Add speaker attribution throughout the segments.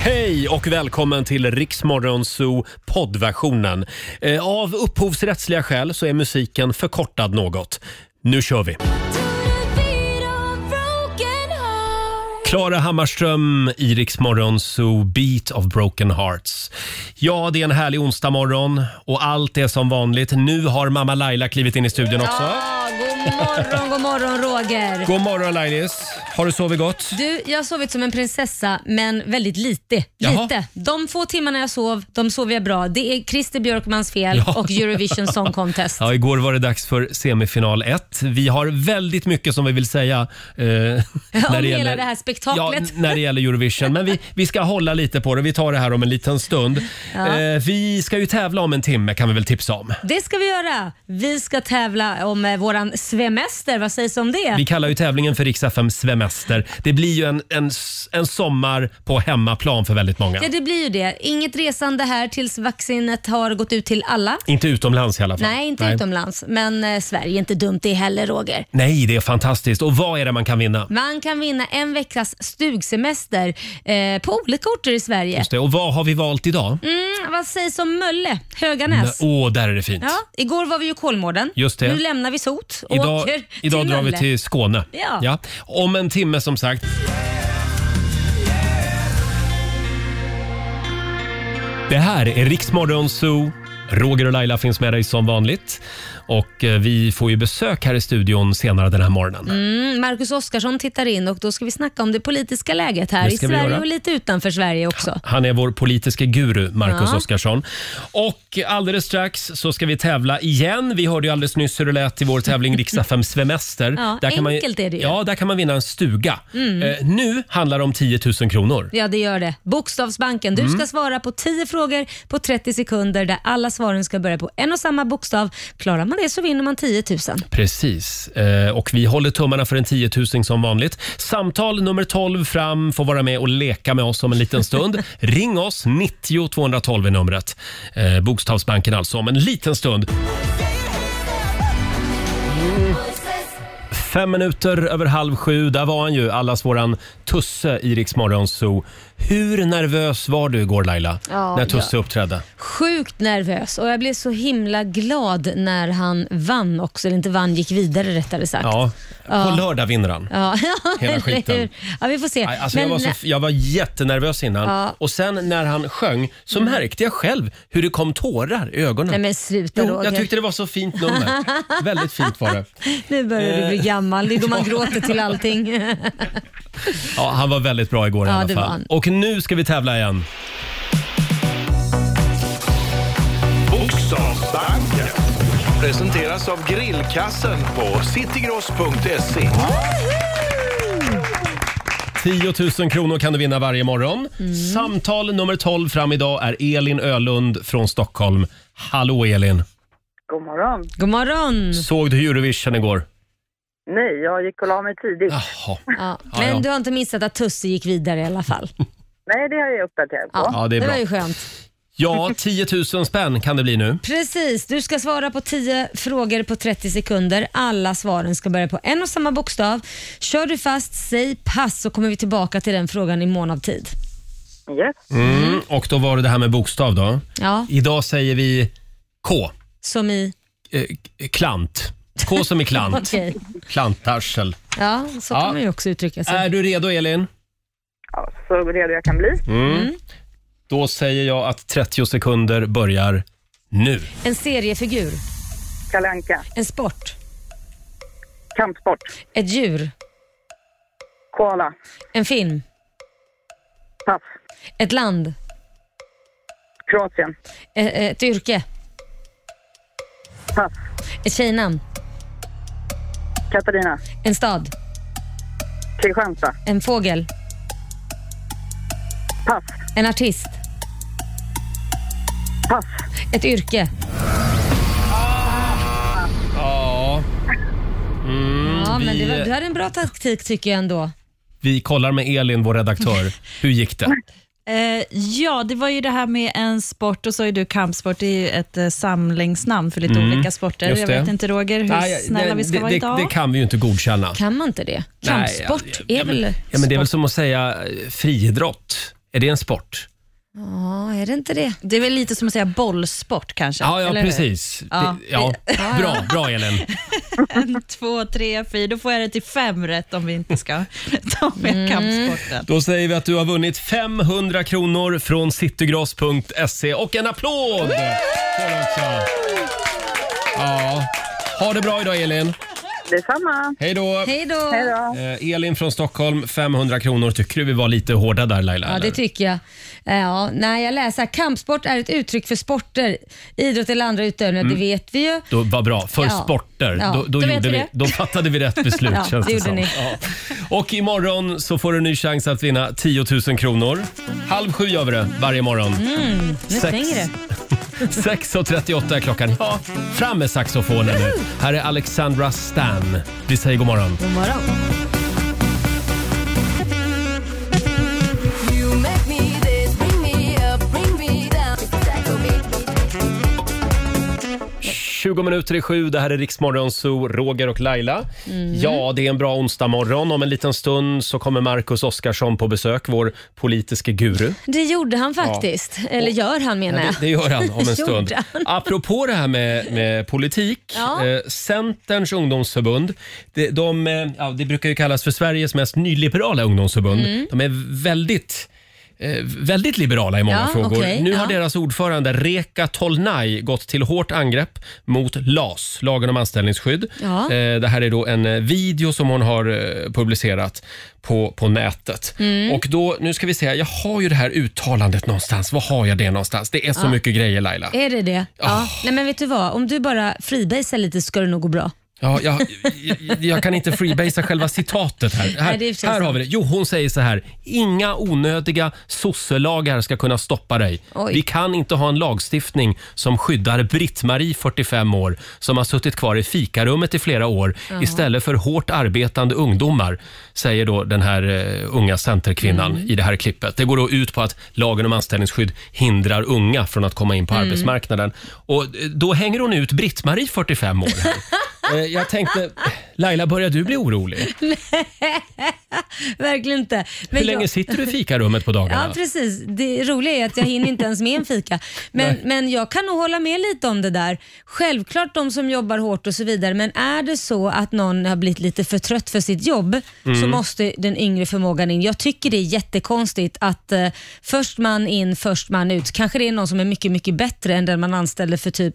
Speaker 1: Hej och välkommen till Riksmorgon Zoo poddversionen. Eh, Av upphovsrättsliga skäl så är musiken förkortad något. Nu kör vi! Klara Hammarström i Riksmorgon Zoo, Beat of Broken Hearts. Ja, det är en härlig onsdagmorgon och allt är som vanligt. Nu har mamma Laila klivit in i studion också.
Speaker 2: Ja, god morgon, god morgon Roger.
Speaker 1: God morgon Lailis! Har du sovit gott?
Speaker 2: Du, jag har sovit som en prinsessa men väldigt lite.
Speaker 1: Jaha.
Speaker 2: lite. De få timmarna jag sov, de sov jag bra. Det är Christer Björkmans fel
Speaker 1: Ja.
Speaker 2: och Eurovision Song Contest.
Speaker 1: Ja, igår var det dags för semifinal 1. Vi har väldigt mycket som vi vill säga. Eh, när
Speaker 2: hela det här spektaklet.
Speaker 1: Ja, n- när det gäller Eurovision. Men vi, vi ska hålla lite på det. Vi tar det här om en liten stund.
Speaker 2: Ja.
Speaker 1: Eh, vi ska ju tävla om en timme kan vi väl tipsa om.
Speaker 2: Det ska vi göra. Vi ska tävla om eh, våran svemester. Vad sägs om det?
Speaker 1: Vi kallar ju tävlingen för Rix FM Svemester. Det blir ju en, en, s- en sommar på hemmaplan för väldigt många.
Speaker 2: Ja, det blir ju det. Inget resande här tills vaccinet har gått ut till alla.
Speaker 1: Inte utomlands i alla fall.
Speaker 2: Nej, inte utomlands. Men eh, Sverige är inte dumt det heller, Roger.
Speaker 1: Nej, det är fantastiskt. Och vad är det man kan vinna?
Speaker 2: Man kan vinna en veckas stugsemester eh, på olika orter i Sverige.
Speaker 1: Just det. Och vad har vi valt idag?
Speaker 2: Mm, vad sägs om Mölle, Höganäs?
Speaker 1: Åh, där är det fint.
Speaker 2: Ja, igår var vi ju i Kolmården.
Speaker 1: Just det.
Speaker 2: Nu lämnar vi Sot och
Speaker 1: Idag,
Speaker 2: åker till
Speaker 1: idag drar vi
Speaker 2: Mölle.
Speaker 1: till Skåne.
Speaker 2: Ja.
Speaker 1: Om en timme som sagt. Det här är Riksmorgon Zoo. Roger och Laila finns med dig som vanligt. Och eh, vi får ju besök här i studion senare den här morgonen.
Speaker 2: Mm, Marcus Oskarsson tittar in och då ska vi snacka om det politiska läget här
Speaker 1: Det
Speaker 2: i
Speaker 1: ska vi
Speaker 2: Sverige
Speaker 1: göra.
Speaker 2: och lite utanför Sverige också.
Speaker 1: Han är vår politiska guru, Marcus
Speaker 2: Ja.
Speaker 1: Oskarsson. Och alldeles strax så ska vi tävla igen. Vi hörde ju alldeles nyss hur det lät i vår tävling Riks-FM Svemester.
Speaker 2: Ja,
Speaker 1: man,
Speaker 2: enkelt är det ju. Mm.
Speaker 1: Ja, där kan man vinna en stuga. Eh, nu handlar det om 10 000 kronor.
Speaker 2: Ja, det gör det. Bokstavsbanken.
Speaker 1: Mm.
Speaker 2: Du ska svara på 10 frågor på 30 sekunder där alla svaren ska börja på en och samma bokstav. Klarar man det så vinner man 10 000.
Speaker 1: Precis. Eh, och vi håller tummarna för en 10 000 som vanligt. Samtal nummer 12 fram får vara med och leka med oss om en liten stund. Ring oss, 90 212 är numret. Eh, Bokstavsbanken alltså, om en liten stund. Fem minuter över halv sju, där var han ju, allas våran Tusse i Rix Morgon Zoo. Hur nervös var du igår Laila,
Speaker 2: Ja,
Speaker 1: när Tusse uppträdde?
Speaker 2: Sjukt nervös och jag blev så himla glad när han vann också. Eller inte vann, gick vidare rättare sagt.
Speaker 1: Ja, på
Speaker 2: Ja.
Speaker 1: lördag vinner han.
Speaker 2: Ja,
Speaker 1: Hela
Speaker 2: eller
Speaker 1: skiten.
Speaker 2: hur? Ja, vi får se.
Speaker 1: Nej, alltså jag,
Speaker 2: Men
Speaker 1: var så,
Speaker 2: nä-
Speaker 1: jag var jättenervös innan
Speaker 2: Ja. Mm.
Speaker 1: och sen när han sjöng så märkte jag själv hur det kom tårar i ögonen.
Speaker 2: nej, men sluta
Speaker 1: jo,
Speaker 2: Roger.
Speaker 1: jag tyckte det var så fint nummer. Väldigt fint var det.
Speaker 2: Nu börjar du bli
Speaker 1: Eh,
Speaker 2: gammal. Det är då man gråter till allting.
Speaker 1: Ja, han var väldigt bra igår i
Speaker 2: Ja,
Speaker 1: alla
Speaker 2: det var
Speaker 1: fall.
Speaker 2: han.
Speaker 1: Och nu ska vi tävla igen.
Speaker 3: Bokstavsbanken presenteras av grillkassen på citygross.se.
Speaker 1: 10 000 kronor kan du vinna varje morgon.
Speaker 2: Mm.
Speaker 1: Samtal nummer 12 fram idag är Elin Ölund från Stockholm. Hallå Elin!
Speaker 4: God morgon.
Speaker 2: God morgon.
Speaker 1: Såg du Eurovision igår?
Speaker 4: Nej, jag gick och la mig tidigt.
Speaker 1: Jaha.
Speaker 2: Ja.
Speaker 1: Ja, ja.
Speaker 2: Men du har inte missat att Tusse gick vidare i alla fall.
Speaker 4: Nej, det har jag uppdaterat på.
Speaker 1: Ja, det är bra.
Speaker 2: var ju skönt.
Speaker 1: Ja, 10 000 spänn kan det bli nu.
Speaker 2: Precis, du ska svara på 10 frågor på 30 sekunder. Alla svaren ska börja på en och samma bokstav. Kör du fast, säg pass så kommer vi tillbaka till den frågan i mån av tid.
Speaker 4: Yes.
Speaker 1: Mm, och då var det det här med bokstav då.
Speaker 2: Ja,
Speaker 1: Idag säger vi K.
Speaker 2: som i...
Speaker 1: Eh, k- klant. K som i klant.
Speaker 2: Okej.
Speaker 1: Klantarsel.
Speaker 2: Ja, så
Speaker 1: Ja.
Speaker 2: kan man ju också uttrycka sig.
Speaker 1: Är du redo Elin?
Speaker 4: Ja, så redo jag kan bli.
Speaker 1: Då säger jag att 30 sekunder börjar nu.
Speaker 2: En seriefigur,
Speaker 4: Kalle Anka.
Speaker 2: en sport,
Speaker 4: Kampsport.
Speaker 2: ett djur,
Speaker 4: Koala.
Speaker 2: en film,
Speaker 4: Pass.
Speaker 2: ett land,
Speaker 4: Kroatien.
Speaker 2: e- ett yrke,
Speaker 4: Pass.
Speaker 2: ett tjejnamn,
Speaker 4: Katarina.
Speaker 2: en stad,
Speaker 4: Kristianstad.
Speaker 2: en fågel,
Speaker 4: Pass.
Speaker 2: en artist,
Speaker 4: Pass.
Speaker 2: ett yrke.
Speaker 1: Ah. Ja, Mm,
Speaker 2: Ja, men
Speaker 1: vi-
Speaker 2: det var, du hade en bra taktik tycker jag ändå.
Speaker 1: vi kollar med Elin, vår redaktör. Hur gick det?
Speaker 5: Eh, ja, det var ju det här med en sport och så är du kampsport. Det är ju ett eh, samlingsnamn för lite olika sporter.
Speaker 1: Mm. just
Speaker 5: Jag
Speaker 1: det.
Speaker 5: vet inte Roger hur
Speaker 1: Nej,
Speaker 5: snälla
Speaker 1: det-
Speaker 5: vi ska
Speaker 1: det,
Speaker 5: vara
Speaker 1: det,
Speaker 5: idag.
Speaker 1: Det kan vi ju inte godkänna.
Speaker 2: Kan man inte det?
Speaker 1: Nej,
Speaker 2: Kampsport
Speaker 1: ja,
Speaker 2: är
Speaker 1: ja, men,
Speaker 2: väl
Speaker 1: ja, men Det är väl
Speaker 2: sport?
Speaker 1: som att säga eh, friidrott. Är det en sport?
Speaker 2: Ja, är det inte det?
Speaker 5: Det är väl lite som att säga bollsport kanske?
Speaker 1: Ja, ja
Speaker 5: eller hur?
Speaker 1: precis.
Speaker 5: Ja.
Speaker 1: Det, ja. Bra, bra Elin.
Speaker 5: En, två, tre, fyra. Då får jag det till fem rätt om vi inte ska ta med kampsporten.
Speaker 1: Då säger vi att du har vunnit 500 kronor från citygross.se och en applåd! Får du också. Ja. Ha det bra idag Elin.
Speaker 4: Detsamma.
Speaker 1: Hej då!
Speaker 2: Hej då!
Speaker 4: Hej då.
Speaker 1: Eh, Elin från Stockholm, 500 kronor. Tycker du vi var lite hårda där Laila?
Speaker 2: Ja, det
Speaker 1: eller?
Speaker 2: tycker jag. Ja, nej, jag läser här. kampsport är ett uttryck för sporter, idrott eller andra utövningar, det vet vi ju.
Speaker 1: Mm. då, vad bra, för
Speaker 2: Ja.
Speaker 1: sporter.
Speaker 2: Ja.
Speaker 1: Då, då,
Speaker 5: Då vet
Speaker 1: gjorde
Speaker 5: vi
Speaker 1: vi,
Speaker 5: det.
Speaker 1: då fattade vi rätt beslut
Speaker 2: Ja,
Speaker 1: känns
Speaker 2: det
Speaker 1: det,
Speaker 2: gjorde
Speaker 1: som.
Speaker 2: ni.
Speaker 1: Ja. Och imorgon så får du en ny chans att vinna 10 000 kronor. Halv sju gör vi det varje morgon.
Speaker 2: Mm, Nu
Speaker 1: Sex.
Speaker 2: svänger det.
Speaker 1: 6.38 är klockan. Ja, fram med saxofonen nu. Här är Alexandra Stan. Vi säger god morgon.
Speaker 2: God morgon.
Speaker 6: You make me this, bring me up, bring me down.
Speaker 1: 20 minuter i sju. Det här är Riksmorgon Zoo, Roger och Laila.
Speaker 2: Mm.
Speaker 1: Ja, det är en bra onsdagmorgon. Om en liten stund så kommer Marcus Oskarsson på besök, vår politiske guru.
Speaker 2: Det gjorde han faktiskt. Eller gör han menar jag.
Speaker 1: Det gör han om en stund.
Speaker 2: Gjorde han?
Speaker 1: Apropå det här med, med politik.
Speaker 2: Ja.
Speaker 1: Eh, Centerns ungdomsförbund, det, de, eh, ja, det brukar ju kallas för Sveriges mest nyliberala ungdomsförbund.
Speaker 2: Mm.
Speaker 1: De är väldigt eh, väldigt liberala i många
Speaker 2: Ja,
Speaker 1: frågor.
Speaker 2: okej,
Speaker 1: nu
Speaker 2: ja.
Speaker 1: har deras ordförande Reka Tolnai gått till hårt angrepp mot LAS, lagen om anställningsskydd.
Speaker 2: Ja.
Speaker 1: Eh, Det här är då en eh, video som hon har eh, publicerat på, på nätet.
Speaker 2: Mm.
Speaker 1: Och då, nu ska vi se, här, jag har ju det här uttalandet någonstans. Var har jag det någonstans? Det är så mycket grejer Laila.
Speaker 2: Är det det?
Speaker 1: Ah.
Speaker 2: Ja. Nej men vet du vad, om du bara freebasar lite så ska det nog gå bra.
Speaker 1: Ja, jag, jag, jag kan inte freebasea själva citatet här. Här,
Speaker 2: Nej, det är i och för sig
Speaker 1: här har
Speaker 2: sant.
Speaker 1: vi det. Jo, hon säger så här. Inga onödiga sosselagar ska kunna stoppa dig.
Speaker 2: Oj.
Speaker 1: Vi kan inte ha en lagstiftning som skyddar Britt-Marie, 45 år, som har suttit kvar i fikarummet i flera år istället för hårt arbetande ungdomar, säger då den här eh, unga centerkvinnan i det här klippet. Det går då ut på att lagen om anställningsskydd hindrar unga från att komma in på arbetsmarknaden. Och eh, då hänger hon ut Britt-Marie, 45 år. Här. Eh, Jag tänkte, Laila, börjar du bli orolig?
Speaker 2: Verkligen inte. Men
Speaker 1: Hur länge
Speaker 2: jag-
Speaker 1: sitter du i fikarummet på
Speaker 2: Ja
Speaker 1: dagarna?
Speaker 2: precis, det roliga är att jag hinner inte ens med en fika. Men, men jag kan nog hålla med lite om det där. Självklart de som jobbar hårt och så vidare, men är det så att någon har blivit lite för trött för sitt jobb så måste den yngre förmågan in. Jag tycker det är jättekonstigt att eh, först man in, först man ut. Kanske det är någon som är mycket, mycket bättre än den man anställde för typ,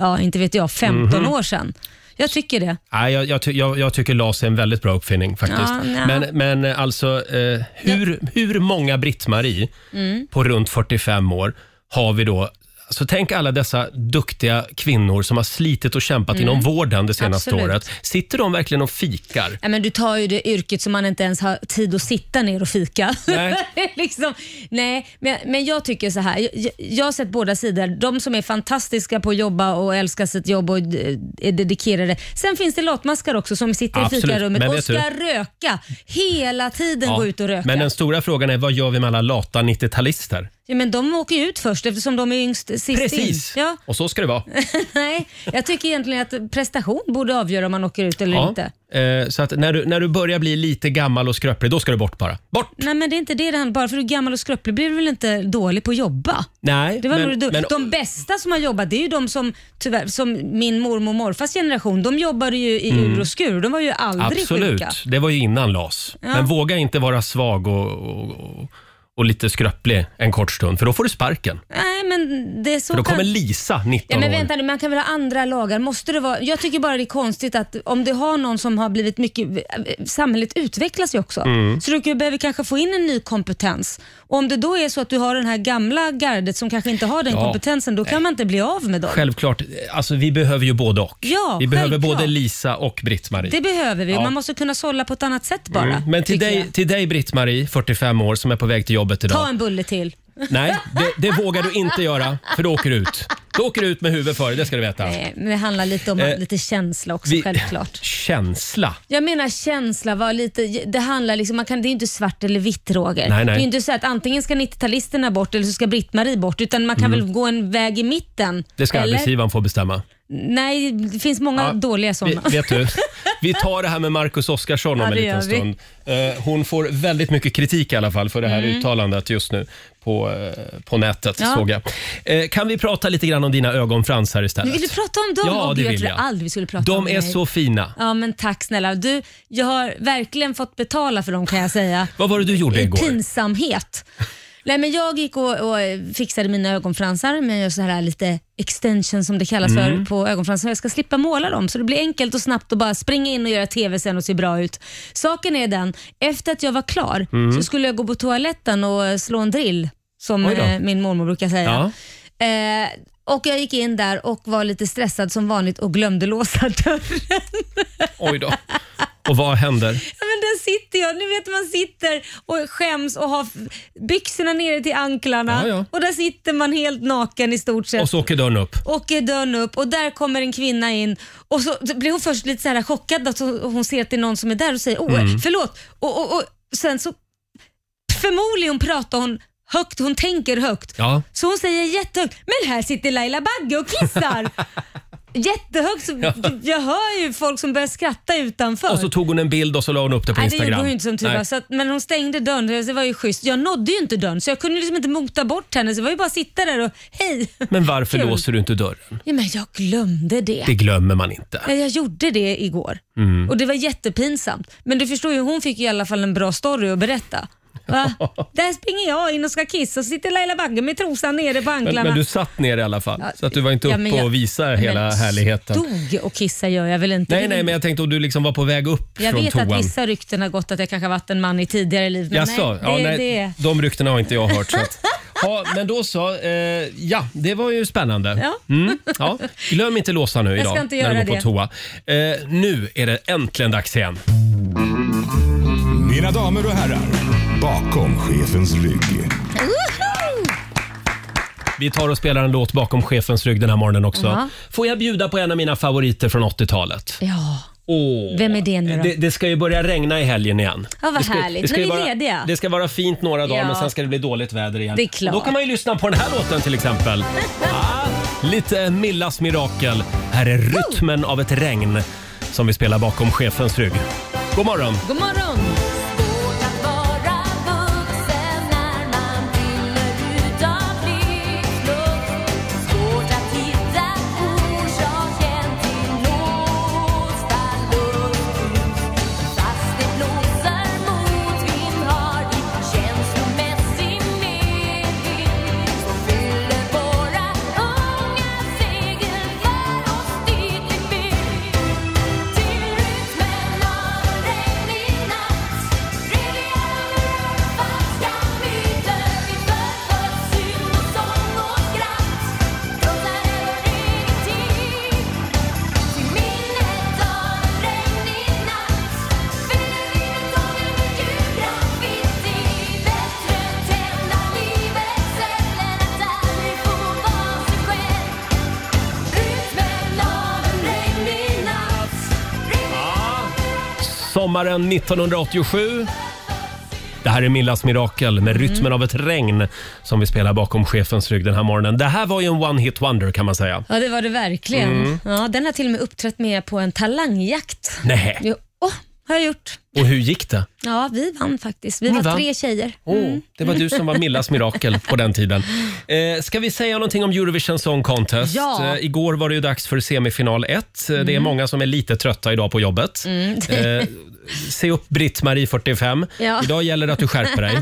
Speaker 2: ja inte vet jag, 15 år sedan. Jag tycker det.
Speaker 1: Nej, jag, jag, ty- jag, jag tycker LAS är en väldigt bra uppfinning faktiskt.
Speaker 2: Ja, nja.
Speaker 1: men, men eh, alltså, eh, hur, hur många Britt-Marie
Speaker 2: Mm.
Speaker 1: på runt 45 år har vi då? Alltså, tänk alla dessa duktiga kvinnor som har slitit och kämpat inom vården det senaste
Speaker 2: Mm. Absolut.
Speaker 1: året. Sitter de verkligen och fikar?
Speaker 2: Nej, men du tar ju det yrket som man inte ens har tid att sitta ner och fika.
Speaker 1: Nej.
Speaker 2: liksom, nej men, men jag tycker så här. Jag, jag har sett båda sidor. De som är fantastiska på att jobba och älskar sitt jobb och eh, är dedikerade. Sen finns det latmaskar också som sitter
Speaker 1: Absolut,
Speaker 2: i fikarummet
Speaker 1: men
Speaker 2: och
Speaker 1: vet
Speaker 2: ska
Speaker 1: du-
Speaker 2: röka. Hela tiden
Speaker 1: Ja,
Speaker 2: gå ut och röka.
Speaker 1: Men
Speaker 2: Men,
Speaker 1: den stora frågan är, vad gör vi med alla lata 90-talister?
Speaker 2: ja, men de åker ju ut först eftersom de är yngst sist
Speaker 1: Precis!
Speaker 2: in. Ja,
Speaker 1: Och så ska det vara.
Speaker 2: nej, jag tycker egentligen att prestation borde avgöra om man åker ut eller inte.
Speaker 1: Eh, så att när du, när du börjar bli lite gammal och skröplig, då ska du bort bara. Bort!
Speaker 2: Nej men det är inte det det handlar Bara för att du är gammal och skröplig blir du väl inte dålig på att jobba?
Speaker 1: Nej,
Speaker 2: Det var
Speaker 1: men,
Speaker 2: nog det du-
Speaker 1: men,
Speaker 2: de bästa som har jobbat det är ju de som, tyvärr, som min mormor och morfars generation, de jobbade ju i ur och skur. De var ju aldrig
Speaker 1: Mm. absolut.
Speaker 2: sjuka.
Speaker 1: Det var ju innan LAS. Men våga inte vara svag och, och, och- och lite skröplig en kort stund, för då får du sparken.
Speaker 2: Nej men det är så
Speaker 1: För då
Speaker 2: kan-
Speaker 1: kommer Lisa, 19
Speaker 2: Ja, men
Speaker 1: år.
Speaker 2: vänta nu, man kan väl ha andra lagar? Måste det vara... Jag tycker bara det är konstigt att om du har någon som har blivit mycket... Samhället utvecklas ju också.
Speaker 1: Mm.
Speaker 2: Så du kan- behöver kanske få in en ny kompetens. Och om det då är så att du har den här gamla gardet som kanske inte har den
Speaker 1: Ja.
Speaker 2: kompetensen, då kan man inte bli av med dem.
Speaker 1: Självklart, alltså, vi behöver ju både och.
Speaker 2: Ja,
Speaker 1: vi behöver
Speaker 2: självklart.
Speaker 1: både Lisa och Britt-Marie.
Speaker 2: Det behöver vi.
Speaker 1: Ja.
Speaker 2: Man måste kunna sålla på ett annat sätt bara.
Speaker 1: Mm. Men till
Speaker 2: tycker
Speaker 1: dig,
Speaker 2: jag.
Speaker 1: till dig Britt-Marie, 45 år, som är på väg till jobbet idag.
Speaker 2: Ta en bulle till.
Speaker 1: Nej, det, det vågar du inte göra, för då åker du ut. Då åker du ut med huvudet före, det ska du veta.
Speaker 2: Nej, Eh, men det handlar lite om lite känsla också,
Speaker 1: Eh, Vi-
Speaker 2: självklart.
Speaker 1: Känsla.
Speaker 2: Jag menar känsla, var lite, det handlar liksom, man kan, det är ju inte svart eller vitt Roger.
Speaker 1: Nej, nej.
Speaker 2: Det är ju inte så att antingen ska 90-talisterna bort eller så ska Britt-Marie bort, utan man kan väl gå en väg i mitten.
Speaker 1: Mm. Det ska
Speaker 2: eller?
Speaker 1: arbetsgivaren få bestämma.
Speaker 2: Nej, det finns många
Speaker 1: Ja,
Speaker 2: dåliga sådana.
Speaker 1: Vi, vet du, vi tar det här med Marcus Oskarsson om
Speaker 2: Ja,
Speaker 1: en
Speaker 2: det
Speaker 1: liten
Speaker 2: gör vi.
Speaker 1: stund. Eh, Hon får väldigt mycket kritik i alla fall för det här uttalandet just nu på, eh, på nätet.
Speaker 2: Mm. Ja.
Speaker 1: Såg jag. Eh, Kan vi prata lite grann om dina ögonfransar
Speaker 2: Nu
Speaker 1: istället?
Speaker 2: vill du prata om dem?
Speaker 1: Ja,
Speaker 2: Åh,
Speaker 1: det
Speaker 2: Gud,
Speaker 1: vill
Speaker 2: jag.
Speaker 1: jag.
Speaker 2: trodde aldrig vi skulle prata om
Speaker 1: De är
Speaker 2: dig.
Speaker 1: så fina.
Speaker 2: Ja, men tack snälla. Du, jag har verkligen fått betala för dem kan jag säga.
Speaker 1: Vad var det du gjorde
Speaker 2: I
Speaker 1: igår?
Speaker 2: pinsamhet. Nej, men jag gick och, och fixade mina ögonfransar med gör så här lite extension som det kallas för
Speaker 1: Mm.
Speaker 2: på ögonfransarna. Jag ska slippa måla dem så det blir enkelt och snabbt att bara springa in och göra TV sen och se bra ut. Saken är den, efter att jag var klar så skulle jag gå på toaletten och eh, slå en drill som
Speaker 1: Mm. Oj då.
Speaker 2: eh, min mormor brukar säga.
Speaker 1: Ja.
Speaker 2: Eh, och Jag gick in där och var lite stressad som vanligt och glömde låsa dörren.
Speaker 1: Oj då. Och vad händer?
Speaker 2: Ja, men där sitter jag. Ni vet man sitter och skäms och har f- byxorna nere till anklarna
Speaker 1: Ja, ja.
Speaker 2: och där sitter man helt naken i stort sett.
Speaker 1: Och så åker dörren upp.
Speaker 2: Och är dörren upp och där kommer en kvinna in och så blir hon först lite så här chockad att hon hon ser att det är någon som är där och säger åh
Speaker 1: Mm.
Speaker 2: förlåt. Och, och, och sen så förmodligen pratar hon högt, hon tänker högt.
Speaker 1: Ja.
Speaker 2: Så hon säger jättehögt, men här sitter Laila Bagge och kissar. jättehögt, så jag hör ju folk som börjar skratta utanför.
Speaker 1: Och så tog hon en bild och så la hon upp det på
Speaker 2: Nej, det
Speaker 1: Instagram.
Speaker 2: gjorde hon ju inte som tur
Speaker 1: Nej.
Speaker 2: var. Så att, men hon stängde dörren, så det var ju schysst. Jag nådde ju inte dörren, så jag kunde liksom inte mota bort henne. Så det var ju bara att sitta där och hej.
Speaker 1: Men varför
Speaker 2: Kul.
Speaker 1: låser du inte dörren?
Speaker 2: Ja, men jag glömde det.
Speaker 1: Det Mm. glömmer man inte.
Speaker 2: Ja, Jag gjorde det igår och det var jättepinsamt. Men du förstår ju, hon fick ju i alla fall en bra story att berätta. Va? Där springer jag in och ska kissa och sitter Laila Bagge med trosan nere på
Speaker 1: Men,
Speaker 2: anklarna.
Speaker 1: men du satt ner i alla fall,
Speaker 2: Ja,
Speaker 1: så att du var inte
Speaker 2: ja,
Speaker 1: uppe
Speaker 2: men jag-
Speaker 1: och visade hela
Speaker 2: men
Speaker 1: härligheten.
Speaker 2: Stod och kissa gör jag väl inte.
Speaker 1: Nej, nej, men jag tänkte om du liksom var på väg upp
Speaker 2: Jag
Speaker 1: från
Speaker 2: vet
Speaker 1: toan.
Speaker 2: att vissa rykten har gått att jag kanske har varit en man i tidigare liv. Men
Speaker 1: Jaså?
Speaker 2: nej, det,
Speaker 1: ja, nej,
Speaker 2: det
Speaker 1: De ryktena har inte jag hört. Så att. Ja, men då så. Eh, ja, det var ju spännande.
Speaker 2: Ja.
Speaker 1: Mm, ja. Glöm inte låsa nu
Speaker 2: Jag
Speaker 1: idag
Speaker 2: ska inte
Speaker 1: när
Speaker 2: göra
Speaker 1: du går på
Speaker 2: det.
Speaker 1: toa. Eh, nu är det äntligen dags igen.
Speaker 7: Mina damer och herrar, bakom chefens rygg.
Speaker 1: Vi tar och spelar en låt bakom chefens rygg den här morgonen också.
Speaker 2: Ja.
Speaker 1: Får jag bjuda på en av mina favoriter från 80-talet?
Speaker 2: Ja.
Speaker 1: Åh.
Speaker 2: Vem är det nu då?
Speaker 1: Det, det ska ju börja regna i helgen igen.
Speaker 2: Ja, vad
Speaker 1: det ska,
Speaker 2: härligt.
Speaker 1: ska
Speaker 2: Nu
Speaker 1: ju
Speaker 2: är vi
Speaker 1: vara-
Speaker 2: lediga.
Speaker 1: Det ska vara fint några dagar
Speaker 2: Ja.
Speaker 1: men sen ska det bli dåligt väder igen.
Speaker 2: Det är klart.
Speaker 1: Och Då kan man ju lyssna på den här låten till exempel. ah, lite Millas mirakel. Här är rytmen av ett regn som vi spelar bakom chefens rygg. God morgon!
Speaker 2: God morgon!
Speaker 6: Svårt att vara vuxen när man brinner ut av livsluft. Svårt att hitta orsaken till låsta lufthus. Fast det blåser motvind har vi känslomässig medvind som fyller våra unga segel för oss dit vi vill. Till rytmen av en regnig natt Riviera falska myter Vi föddes synd och sång och skratt Krossar över egen tid Till minnet av en regnig natt Fyller vi med sånger på gula vinter Bättre tända livets eld än att aldrig få vara sig själv Rytmen av en regnig natt
Speaker 1: Sommaren 1987. Det här är Millas mirakel med
Speaker 2: Mm.
Speaker 1: rytmen av ett regn som vi spelar bakom chefens rygg den här morgonen. Det här var ju en one-hit wonder kan man säga.
Speaker 2: Ja, det var det verkligen.
Speaker 1: Mm.
Speaker 2: Ja, den har till och med uppträtt med på en talangjakt.
Speaker 1: Nej.
Speaker 2: Jo, åh, har jag gjort.
Speaker 1: Och hur gick det?
Speaker 2: Ja, vi vann faktiskt. Vi
Speaker 1: Ni
Speaker 2: var
Speaker 1: vann?
Speaker 2: tre tjejer.
Speaker 1: Åh, det var du som var Millas mirakel på den tiden. Eh, ska vi säga någonting om Eurovision Song Contest?
Speaker 2: Ja. Mm.
Speaker 1: Eh, igår var det ju dags för semifinal 1. Eh, Det är många som är lite trötta idag på jobbet. Eh, se upp Britt-Marie, 45.
Speaker 2: Ja.
Speaker 1: Idag gäller det att du skärper dig.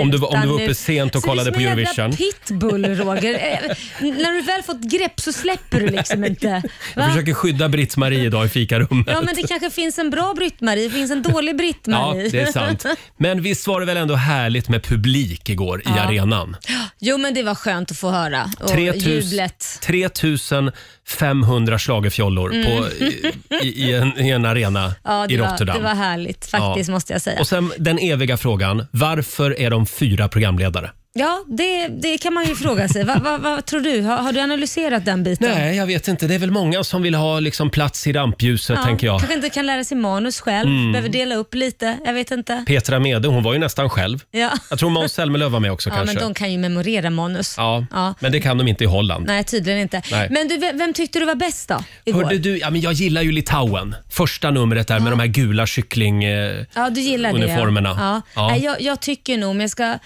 Speaker 1: om, du, var- om du var uppe sent och kollade på
Speaker 2: Så
Speaker 1: Eurovision.
Speaker 2: du är som en jävla pitbull, Roger. Eh, När du väl fått grepp så släpper du liksom inte.
Speaker 1: Jag
Speaker 2: Va?
Speaker 1: försöker skydda Britt-Marie idag i fikarummet.
Speaker 2: Ja, men det kanske finns en bra Britt-Marie, det finns en dålig
Speaker 1: Ja,
Speaker 2: Britt-Marie.
Speaker 1: det är sant. Men visst var det väl ändå härligt med publik igår i arenan?
Speaker 2: Jo, men det var skönt att få höra. Och
Speaker 1: 3 000
Speaker 2: jublet.
Speaker 1: 3500 schlagerfjollor på, i, i, i, en, i en arena
Speaker 2: Mm. Ja, det,
Speaker 1: i
Speaker 2: var,
Speaker 1: Rotterdam.
Speaker 2: det var härligt faktiskt,
Speaker 1: Ja.
Speaker 2: måste jag säga.
Speaker 1: Och sen den eviga frågan, varför är de fyra programledare?
Speaker 2: Ja, det, det kan man ju fråga sig. Vad vad- vad tror du? Har, har du analyserat den biten?
Speaker 1: Nej, jag vet inte. Det är väl många som vill ha liksom plats i rampljuset,
Speaker 2: Ja,
Speaker 1: tänker jag. Mm.
Speaker 2: Kanske inte kan lära sig manus själv, behöver dela upp lite. Jag vet inte.
Speaker 1: Petra Mede, hon var ju nästan själv.
Speaker 2: Ja.
Speaker 1: Jag tror Måns Zelmerlöw var med också
Speaker 2: Ja,
Speaker 1: kanske.
Speaker 2: men de kan ju memorera manus.
Speaker 1: Ja, men det kan de inte i Holland.
Speaker 2: Nej, tydligen inte.
Speaker 1: Nej.
Speaker 2: Men du, vem, vem tyckte du var bäst då? Igår?
Speaker 1: Hörde du, ja, men jag gillar ju Litauen. Första numret där med de här gula kyckling... eh,
Speaker 2: Ja, du gillar det. ja.
Speaker 1: Uniformerna.
Speaker 2: Ja.
Speaker 1: Ja.
Speaker 2: Nej, jag, jag tycker nog, om jag ska,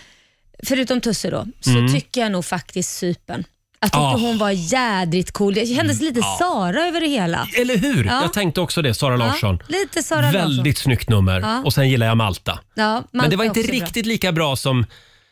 Speaker 2: förutom Tusse då, så tycker jag nog faktiskt Sypen. Jag tyckte
Speaker 1: Mm. Ah.
Speaker 2: hon var jädrigt cool. Det kändes lite Sara över det hela.
Speaker 1: Eller hur?
Speaker 2: Ja.
Speaker 1: Jag tänkte också det, Sara Larsson.
Speaker 2: Ja, lite Sara Larsson.
Speaker 1: Väldigt snyggt nummer.
Speaker 2: Ja.
Speaker 1: Och sen gillar jag Malta.
Speaker 2: Ja, Malta
Speaker 1: Men det var inte
Speaker 2: också bra.
Speaker 1: riktigt lika bra som,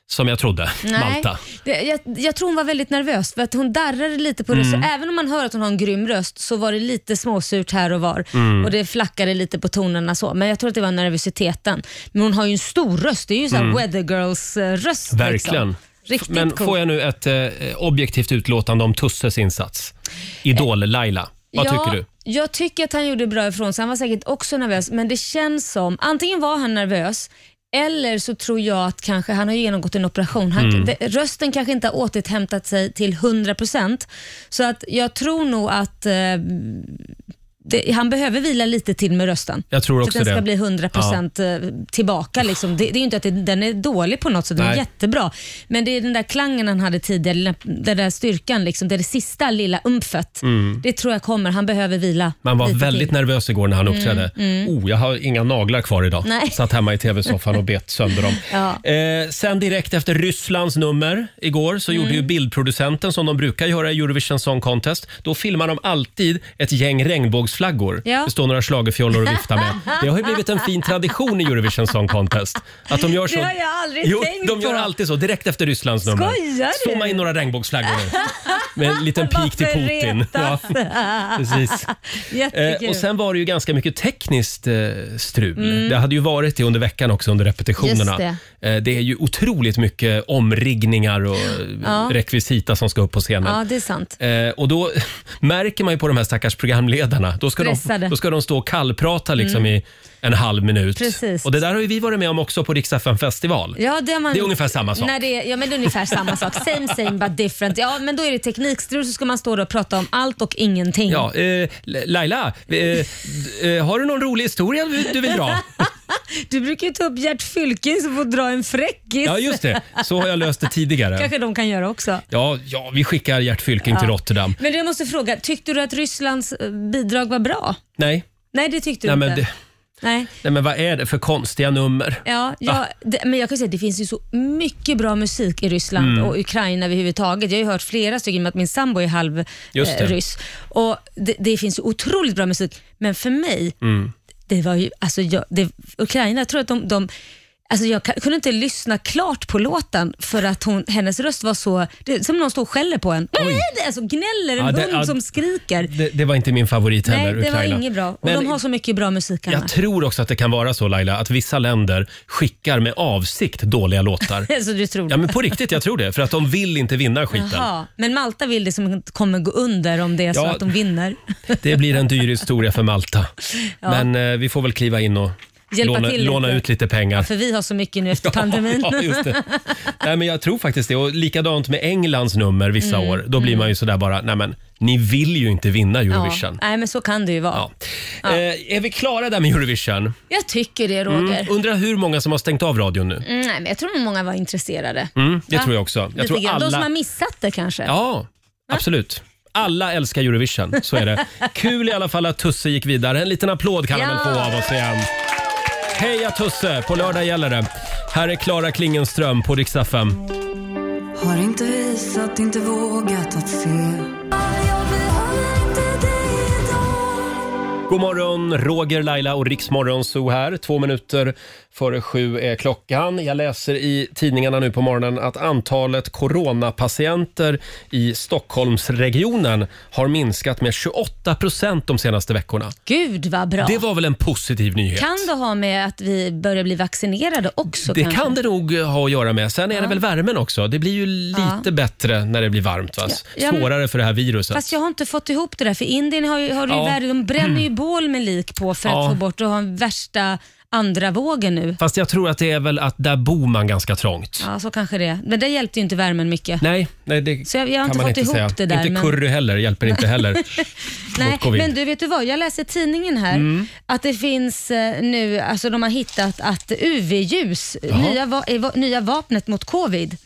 Speaker 1: som jag trodde. Malta.
Speaker 2: Det, jag, jag tror hon var väldigt nervös för att hon darrade lite på rösten.
Speaker 1: Mm.
Speaker 2: Även om man hör att hon har en grym röst så var det lite småsurt här och var
Speaker 1: Mm.
Speaker 2: och det flackade lite på tonerna så. Men jag tror att det var nervositeten. Men hon har ju en stor röst. Det är ju så här Weather Girls eh, röst.
Speaker 1: Mm. Verkligen.
Speaker 2: Liksom. Riktigt
Speaker 1: Men
Speaker 2: cool.
Speaker 1: får jag nu ett eh, objektivt utlåtande om Tusses insats? Idol-Laila, vad
Speaker 2: Eh, ja,
Speaker 1: tycker du?
Speaker 2: Jag tycker att han gjorde bra ifrån sig. Han var säkert också nervös, men det känns som, antingen var han nervös, eller så tror jag att kanske, han har ju genomgått en operation. Han,
Speaker 1: Mm.
Speaker 2: det, rösten kanske inte har återhämtat sig till 100%. Så att jag tror nog att eh, det, han behöver vila lite till med rösten.
Speaker 1: Jag tror
Speaker 2: så
Speaker 1: också
Speaker 2: att den ska
Speaker 1: det.
Speaker 2: bli 100% eh, tillbaka. Liksom. Det, det är ju inte att det, den är dålig på något sätt, den är
Speaker 1: Nej.
Speaker 2: jättebra. Men det är den där klangen han hade tidigare, den där styrkan, liksom, det, är det sista lilla umpfet. Det tror jag kommer. Han behöver vila.
Speaker 1: Mm. Man var
Speaker 2: lite
Speaker 1: väldigt
Speaker 2: till. Mm,
Speaker 1: nervös igår när han uppträdde. Oh, jag har inga naglar kvar idag.
Speaker 2: Nej.
Speaker 1: Satt hemma i tv-soffan och bet sönder dem.
Speaker 2: Ja.
Speaker 1: Eh, sen direkt efter Rysslands nummer igår så gjorde
Speaker 2: Mm.
Speaker 1: ju bildproducenten som de brukar göra i Eurovision Song Contest. Då filmar de alltid ett gäng regnbågsflaggor.
Speaker 2: Ja.
Speaker 1: Det står några schlagerfjollor att vifta med. Det har ju blivit en fin tradition i Eurovision Song Contest. Att de gör så.
Speaker 2: Det har jag aldrig
Speaker 1: jo,
Speaker 2: tänkt
Speaker 1: De gör
Speaker 2: på.
Speaker 1: alltid så direkt efter Rysslands nummer.
Speaker 2: Skojar du?
Speaker 1: Zooma in några regnbågsflaggor nu. Med en liten pik till
Speaker 2: Varför
Speaker 1: Putin. Ja,
Speaker 2: retas?
Speaker 1: precis.
Speaker 2: Jättekul.
Speaker 1: Eh, och sen var det ju ganska mycket tekniskt eh, strul. Det hade ju varit det under veckan också under repetitionerna.
Speaker 2: Mm. Just det.
Speaker 1: Eh, det är ju otroligt mycket omriggningar och eh, rekvisita som ska upp på scenen.
Speaker 2: Ja, det är sant.
Speaker 1: Eh, och då märker man ju på de här stackars programledarna. Då ska, de,
Speaker 2: Stressade. Mm.
Speaker 1: då ska de stå och kallprata liksom i en halv minut.
Speaker 2: Precis.
Speaker 1: Och det där har ju vi varit med om också på Rix FM festival.
Speaker 2: Ja, det, har man,
Speaker 1: Det är ungefär samma sak.
Speaker 2: När det, är- ja, men det är ungefär samma sak. Same same but different. Ja, men då är det teknikstrul så ska man stå där och prata om allt och ingenting.
Speaker 1: Ja, eh, Laila, eh, d- eh, har du någon rolig historia du- du vill dra?
Speaker 2: Du brukar ju ta upp Gert Fylking som får dra en fräckis.
Speaker 1: Ja, just det. Så har jag löst det tidigare.
Speaker 2: kanske de kan göra också.
Speaker 1: Ja, ja, vi skickar Gert Fylking till Rotterdam.
Speaker 2: Men jag måste fråga, tyckte du att Rysslands eh, bidrag var bra?
Speaker 1: Nej,
Speaker 2: Nej, det tyckte du
Speaker 1: nej, men,
Speaker 2: inte.
Speaker 1: det,
Speaker 2: Nej.
Speaker 1: nej, men vad är det för konstiga nummer?
Speaker 2: Ja,
Speaker 1: Ah.
Speaker 2: jag, det, men jag kan säga att det finns ju så mycket bra musik i Ryssland
Speaker 1: Mm.
Speaker 2: och Ukraina överhuvudtaget. Jag har ju hört flera stycken, i och med att min sambo är halv
Speaker 1: Just
Speaker 2: eh,
Speaker 1: det.
Speaker 2: ryss. Och det, det finns ju otroligt bra musik, men för mig,
Speaker 1: Mm.
Speaker 2: det var ju, alltså jag, det, Ukraina, jag tror att de, de Alltså jag kan- kunde inte lyssna klart på låten för att hon, hennes röst var så... Det, är som någon står och skäller på en. Alltså gnäller en
Speaker 1: Ja, det-
Speaker 2: hund
Speaker 1: ja,
Speaker 2: som skriker.
Speaker 1: Det, det var inte min favorit
Speaker 2: Nej,
Speaker 1: heller,
Speaker 2: det var
Speaker 1: Ukraina.
Speaker 2: inget bra. Och
Speaker 1: Men
Speaker 2: de har så mycket bra musik
Speaker 1: jag
Speaker 2: annars.
Speaker 1: tror också att det kan vara så Laila, att vissa länder skickar med avsikt dåliga låtar.
Speaker 2: Så du tror
Speaker 1: Ja men på riktigt, jag tror det. För att de vill inte vinna skiten.
Speaker 2: Jaha, men Malta vill det som kommer gå under om det är så
Speaker 1: Ja.
Speaker 2: att de vinner.
Speaker 1: Det blir en dyr historia för Malta. Men eh, vi får väl kliva in och
Speaker 2: Hjälpa
Speaker 1: låna,
Speaker 2: till lite.
Speaker 1: låna ut lite pengar.
Speaker 2: För vi har så mycket nu efter pandemin.
Speaker 1: Ja, just det. Nej, men jag tror faktiskt det. Och likadant med Englands nummer vissa
Speaker 2: Mm,
Speaker 1: år. Då blir man ju sådär bara, nej men ni vill ju inte vinna Eurovision. Ja.
Speaker 2: Nej, men så kan det ju vara.
Speaker 1: Eh, är vi klara där med Eurovision?
Speaker 2: Jag tycker det, Roger. Mm.
Speaker 1: Undrar hur många som har stängt av radion nu?
Speaker 2: Nej, men jag tror nog många var intresserade.
Speaker 1: Mm, det
Speaker 2: Va?
Speaker 1: tror jag också. Jag
Speaker 2: Lite
Speaker 1: tror
Speaker 2: grann. De som
Speaker 1: alla...
Speaker 2: har missat det kanske.
Speaker 1: Ja, absolut. Alla älskar Eurovision, så är det. Kul i alla fall att Tusse gick vidare. En liten applåd kan han väl få
Speaker 2: Ja.
Speaker 1: av oss igen. Heja Tusse! På lördag gäller det. Här är Klara Klingenström på Rix FM.
Speaker 8: Har inte visat, inte vågat att se.
Speaker 1: God morgon, Roger, Laila och Riksmorgon Zoo här. Två minuter före sju är klockan. Jag läser i tidningarna nu på morgonen att antalet coronapatienter i Stockholmsregionen har minskat med 28 procent de senaste veckorna.
Speaker 2: Gud vad bra.
Speaker 1: Det var väl en positiv nyhet?
Speaker 2: Kan det ha med att vi börjar bli vaccinerade också?
Speaker 1: det
Speaker 2: kanske?
Speaker 1: kan det nog ha att göra med. Sen är det väl värmen också. Det blir ju lite bättre när det blir varmt. Va?
Speaker 2: Ja, men-
Speaker 1: Svårare för det här viruset.
Speaker 2: Fast jag har inte fått ihop det där, för Indien har ju, har ju
Speaker 1: Ja. Mm.
Speaker 2: värre, de bränner ju bål med lik på för
Speaker 1: Ja.
Speaker 2: att få bort och ha värsta andra vågen nu.
Speaker 1: Fast jag tror att det är väl att där bor man ganska trångt.
Speaker 2: Ja, så kanske det är. Men det hjälpte ju inte värmen mycket.
Speaker 1: Nej, nej det
Speaker 2: Så jag- jag har
Speaker 1: kan
Speaker 2: inte
Speaker 1: man
Speaker 2: fått
Speaker 1: inte
Speaker 2: ihop
Speaker 1: säga.
Speaker 2: det där,
Speaker 1: inte
Speaker 2: men-
Speaker 1: curry heller, hjälper inte heller
Speaker 2: Nej,
Speaker 1: mot covid. Mm.
Speaker 2: men du vet du vad, jag läser tidningen här att det finns eh, nu, alltså de har hittat att UV-ljus, nya, va- är va- nya vapnet mot covid.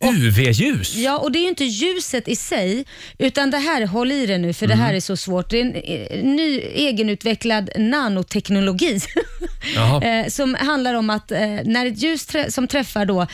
Speaker 1: UV-ljus?
Speaker 2: Ja, och det är ju inte ljuset i sig, utan det här, håll i det nu för
Speaker 1: Mm.
Speaker 2: det här är så svårt. Det är en eh, ny egenutvecklad nanoteknologi
Speaker 1: Jaha.
Speaker 2: eh, som handlar om att eh, när ett ljus trä- som träffar då eh,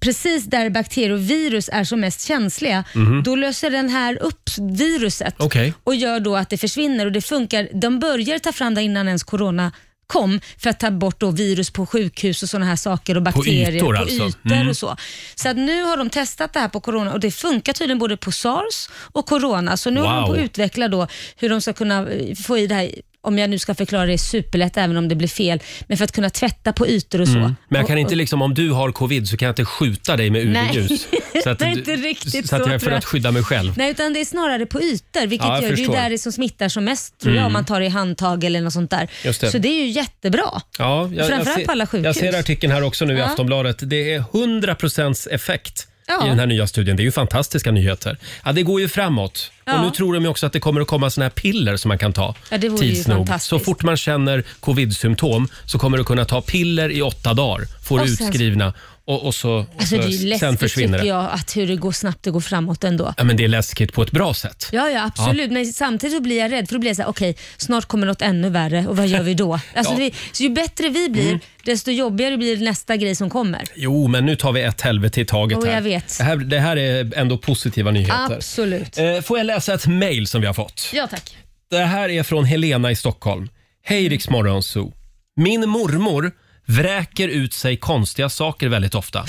Speaker 2: precis där bakterier och virus är som mest känsliga, då löser den här upp viruset
Speaker 1: Mhm. Okej.
Speaker 2: och gör då att det försvinner och det funkar. De börjar ta fram det innan ens corona kom för att ta bort då virus på sjukhus och sådana här saker och bakterier
Speaker 1: ytor alltså.
Speaker 2: ytor och så. Så att nu har de testat det här på corona och det funkar tydligen både på sars och corona. Så nu håller de
Speaker 1: Wow.
Speaker 2: på att utveckla då hur de ska kunna eh, få i det här om jag nu ska förklara det superlätt även om det blir fel, men för att kunna tvätta på ytor och så.
Speaker 1: Men jag kan
Speaker 2: Och-
Speaker 1: inte liksom, om du har covid så kan jag inte skjuta dig med
Speaker 2: Nej.
Speaker 1: UV-ljus. Så att,
Speaker 2: Det är
Speaker 1: du-
Speaker 2: inte riktigt
Speaker 1: så att
Speaker 2: så,
Speaker 1: jag är för
Speaker 2: tror jag.
Speaker 1: att skydda mig själv.
Speaker 2: Nej, utan det är snarare på ytor, vilket
Speaker 1: Ja,
Speaker 2: gör,
Speaker 1: jag
Speaker 2: det är ju
Speaker 1: förstår. Mm.
Speaker 2: där det som smittar som mest tror jag, om man tar det i handtag eller något sånt där.
Speaker 1: Just det.
Speaker 2: Så det är ju jättebra.
Speaker 1: Ja, jag,
Speaker 2: Framförallt
Speaker 1: ser-
Speaker 2: på alla sjukhus.
Speaker 1: Jag ser artikeln här också nu i
Speaker 2: Ja.
Speaker 1: Aftonbladet. Det är 100% effekt
Speaker 2: Ja.
Speaker 1: i den här nya studien. Det är ju fantastiska nyheter. Ja, det går ju framåt. Och
Speaker 2: Ja.
Speaker 1: nu tror de ju också att det kommer att komma såna här piller som man kan ta
Speaker 2: Ja, det vore ju
Speaker 1: tids nog.
Speaker 2: fantastiskt.
Speaker 1: Så fort man känner covid-symptom så kommer du kunna ta piller i åtta dagar, får du
Speaker 2: Och sen-
Speaker 1: utskrivna och, och så, och
Speaker 2: Alltså
Speaker 1: så
Speaker 2: det är ju
Speaker 1: sen
Speaker 2: läskigt
Speaker 1: försvinner
Speaker 2: tycker
Speaker 1: det.
Speaker 2: jag att hur det går snabbt det går framåt ändå.
Speaker 1: Ja, men det är läskigt på ett bra sätt.
Speaker 2: Ja, ja absolut. Men samtidigt så blir jag rädd för då blir jag så här, okej, snart kommer något ännu värre och vad gör vi då? Alltså,
Speaker 1: Ja. Mm.
Speaker 2: vi, så ju bättre vi blir, desto jobbigare blir nästa grej som kommer.
Speaker 1: Jo, men nu tar vi ett helvete i taget.
Speaker 2: Jo,
Speaker 1: här.
Speaker 2: jag vet.
Speaker 1: Det, här, det här är ändå positiva nyheter.
Speaker 2: Absolut.
Speaker 1: Eh, Får jag läsa ett mejl som vi har fått?
Speaker 2: Ja tack.
Speaker 1: Det här är från Helena i Stockholm. Hej Rix Morgon Zoo. Min mormor vräker ut sig konstiga saker väldigt ofta.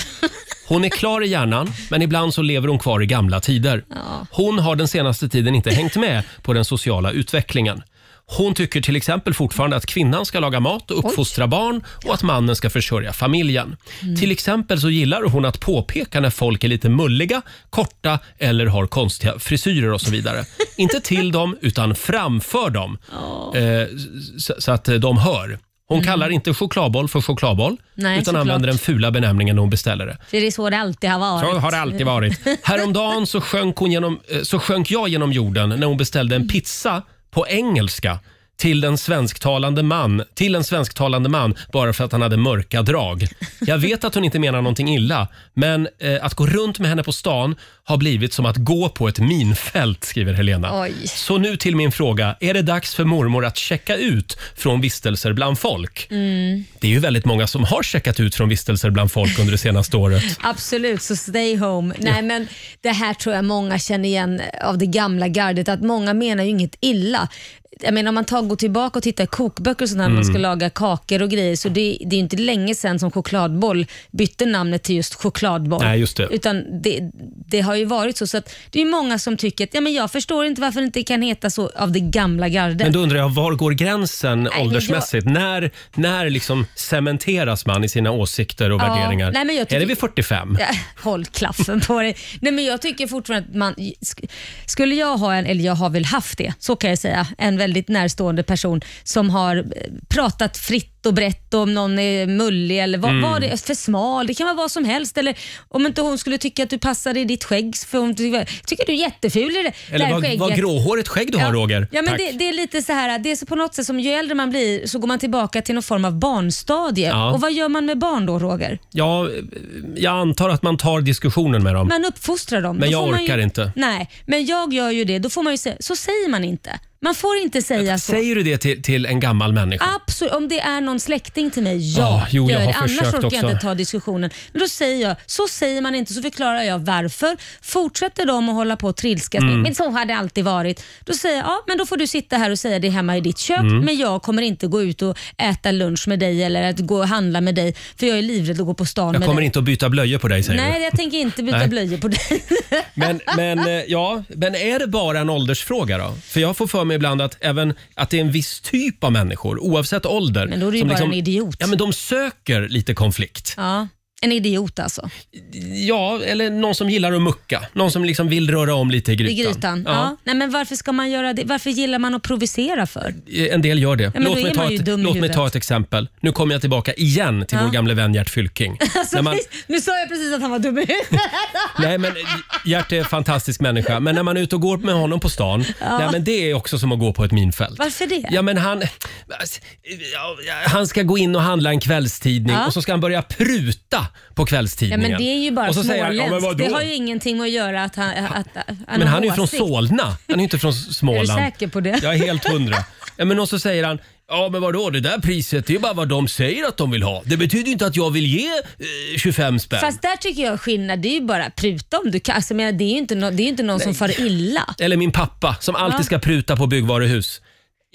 Speaker 1: Hon är klar i hjärnan, men ibland så lever hon kvar i gamla tider. Hon har den senaste tiden inte hängt med på den sociala utvecklingen. Hon tycker till exempel fortfarande att kvinnan ska laga mat och uppfostra barn och att mannen ska försörja familjen.
Speaker 2: Mm.
Speaker 1: Till exempel så gillar hon att påpeka när folk är lite mulliga, korta eller har konstiga frisyrer och så vidare. Inte till dem, utan framför dem. Eh, så, så att eh, de hör. Hon kallar inte chokladboll för chokladboll
Speaker 2: Mm. Nej,
Speaker 1: utan
Speaker 2: såklart.
Speaker 1: använder den fula benämningen när hon beställer det.
Speaker 2: För det är så det alltid har varit.
Speaker 1: Så har det alltid varit. Häromdagen så sjönk, hon genom, eh, så sjönk jag genom jorden när hon beställde en pizza på engelska till en, svensktalande man, till en svensktalande man bara för att han hade mörka drag. Jag vet att hon inte menar någonting illa, men eh, att gå runt med henne på stan har blivit som att gå på ett minfält, skriver Helena.
Speaker 2: Oj.
Speaker 1: Så nu till min fråga. Är det dags för mormor att checka ut från vistelser bland folk?
Speaker 2: Mm.
Speaker 1: Det är ju väldigt många som har checkat ut från vistelser bland folk under det senaste året.
Speaker 2: Absolut, så stay home. Nej, men det här tror jag många känner igen av det gamla gardet, att många menar ju inget illa. Jag menar om man tar, går tillbaka och tittar i kokböcker och sånt här, när man
Speaker 1: Mm.
Speaker 2: ska laga kakor och grejer, så det, det är ju inte länge sedan som chokladboll bytte namnet till just chokladboll.
Speaker 1: Nej, just det.
Speaker 2: Utan det, det har ju varit så, så att det är ju många som tycker att ja, men jag förstår inte varför det inte kan heta så av det gamla gardet.
Speaker 1: Men då undrar jag, var går gränsen
Speaker 2: jag-
Speaker 1: åldersmässigt? När, när liksom cementeras man i sina åsikter och
Speaker 2: Ja,
Speaker 1: värderingar?
Speaker 2: nej, men jag tycker-
Speaker 1: Är det vid 45?
Speaker 2: Ja, Håll klaffen på dig. Nej, men jag tycker fortfarande att man... sk- Skulle jag ha en, eller jag har väl haft det, så kan jag säga, en väldigt närstående person som har eh, pratat fritt och brett om någon är mullig eller vad,
Speaker 1: Mm.
Speaker 2: vad det är för smal. Det kan vara vad som helst. Eller om inte hon skulle tycka att du passar i ditt skägg, för hon tycker, tycker du är jätteful i det
Speaker 1: Eller
Speaker 2: där
Speaker 1: vad,
Speaker 2: skägget.
Speaker 1: vad gråhårigt skägg du har Roger.
Speaker 2: Ja, men
Speaker 1: Tack.
Speaker 2: det, det är lite så här, det är så på något sätt som ju äldre man blir så går man tillbaka till någon form av barnstadie.
Speaker 1: Ja.
Speaker 2: Och vad gör man med barn då Roger?
Speaker 1: Ja, jag antar att man tar diskussionen med dem.
Speaker 2: Man uppfostrar dem.
Speaker 1: Men
Speaker 2: Då
Speaker 1: jag
Speaker 2: får man
Speaker 1: orkar
Speaker 2: ju,
Speaker 1: inte.
Speaker 2: Nej, men jag gör ju det. Då får man ju säga, så säger man inte. Man får inte säga så.
Speaker 1: Säger du det till, till en gammal människa?
Speaker 2: Absolut, om det är någon släkting till mig, ja.
Speaker 1: Ah, jo, jag
Speaker 2: gör
Speaker 1: har
Speaker 2: det. Annars
Speaker 1: försökt
Speaker 2: orkar
Speaker 1: också.
Speaker 2: jag inte ta diskussionen. Men då säger jag, så säger man inte, så förklarar jag varför. Fortsätter de att hålla på och trilskas,
Speaker 1: Mm.
Speaker 2: men så har det alltid varit. Då säger jag, ja men då får du sitta här och säga det hemma i ditt kök,
Speaker 1: Mm.
Speaker 2: men jag kommer inte gå ut och äta lunch med dig eller att gå och handla med dig, för jag är livrädd att gå på stan
Speaker 1: Jag
Speaker 2: med
Speaker 1: kommer
Speaker 2: dig.
Speaker 1: inte att byta blöjor på dig säger
Speaker 2: Nej,
Speaker 1: du.
Speaker 2: jag tänker inte byta
Speaker 1: Nej.
Speaker 2: blöjor på dig.
Speaker 1: Men, men, eh, ja, men är det bara en åldersfråga då? För jag får för mig ibland att, även, att det är en viss typ av människor, oavsett ålder.
Speaker 2: Men då är du ju
Speaker 1: som liksom-
Speaker 2: bara en idiot.
Speaker 1: Ja, men de söker lite konflikt.
Speaker 2: Ja. En idiot alltså.
Speaker 1: Ja, eller någon som gillar att mucka. Någon som liksom vill röra om lite i grytan.
Speaker 2: I grytan. Ja. Nej, men varför ska man göra det? Varför gillar man att provocera för?
Speaker 1: En del gör det.
Speaker 2: men då
Speaker 1: låt mig,
Speaker 2: är
Speaker 1: ta
Speaker 2: man ju
Speaker 1: ett,
Speaker 2: dum i
Speaker 1: låt mig
Speaker 2: huvudet.
Speaker 1: ta ett exempel. Nu kommer jag tillbaka igen till
Speaker 2: Ja.
Speaker 1: vår gamle vän Gert Fylking.
Speaker 2: Alltså,
Speaker 1: När man,
Speaker 2: Nu sa jag precis att han var dum i huvudet.
Speaker 1: nej, men, Gert är en fantastisk människa, men när man är ute och går med honom på stan, nej, men det är också som att gå på ett minfält.
Speaker 2: Varför det?
Speaker 1: Ja, men han, han ska gå in och handla en kvällstidning
Speaker 2: Ja.
Speaker 1: och så ska han börja pruta på
Speaker 2: Ja,
Speaker 1: kvällstidningen.
Speaker 2: men det är ju bara
Speaker 1: och så säger han, ja, men,
Speaker 2: småländskt.
Speaker 1: vadå?
Speaker 2: Det har ju ingenting med att göra att han, att, att, han
Speaker 1: men
Speaker 2: har
Speaker 1: han är ju från
Speaker 2: åsikt.
Speaker 1: Solna, han är ju inte från S- Småland.
Speaker 2: Är du säker på det?
Speaker 1: Jag är helt hundra. Ja, men och så säger han, ja men vadå det där priset det är ju bara vad de säger att de vill ha. Det betyder ju inte att jag vill ge eh, 25 spänn.
Speaker 2: Fast där tycker jag skillnad. Det är ju bara pruta om du kan. Alltså, jag menar, det är ju inte, nå- det är ju inte någon som far illa.
Speaker 1: Eller min pappa som alltid
Speaker 2: Ja.
Speaker 1: ska pruta på byggvaruhus.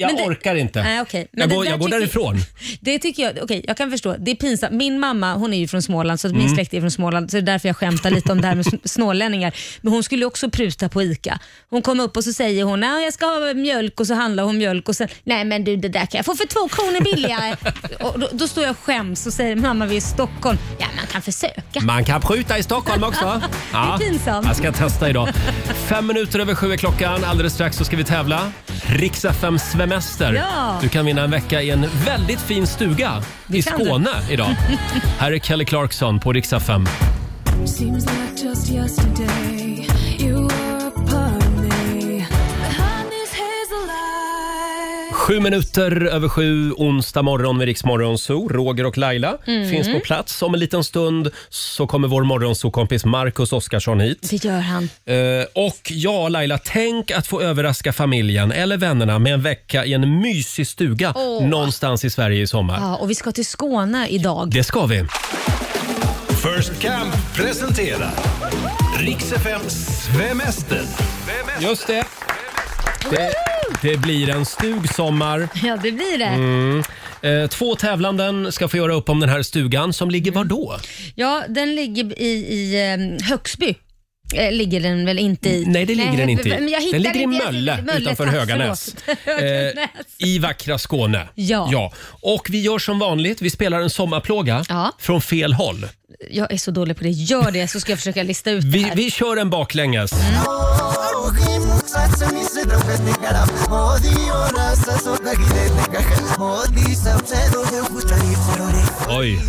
Speaker 1: Jag
Speaker 2: Men det-
Speaker 1: orkar inte.
Speaker 2: Nej, okej. Men
Speaker 1: Jag
Speaker 2: det
Speaker 1: går,
Speaker 2: där
Speaker 1: jag går
Speaker 2: tycker-
Speaker 1: därifrån.
Speaker 2: Det tycker jag, okej jag kan förstå. Det är pinsamt. Min mamma hon är ju från Småland, så att min
Speaker 1: Mm.
Speaker 2: släkt är från Småland, så det är därför jag skämtar lite om det här med sn- snålänningar. Men hon skulle ju också pruta på ICA. Hon kom upp och så säger hon, "Ja, jag ska ha mjölk och så handlar hon mjölk och sen, nej men du det där kan jag få för två kronor billigare. och då, då står jag och skäms och säger, mamma vi är i Stockholm. Ja man kan försöka.
Speaker 1: Man kan pruta i Stockholm också.
Speaker 2: Det är pinsamt.
Speaker 1: Jag ska testa idag. Fem minuter över sju är klockan. Alldeles strax så ska vi tävla. Rix FM Svemester.
Speaker 2: Ja.
Speaker 1: Du kan vinna en vecka i en väldigt fin stuga i
Speaker 2: kan du.
Speaker 1: Skåne idag. Här är Kelly Clarkson på Rix FM.
Speaker 8: Seems like just yesterday you were a part of me. Behind these hazel eyes.
Speaker 1: Sju minuter över sju, onsdag morgon med Rix Morgonzoo. Roger och Laila
Speaker 2: Mm.
Speaker 1: finns på plats. Om en liten stund så kommer vår morgonzoo-kompis Marcus Oskarsson hit.
Speaker 2: Det gör han.
Speaker 1: Eh, och ja, Laila, tänk att få överraska familjen eller vännerna med en vecka i en mysig stuga
Speaker 2: Åh.
Speaker 1: någonstans i Sverige i sommar.
Speaker 2: Ja, och vi ska till Skåne idag.
Speaker 1: Det ska vi.
Speaker 3: First Camp presenterar Rix FMs Svemester.
Speaker 1: Just det. Det, det blir en stug sommar.
Speaker 2: Ja, det blir det.
Speaker 1: Mm. Eh, två tävlanden ska få göra upp om den här stugan som ligger var då?
Speaker 2: Ja, den ligger i, i eh, Högsby. Eh, ligger den väl inte i?
Speaker 1: Nej, det ligger den inte i.
Speaker 2: men jag
Speaker 1: den
Speaker 2: hittade
Speaker 1: ligger i
Speaker 2: inte-
Speaker 1: Mölle, utanför
Speaker 2: tack,
Speaker 1: Höganäs.
Speaker 2: förlåt.
Speaker 1: Eh,
Speaker 2: Höganäs.
Speaker 1: I vackra Skåne.
Speaker 2: Ja.
Speaker 1: ja. Och vi gör som vanligt, vi spelar en sommarplåga
Speaker 2: Ja.
Speaker 1: från fel håll.
Speaker 2: Jag är så dålig på det. Gör det så ska jag försöka lista ut det
Speaker 1: Vi,
Speaker 2: här.
Speaker 1: vi kör en baklänges. Oj.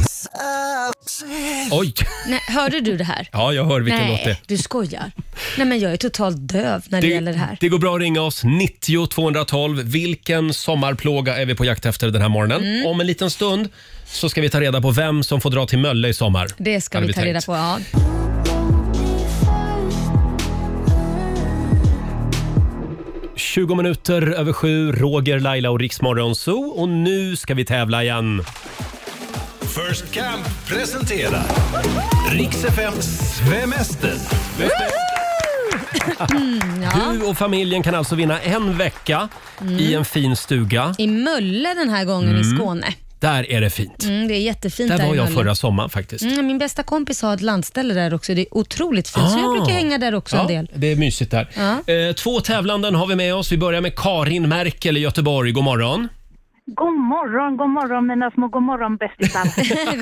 Speaker 1: Oj.
Speaker 2: Nej, hörde du det här?
Speaker 1: Ja, jag hör vilken
Speaker 2: Nej,
Speaker 1: låt det är.
Speaker 2: du skojar. Nej, men jag är totalt döv när det, gäller det här.
Speaker 1: det går bra att ringa oss, 90 212. Vilken sommarplåga är vi på jakt efter den här morgonen?
Speaker 2: Mm.
Speaker 1: Om en liten stund så ska vi ta reda på vem som får dra till Mölle i sommar.
Speaker 2: Det ska
Speaker 1: hade
Speaker 2: vi, ta reda
Speaker 1: tänkt.
Speaker 2: på. Ja.
Speaker 1: på. 20 minuter över sju, Roger, Laila och Riksmorgon Zoo. Och nu ska vi tävla igen.
Speaker 3: First Camp presenterar Rix FMs Svemester.
Speaker 1: Du och familjen kan alltså vinna en vecka i
Speaker 2: Mm.
Speaker 1: en fin stuga.
Speaker 2: I Mölle den här gången i Skåne.
Speaker 1: Där är det fint.
Speaker 2: Mm, det är jättefint
Speaker 1: Mm. Där
Speaker 2: i
Speaker 1: var jag
Speaker 2: Mölle.
Speaker 1: förra sommaren faktiskt.
Speaker 2: Mm, min bästa kompis har ett landställe där också. Det är otroligt fint. Så jag
Speaker 1: Ah.
Speaker 2: brukar hänga där också
Speaker 1: Ja,
Speaker 2: en del.
Speaker 1: det är mysigt där.
Speaker 2: Ja.
Speaker 1: Eh, två tävlanden har vi med oss. Vi börjar med Karin Merkel i Göteborg. God morgon.
Speaker 4: God morgon, god morgon mina små god morgon bästisar.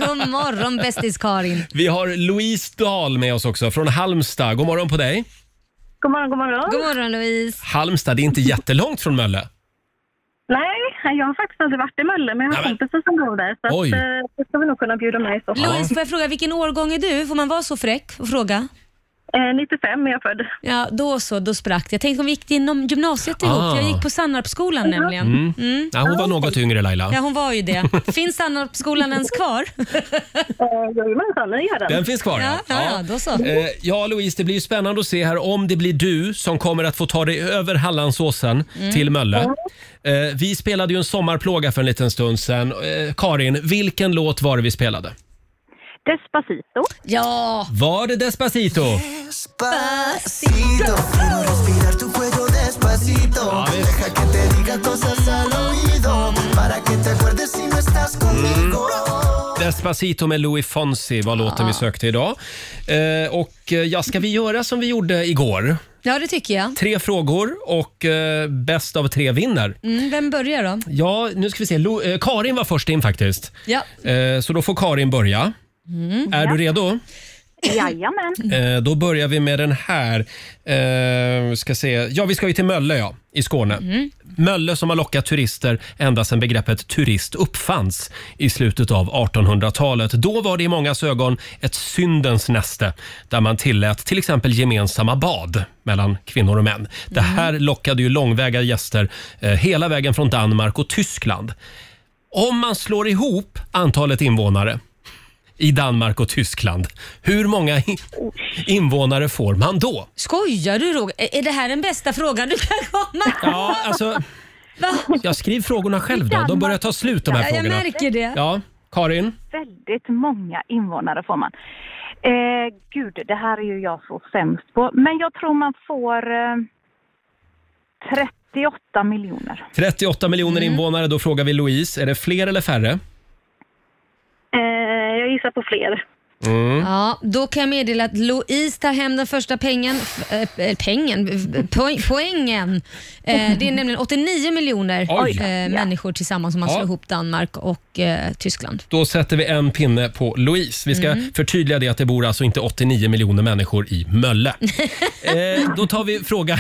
Speaker 2: God morgon bästis-Karin.
Speaker 1: Vi har Louise Dahl med oss också från Halmstad. God morgon på dig.
Speaker 4: god morgon, god morgon.
Speaker 2: God morgon Louise.
Speaker 1: Halmstad, det är inte jättelångt från Mölle.
Speaker 4: Nej, jag har faktiskt aldrig varit i Mölle, men jag har
Speaker 1: Nej, men-
Speaker 4: kompisar som bor där. Så
Speaker 1: Oj.
Speaker 4: att, eh, det ska vi nog kunna bjuda med i så fall.
Speaker 2: Louise, får jag fråga vilken årgång är du? Får man vara så fräck och fråga?
Speaker 4: Eh, 95 är jag född.
Speaker 2: Ja, då så, då sprack det. Jag tänkte om vi gick inom gymnasiet ihop.
Speaker 1: Ah.
Speaker 2: Jag gick på Sannarpsskolan nämligen.
Speaker 1: Ja, hon var något yngre
Speaker 2: Mm. Ja,
Speaker 1: Laila.
Speaker 2: hon var ju det. Finns Sannarpsskolan ens kvar?
Speaker 4: Eh, Jajamensan, det gör den.
Speaker 1: Den finns kvar
Speaker 2: Ja, ja, ja, då så.
Speaker 1: Eh, ja, Louise, det blir ju spännande att se här om det blir du som kommer att få ta dig över Hallandsåsen
Speaker 2: Mm.
Speaker 1: till Mölle. Eh, vi spelade ju en sommarplåga för en liten stund sedan. Eh, Karin, vilken låt var det vi spelade?
Speaker 4: Despacito.
Speaker 2: Ja,
Speaker 1: Var det Despacito? Ja, visst. Despacito med Louis Fonsi var låten vi sökte idag. Eh, och eh, ja, ska vi göra som vi gjorde igår?
Speaker 2: ja det tycker jag.
Speaker 1: Tre frågor och eh, bäst av tre vinner.
Speaker 2: Mm, vem börjar då?
Speaker 1: Ja, nu ska vi se. Lo, eh, Karin var först in faktiskt.
Speaker 2: Ja.
Speaker 1: Eh, så då får Karin börja. Är du redo?
Speaker 4: Jajamän.
Speaker 1: Eh, då börjar vi med den här. Eh, ska se. Ja, vi ska ju till Mölle ja, i Skåne. Mölle som har lockat turister ända sedan begreppet turist uppfanns i slutet av 1800-talet. Då var det i mångas ögon ett syndens näste där man tillät till exempel gemensamma bad mellan kvinnor och män. Det här lockade ju långväga gäster eh, hela vägen från Danmark och Tyskland. Om man slår ihop antalet invånare i Danmark och Tyskland. Hur många i- invånare får man då?
Speaker 2: Skojar du Roger? Är är det här den bästa frågan du kan komma
Speaker 1: Ja, alltså,
Speaker 2: Va?
Speaker 1: jag skriver frågorna själv då. De börjar ta slut de här
Speaker 2: Ja, jag
Speaker 1: frågorna.
Speaker 2: märker det.
Speaker 1: Ja, Karin?
Speaker 4: Väldigt många invånare får man. Eh, gud, det här är ju jag så sämst på. Men jag tror man får eh, 38 miljoner.
Speaker 1: 38 miljoner
Speaker 2: Mm.
Speaker 1: invånare. Då frågar vi Louise, är det fler eller färre?
Speaker 4: Eh, jag gissar på fler.
Speaker 2: Ja, då kan jag meddela att Louise tar hem den första pengen, f- eh, eh, pengen, eh, poäng, poängen. Eh, det är nämligen 89 miljoner
Speaker 1: Oj.
Speaker 2: eh, människor tillsammans om man
Speaker 1: Ja.
Speaker 2: slår ihop Danmark och eh, Tyskland.
Speaker 1: Då sätter vi en pinne på Louise. Vi ska förtydliga det att det bor alltså inte 89 miljoner människor i Mölle. eh, då tar vi fråga,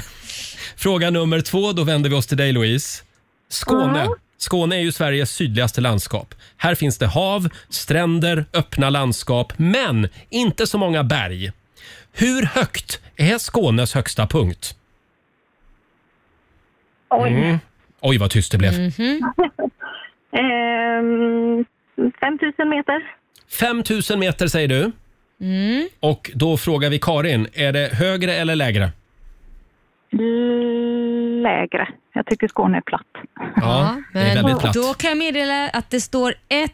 Speaker 1: fråga nummer två. Då vänder vi oss till dig Louise. Skåne. Skåne är ju Sveriges sydligaste landskap. Här finns det hav, stränder, öppna landskap, men inte så många berg. Hur högt är Skånes högsta punkt?
Speaker 4: Oj.
Speaker 1: Mm. Oj, vad tyst det blev.
Speaker 4: 5 000 Ehm, meter.
Speaker 1: 5 000 meter säger du. Och då frågar vi Karin, är det högre eller lägre?
Speaker 4: Lägre. Jag tycker Skåne är platt.
Speaker 1: Ja, det är
Speaker 2: men
Speaker 1: väldigt platt.
Speaker 2: Då kan jag meddela att det står 1-1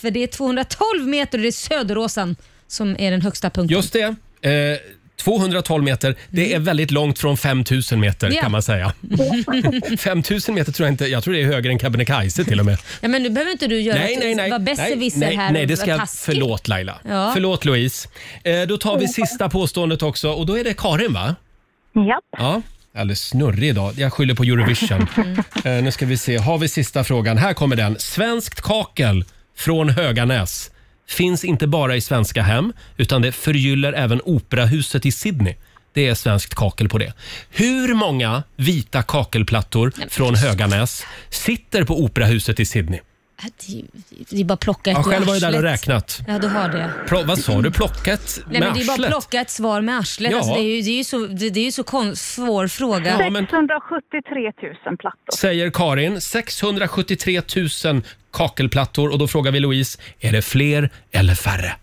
Speaker 2: för det är 212 meter och det är Söderåsen som är den högsta punkten.
Speaker 1: Just det. Eh, 212 meter, det är väldigt långt från 5000 meter
Speaker 2: Mm. Ja.
Speaker 1: kan man säga. 5000 meter tror jag inte, jag tror det är högre än Kebnekaise till och med.
Speaker 2: Ja, men nu behöver inte du göra
Speaker 1: Nej,
Speaker 2: ett-
Speaker 1: nej, nej.
Speaker 2: vara
Speaker 1: nej,
Speaker 2: besserwisser
Speaker 1: nej,
Speaker 2: här
Speaker 1: nej,
Speaker 2: och
Speaker 1: det ska
Speaker 2: vara
Speaker 1: jag,
Speaker 2: taskig.
Speaker 1: förlåt Laila.
Speaker 2: Ja.
Speaker 1: Förlåt Louise. Eh, då tar vi sista påståendet också och då är det Karin va?
Speaker 4: Japp.
Speaker 1: Ja. Alldeles snurrig idag. Jag skyller på Eurovision. Eh, nu ska vi se. Har vi sista frågan? Här kommer den. Svenskt kakel från Höganäs finns inte bara i svenska hem utan det förgyller även operahuset i Sydney. Det är svenskt kakel på det. Hur många vita kakelplattor från Höganäs sitter på operahuset i Sydney?
Speaker 2: Ja, Det är, det är bara att plocka ett
Speaker 1: Jag själv var ju
Speaker 2: i
Speaker 1: där och
Speaker 2: arslet.
Speaker 1: räknat.
Speaker 2: Ja, du har det.
Speaker 1: Pl- vad sa du? Plockat med
Speaker 2: Nej, men det är bara att
Speaker 1: arslet?
Speaker 2: plocka ett svar med arslet.
Speaker 1: Ja.
Speaker 2: Alltså, det är ju, det är ju så, det, det är ju så kon- svår fråga.
Speaker 1: Ja, men-
Speaker 4: 673 000 plattor.
Speaker 1: Säger Karin. 673 000 kakelplattor och då frågar vi Louise, är det fler eller färre?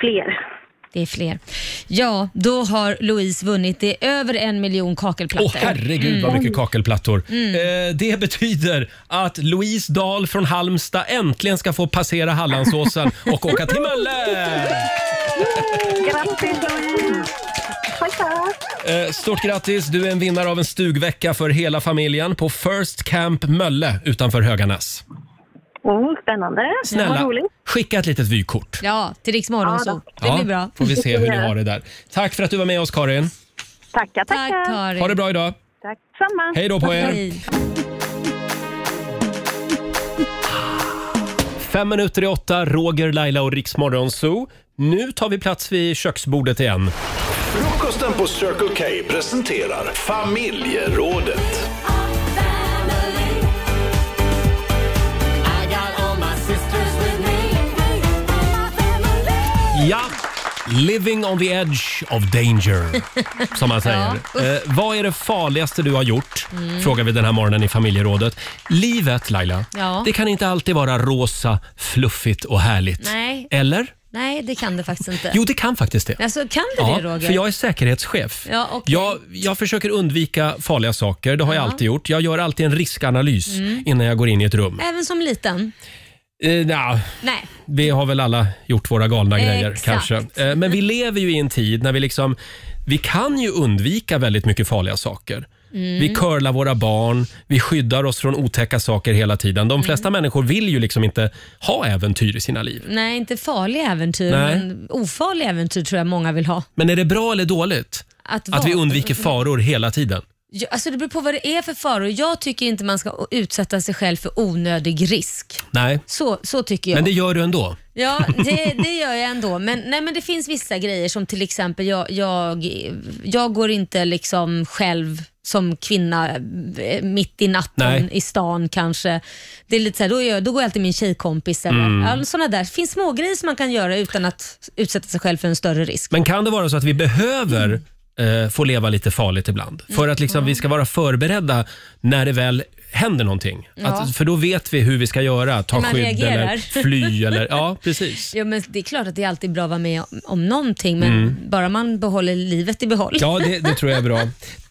Speaker 4: fler.
Speaker 2: Det är fler. Ja, då har Louise vunnit. Det är över en miljon
Speaker 1: Åh
Speaker 2: kakelplattor.
Speaker 1: herregud vad mycket kakelplattor. Eh, det betyder att Louise Dahl från Halmstad äntligen ska få passera Hallandsåsen och åka till Mölle!
Speaker 4: Grattis! Tack, tack.
Speaker 1: Eh, Stort grattis! Du är en vinnare av en stugvecka för hela familjen på First Camp Mölle utanför Höganäs.
Speaker 4: Oh, spännande.
Speaker 1: Snälla, skicka ett litet vykort.
Speaker 2: Ja, till Rix Morgon, så. Det blir bra.
Speaker 1: Får vi se hur ni har det där. Tack för att du var med oss Karin.
Speaker 4: Tackar,
Speaker 2: Tack
Speaker 4: tackar.
Speaker 2: Karin.
Speaker 1: Ha det bra idag.
Speaker 4: Tack, samma.
Speaker 1: Hej då på er.
Speaker 2: Hej.
Speaker 1: Fem minuter i åtta, Roger, Laila och Riksmorgon Zoo. Nu tar vi plats vid köksbordet igen.
Speaker 3: Frukosten på Circle K presenterar Familjerådet.
Speaker 1: Ja! Living on the edge of danger, som man säger. Eh, vad är det farligaste du har gjort?
Speaker 2: Mm.
Speaker 1: Frågar vi den här morgonen i familjerådet. Livet, Laila,
Speaker 2: Ja.
Speaker 1: det kan inte alltid vara rosa, fluffigt och härligt.
Speaker 2: Nej.
Speaker 1: Eller?
Speaker 2: Nej, det kan det faktiskt inte.
Speaker 1: Jo, det kan faktiskt det.
Speaker 2: Alltså, kan du det Roger?
Speaker 1: för jag är säkerhetschef.
Speaker 2: Ja, okej.
Speaker 1: jag, jag försöker undvika farliga saker, det har jag alltid gjort. Jag gör alltid en riskanalys
Speaker 2: Mm.
Speaker 1: innan jag går in i ett rum.
Speaker 2: Även som liten?
Speaker 1: Eh, nja,
Speaker 2: Nej.
Speaker 1: vi har väl alla gjort våra galna grejer
Speaker 2: Exakt.
Speaker 1: kanske. Eh, men vi lever ju i en tid när vi liksom, vi kan ju undvika väldigt mycket farliga saker.
Speaker 2: Mm.
Speaker 1: Vi curlar våra barn, vi skyddar oss från otäcka saker hela tiden.
Speaker 2: Mm.
Speaker 1: De flesta människor vill ju liksom inte ha äventyr i sina liv.
Speaker 2: Nej, inte farliga äventyr,
Speaker 1: Nej.
Speaker 2: men ofarliga äventyr tror jag många vill ha.
Speaker 1: Men är det bra eller dåligt
Speaker 2: Att,
Speaker 1: att vi
Speaker 2: vara-
Speaker 1: undviker faror hela tiden?
Speaker 2: Ja, Alltså det beror på vad det är för faror. Jag tycker inte man ska utsätta sig själv för onödig risk.
Speaker 1: Nej,
Speaker 2: Så, så tycker jag.
Speaker 1: men det gör du ändå.
Speaker 2: Ja, det, det gör jag ändå. Men, nej, men det finns vissa grejer som till exempel, jag, jag, jag går inte liksom själv som kvinna eh, mitt i natten
Speaker 1: Nej.
Speaker 2: i stan kanske. Det är lite så här, då, är jag, då går jag alltid min tjejkompis eller
Speaker 1: Mm.
Speaker 2: ja, sådana där. Det finns små grejer som man kan göra utan att utsätta sig själv för en större risk.
Speaker 1: Men kan det vara så att vi behöver eh, få leva lite farligt ibland? För att liksom, vi ska vara förberedda när det väl händer någonting. Att, för då vet vi hur vi ska göra. Ta
Speaker 2: Man
Speaker 1: skydd
Speaker 2: reagerar.
Speaker 1: eller fly. Eller, ja, precis.
Speaker 2: Ja, men det är klart att det är alltid bra att vara med om- om någonting, men
Speaker 1: Mm.
Speaker 2: bara man behåller livet i behåll.
Speaker 1: Ja, det, det tror jag är bra.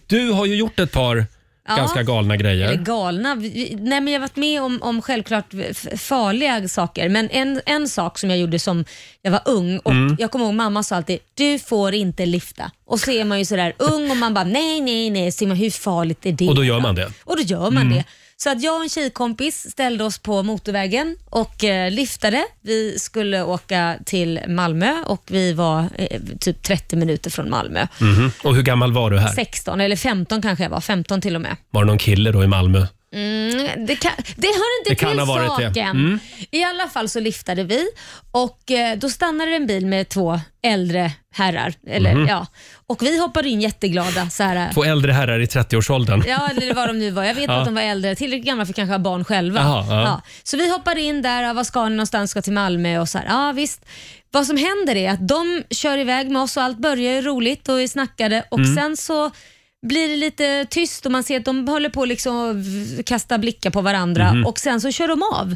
Speaker 1: Du har ju gjort ett par
Speaker 2: Ja.
Speaker 1: ganska galna grejer.
Speaker 2: Eller galna. Vi- Nej, men jag har varit med om, om självklart f- farliga saker. Men en, en sak som jag gjorde som jag var ung och
Speaker 1: Mm.
Speaker 2: jag kommer ihåg mamma sa alltid du får inte lifta. Och så är man ju sådär ung och man bara nej, nej, nej. Så är man, hur farligt är det?
Speaker 1: Och då gör man det. Mm.
Speaker 2: Och då gör man det. Så att jag och en tjejkompis ställde oss på motorvägen och eh, liftade. Vi skulle åka till Malmö och vi var eh, typ 30 minuter från Malmö.
Speaker 1: Mhm. Och hur gammal var du här?
Speaker 2: 16 eller 15 kanske jag var, 15 till och med.
Speaker 1: Var det någon kille då i Malmö?
Speaker 2: Mm, det, kan, det hör inte
Speaker 1: Det
Speaker 2: till
Speaker 1: kan ha varit det.
Speaker 2: saken.
Speaker 1: Mm.
Speaker 2: I alla fall så lyftade vi och eh, då stannade en bil med två äldre herrar. Eller,
Speaker 1: Mhm.
Speaker 2: ja. Och vi hoppade in jätteglada. Så här,
Speaker 1: Två äldre herrar i 30-årsåldern.
Speaker 2: Ja, eller vad de nu var. Jag vet
Speaker 1: Ja.
Speaker 2: att de var äldre, tillräckligt gamla för att kanske ha barn själva.
Speaker 1: Jaha, ja.
Speaker 2: Så vi hoppar in där, ja, vad ska ni någonstans? Ska till Malmö och så här, ja visst. Vad som händer är att de kör iväg med oss och allt börjar ju roligt och vi snackade och
Speaker 1: Mm.
Speaker 2: sen så blir det lite tyst och man ser att de håller på liksom att v- kasta blickar på varandra
Speaker 1: Mhm.
Speaker 2: och sen så kör de av.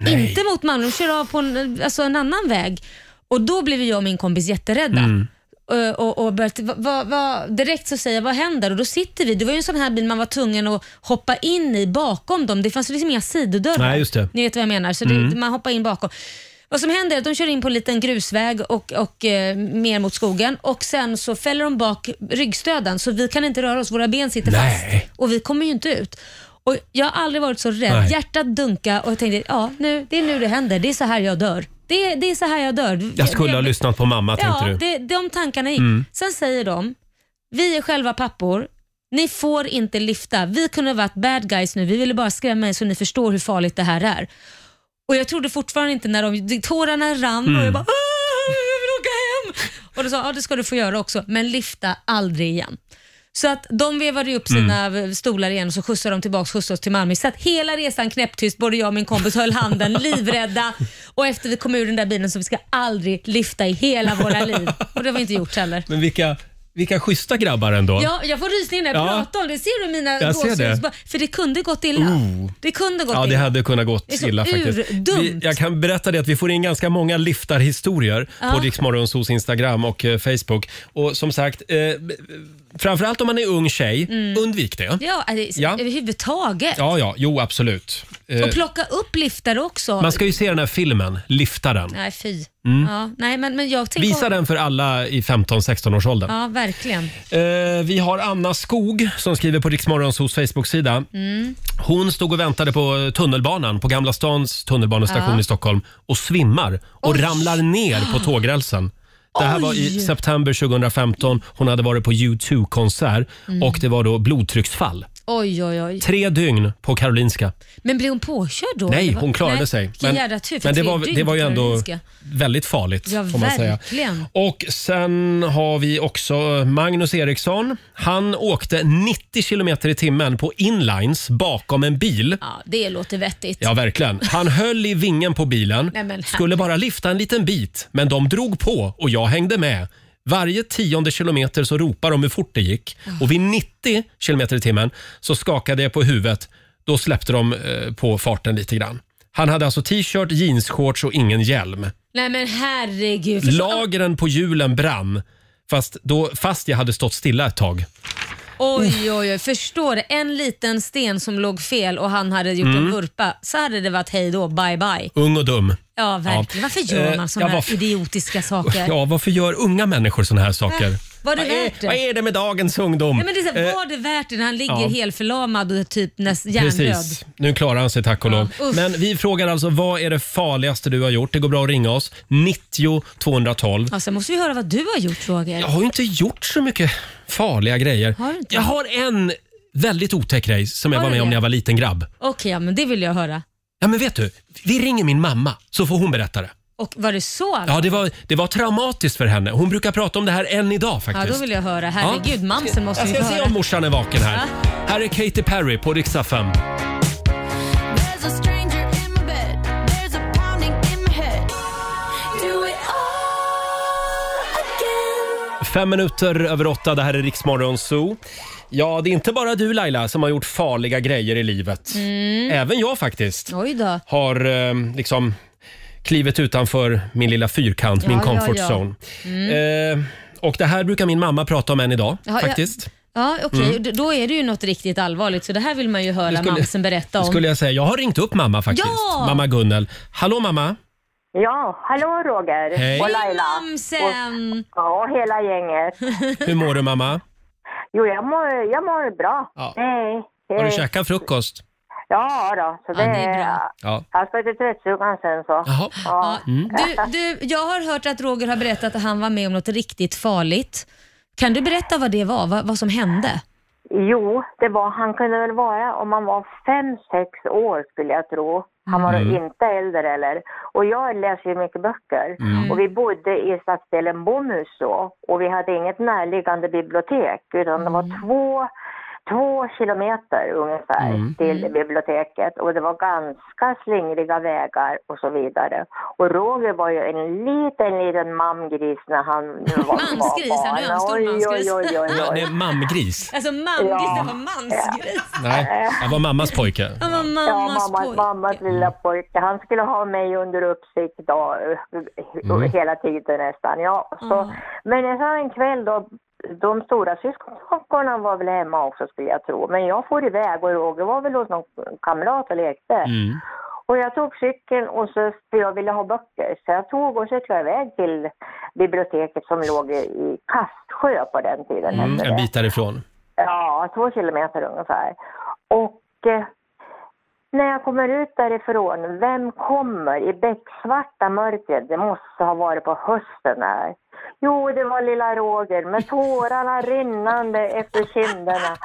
Speaker 1: Nej.
Speaker 2: Inte mot Malmö, de kör av på en, alltså en annan väg. Och då blev jag och min kompis jätterädda.
Speaker 1: Mm.
Speaker 2: Eh, Och, och började, va, va, va, direkt så säger jag, vad händer? Och då sitter vi, det var ju en sån här bil man var tvungen att hoppa in i bakom dem. Det fanns liksom inga sidodörrar.
Speaker 1: Nej, just det. Mm.
Speaker 2: Ni vet vad jag menar, så det, man hoppar in bakom. Vad som händer är att de kör in på en liten grusväg och, och eh, mer mot skogen och sen så fäller de bak ryggstöden så vi kan inte röra oss, våra ben sitter
Speaker 1: Nej.
Speaker 2: fast och vi kommer ju inte ut. Och Jag har aldrig varit så rädd.
Speaker 1: Nej.
Speaker 2: Hjärtat dunka och jag tänkte, ja nu, det är nu det händer, det är så här jag dör. Det, är- det är så här jag dör.
Speaker 1: Jag skulle ha lyssnat på mamma, tänkte
Speaker 2: Ja,
Speaker 1: du. Mm.
Speaker 2: det, de tankarna gick. Sen säger de, vi är själva pappor, ni får inte lyfta. Vi kunde ha varit bad guys nu, vi ville bara skrämma er så ni förstår hur farligt det här är. Och jag trodde fortfarande inte när de, tårarna rann och jag
Speaker 1: Mm.
Speaker 2: bara, "Ah, jag vill åka hem. Och de sa, ja det ska du få göra också, men lyfta aldrig igen. Så att de vevade ju upp sina
Speaker 1: Mm.
Speaker 2: stolar igen och så skjutsade de tillbaka skjutsade oss till Malmö. Så att hela resan knäpptyst, både jag och min kompis höll handen, livrädda. Och efter vi kom ur den där bilen så vi ska aldrig lyfta i hela våra liv. Och det har vi inte gjort heller.
Speaker 1: Men vilka, vilka schyssta grabbar ändå.
Speaker 2: Ja, jag får rysningar när jag
Speaker 1: Ja.
Speaker 2: pratar om det. Ser du mina
Speaker 1: Jag ser det. Oh.
Speaker 2: gåshud? För det kunde gått illa. Det kunde gått
Speaker 1: Ja, det
Speaker 2: illa.
Speaker 1: hade kunnat gått
Speaker 2: Det är så
Speaker 1: illa faktiskt.
Speaker 2: urdumt.
Speaker 1: Vi, jag kan berätta det att vi får in ganska många liftarhistorier på Riksmorgonsos Instagram och eh, Facebook. Och som sagt, eh, framförallt om man är ung tjej, undvik det.
Speaker 2: Mm. Ja, alltså,
Speaker 1: Ja.
Speaker 2: överhuvudtaget.
Speaker 1: Ja, ja, jo absolut. Eh,
Speaker 2: Och plocka upp liftare också.
Speaker 1: man ska ju se den här filmen, Liftaren.
Speaker 2: Nej, fy. Ja, nej, men, men jag tänker...
Speaker 1: Visa den för alla i 15-16 års åldern.
Speaker 2: Ja, verkligen.
Speaker 1: Eh, vi har Anna Skog som skriver på Riksmorgonsos Facebook-sida. Hon stod och väntade på tunnelbanan på Gamla stans tunnelbanestation i Stockholm och svimmar och ramlar ner på tågrälsen. Det här var i september 2015. Hon hade varit på U2-konsert och det var då blodtrycksfall.
Speaker 2: Oj, oj, oj.
Speaker 1: Tre dygn på Karolinska.
Speaker 2: Men blev hon påkörd då?
Speaker 1: Nej,
Speaker 2: Eller vad-
Speaker 1: hon klarade
Speaker 2: Nej,
Speaker 1: sig.
Speaker 2: vilken
Speaker 1: Men,
Speaker 2: jädra tur, för
Speaker 1: men det,
Speaker 2: tre
Speaker 1: var,
Speaker 2: dygn
Speaker 1: det var ju
Speaker 2: på
Speaker 1: ändå
Speaker 2: Karolinska.
Speaker 1: väldigt farligt.
Speaker 2: Ja,
Speaker 1: får man säga.
Speaker 2: verkligen.
Speaker 1: Och sen har vi också Magnus Eriksson. Han åkte 90 kilometer i timmen på inlines bakom en bil.
Speaker 2: Ja, det låter vettigt.
Speaker 1: Ja, verkligen. Han höll i vingen på bilen,
Speaker 2: Nej, men här-
Speaker 1: skulle bara lyfta en liten bit, men de drog på och jag hängde med. Varje tionde kilometer så ropar de hur fort det gick och vid 90 kilometer i timmen så skakade jag på huvudet. Då släppte de eh, på farten lite grann. Han hade alltså t-shirt, jeansshorts och ingen hjälm.
Speaker 2: Nej men herregud. Förstå-
Speaker 1: Lagren på hjulen brann fast, då, fast jag hade stått stilla ett tag.
Speaker 2: Oj, oj, oj. Förstår det? En liten sten som låg fel och han hade gjort
Speaker 1: Mm.
Speaker 2: en vurpa. Så hade det varit hej då, bye bye.
Speaker 1: Ung och dum.
Speaker 2: Ja, verkligen.
Speaker 1: Ja.
Speaker 2: Varför gör
Speaker 1: Eh,
Speaker 2: man
Speaker 1: jag
Speaker 2: sådana
Speaker 1: var-
Speaker 2: här idiotiska saker?
Speaker 1: Ja, varför gör unga människor såna här saker?
Speaker 2: Äh, var det
Speaker 1: vad, är,
Speaker 2: värt det?
Speaker 1: vad är det med dagens ungdom?
Speaker 2: Nej, men det är så här,
Speaker 1: Eh,
Speaker 2: var det värt det när han ligger
Speaker 1: ja.
Speaker 2: helförlamad och typ näst hjärndöd?
Speaker 1: Precis. Nu klarar han sig tack och lov.
Speaker 2: Ja, usch.
Speaker 1: Men vi frågar alltså, vad är det farligaste du har gjort? Det går bra att ringa oss. 90 212.
Speaker 2: Ja, sen Alltså, måste vi höra vad du har gjort Roger.
Speaker 1: Jag har ju inte gjort så mycket farliga grejer.
Speaker 2: Har du inte?
Speaker 1: Jag har en väldigt otäck grej som jag
Speaker 2: Var
Speaker 1: var
Speaker 2: det
Speaker 1: med om
Speaker 2: det?
Speaker 1: när jag var liten grabb.
Speaker 2: Okej, ja, men det vill jag höra.
Speaker 1: Ja, men vet du? Vi ringer min mamma så får hon berätta det.
Speaker 2: Och var det så?
Speaker 1: Ja, det var, det var traumatiskt för henne. Hon brukar prata om det här än idag
Speaker 2: ja,
Speaker 1: faktiskt.
Speaker 2: då vill jag höra. Herregud, mamsen måste
Speaker 1: Jag
Speaker 2: vi få
Speaker 1: ska se
Speaker 2: höra.
Speaker 1: om morsan är vaken här. Här är Katy Perry på Rix FM.
Speaker 6: There's a stranger in my bed. There's a pounding in my head. Do it all again.
Speaker 1: Fem minuter över åtta, det här är Riksmorgon Zoo. Ja, det är inte bara du Laila som har gjort farliga grejer i livet.
Speaker 2: Mm.
Speaker 1: Även jag faktiskt
Speaker 2: Oj då.
Speaker 1: har eh, liksom klivit utanför min lilla fyrkant, min
Speaker 2: Ja, ja,
Speaker 1: comfort
Speaker 2: ja. Mm.
Speaker 1: zone. Eh, och det här brukar min mamma prata om än idag
Speaker 2: Ja, ja.
Speaker 1: faktiskt.
Speaker 2: Ja, okej. D- Då är det ju något riktigt allvarligt, så det här vill man ju höra
Speaker 1: Mm. skulle-
Speaker 2: mamsen berätta om.
Speaker 1: Skulle jag säga. Jag har ringt upp mamma faktiskt.
Speaker 2: Ja!
Speaker 1: Mamma Gunnel. Hallå mamma!
Speaker 9: Ja, hallå Roger
Speaker 1: Hej.
Speaker 9: och Laila.
Speaker 2: Mamsen!
Speaker 9: Ja, hela gänget.
Speaker 1: Hur mår du mamma?
Speaker 9: Jo, jag mår, jag mår bra.
Speaker 1: Ja.
Speaker 9: Nej, det,
Speaker 1: Har du käkat frukost?
Speaker 9: Ja då, så det,
Speaker 2: Ja, det är bra.
Speaker 1: Ja.
Speaker 9: Jag ska till tvättstugan sen så.
Speaker 1: Jaha.
Speaker 9: Ja.
Speaker 2: Ja.
Speaker 1: Mm.
Speaker 2: Du, du, jag har hört att Roger har berättat att han var med om något riktigt farligt. Kan du berätta vad det var? Vad, vad som hände?
Speaker 9: Jo, det var, han kunde väl vara om han var fem, sex år skulle jag tro. Han var nog inte äldre eller. Och jag läser ju mycket böcker. Och vi bodde i stadsdelen Bomhus då. Och vi hade inget närliggande bibliotek utan det var två, två kilometer ungefär till biblioteket. Och det var ganska slingriga vägar och så vidare. Och Roger var ju en liten, liten mamgris när han var
Speaker 2: Mansgris, han är en stor
Speaker 9: Oj,
Speaker 2: mansgris.
Speaker 9: oj, oj, oj,
Speaker 1: Ma-
Speaker 9: oj.
Speaker 1: nej, Mammgris.
Speaker 2: Alltså mamgris, det var mansgris.
Speaker 1: Nej, jag var mammas pojke.
Speaker 2: Han var
Speaker 9: Ja,
Speaker 2: mammas
Speaker 9: mammas,
Speaker 2: pojke.
Speaker 9: mammas lilla pojke. Han skulle ha mig under uppsikt då,
Speaker 1: Mm.
Speaker 9: hela tiden nästan. Ja, så.
Speaker 2: Mm.
Speaker 9: Men så en kväll då, de stora syskonen var väl hemma också skulle jag tro. Men jag for iväg och Roger var väl hos någon kamrat och lekte.
Speaker 1: Mm.
Speaker 9: Och jag tog cykeln och så, för jag ville ha böcker, så jag tog och så cyklade jag iväg till biblioteket som låg i, i Kastsjö på den tiden.
Speaker 1: Mm,
Speaker 9: hette
Speaker 1: en
Speaker 9: det.
Speaker 1: bit därifrån.
Speaker 9: Ja, två kilometer ungefär. Och eh, när jag kommer ut därifrån, vem kommer i becksvarta mörkret? Det måste ha varit på hösten här. Jo, det var lilla Roger med tårarna rinnande efter kinderna.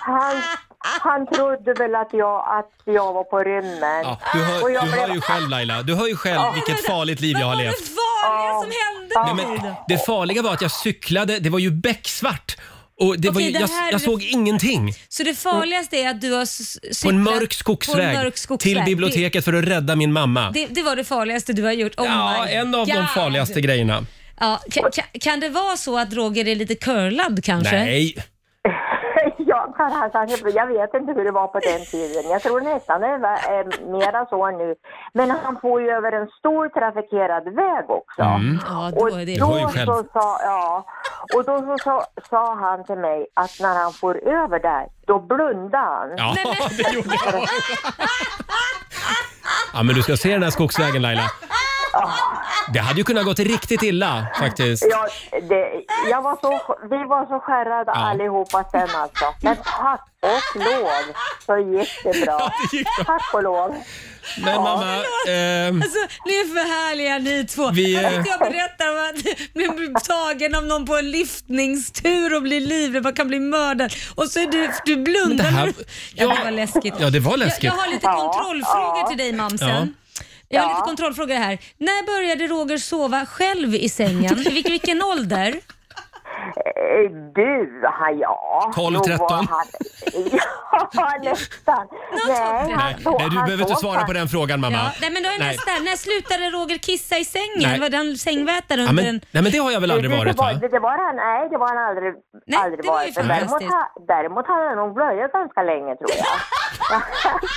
Speaker 9: Han, han trodde väl att jag, att jag var på rymmen.
Speaker 1: Ja,
Speaker 2: Ah,
Speaker 1: du, hör,
Speaker 9: Och jag
Speaker 1: du
Speaker 9: blev-
Speaker 1: hör ju själv Laila, du hör ju själv vilket farligt liv jag har levt.
Speaker 2: Vad var det som
Speaker 1: Nej,
Speaker 2: hände?
Speaker 1: men det farliga var att jag cyklade, det var ju becksvart. Och det var ju,
Speaker 2: Okej, det
Speaker 1: jag,
Speaker 2: här-
Speaker 1: jag såg ingenting
Speaker 2: Så det farligaste är att du har s- cyklat
Speaker 1: Mm. på en mörk skogsväg,
Speaker 2: på en mörk skogsväg.
Speaker 1: till biblioteket för att rädda min mamma.
Speaker 2: Det, det, det var det farligaste du har gjort. Oh
Speaker 1: ja,
Speaker 2: my
Speaker 1: en av de
Speaker 2: God.
Speaker 1: farligaste grejerna.
Speaker 2: Ja, kan, kan det vara så att Roger är lite curlad kanske?
Speaker 1: Nej,
Speaker 9: Jag, kan, alltså, jag vet inte hur det var på den tiden. Jag tror nästan det är eh, mera så nu. Men han får ju över en stor trafikerad väg också.
Speaker 2: Ja, då
Speaker 9: Och
Speaker 2: är det...
Speaker 1: Mm. Det var ju
Speaker 9: då,
Speaker 1: själv.
Speaker 9: så sa, ja, och då så sa, sa han till mig att när han får över där, då blundar han.
Speaker 1: ja det gjorde jag. Ja, men du ska se den här skogsvägen Laila. Det hade ju kunnat gått riktigt illa faktiskt.
Speaker 9: Jag, det, jag var så, vi var så skärrade allihopa sen alltså. Men tack och lov så gick det bra.
Speaker 1: det gick bra.
Speaker 9: Tack och lov.
Speaker 1: Men mamma, ehm,
Speaker 2: Alltså, ni är för härliga ni två.
Speaker 1: Vi,
Speaker 2: Jag
Speaker 1: eh,
Speaker 2: vet, Jag berättar om att bli bli tagen av någon på en lyftningstur och bli livrädd, man kan bli mördad. Och så är du, du blundar.
Speaker 1: det här-
Speaker 2: när du- ja,
Speaker 1: ja.
Speaker 2: det var läskigt.
Speaker 1: ja det var
Speaker 2: jag,
Speaker 1: läskigt.
Speaker 2: jag har lite
Speaker 9: Ja,
Speaker 2: kontrollfrågor
Speaker 9: ja.
Speaker 2: till dig mamsen.
Speaker 1: Ja.
Speaker 2: Jag har lite kontrollfrågor här. När började Roger sova själv i sängen? I vilken, vilken ålder?
Speaker 9: Eh, Du, ha, ja.
Speaker 1: 12,
Speaker 9: Nog var
Speaker 1: 13.
Speaker 9: han- Ja, nästan. Nej, han
Speaker 1: Nej,
Speaker 9: sov-
Speaker 1: nej, du
Speaker 9: han
Speaker 1: behöver inte
Speaker 9: sov
Speaker 1: svara på
Speaker 9: faktiskt.
Speaker 1: den frågan mamma.
Speaker 2: Ja, nej, men då är
Speaker 1: Nej.
Speaker 2: nästa. När slutade Roger kissa i sängen?
Speaker 1: Nej.
Speaker 2: Var den sängvätare
Speaker 1: Ja,
Speaker 2: under
Speaker 1: men,
Speaker 2: en...
Speaker 1: nej men det har jag väl aldrig
Speaker 9: det,
Speaker 1: varit
Speaker 9: det, var,
Speaker 1: va?
Speaker 9: det, Alltså, det var han, nej det var han aldrig,
Speaker 2: Nej,
Speaker 9: aldrig
Speaker 2: det var ju
Speaker 9: varit. Men däremot,
Speaker 2: fantastiskt.
Speaker 9: ha, däremot hade han nog blöjat ganska länge tror jag.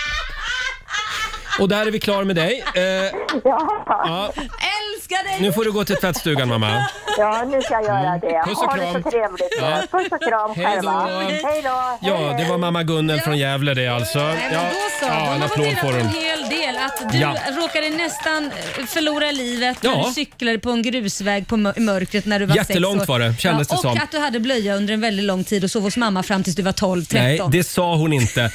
Speaker 1: Och där är vi klara med dig. Eh,
Speaker 9: ja,
Speaker 1: ja,
Speaker 2: Älskar dig!
Speaker 1: nu får du gå till tvättstugan mamma.
Speaker 9: ja, nu ska jag göra det.
Speaker 1: Mm. Puss och
Speaker 9: ha det
Speaker 1: kram.
Speaker 9: så trevligt.
Speaker 1: Ja.
Speaker 9: Puss och kram
Speaker 1: Hej då.
Speaker 9: själva. Hej då.
Speaker 1: Ja, det var mamma Gunnel från Gävle det alltså.
Speaker 2: Nej,
Speaker 1: Ja,
Speaker 2: men då så.
Speaker 1: ja,
Speaker 2: de
Speaker 1: en
Speaker 2: har fått
Speaker 1: applåd
Speaker 2: reda på
Speaker 1: får
Speaker 2: en
Speaker 1: hon.
Speaker 2: hel del. Att du
Speaker 1: Ja.
Speaker 2: råkade nästan eh, förlora livet
Speaker 1: Ja.
Speaker 2: när du cyklade på en grusväg på mö- i mörkret när du var
Speaker 1: Jättelångt
Speaker 2: sex år.
Speaker 1: var det, kändes det
Speaker 2: och
Speaker 1: som.
Speaker 2: att du hade blöja under en väldigt lång tid och sov hos mamma fram tills du var 12-13.
Speaker 1: Nej, det sa hon inte.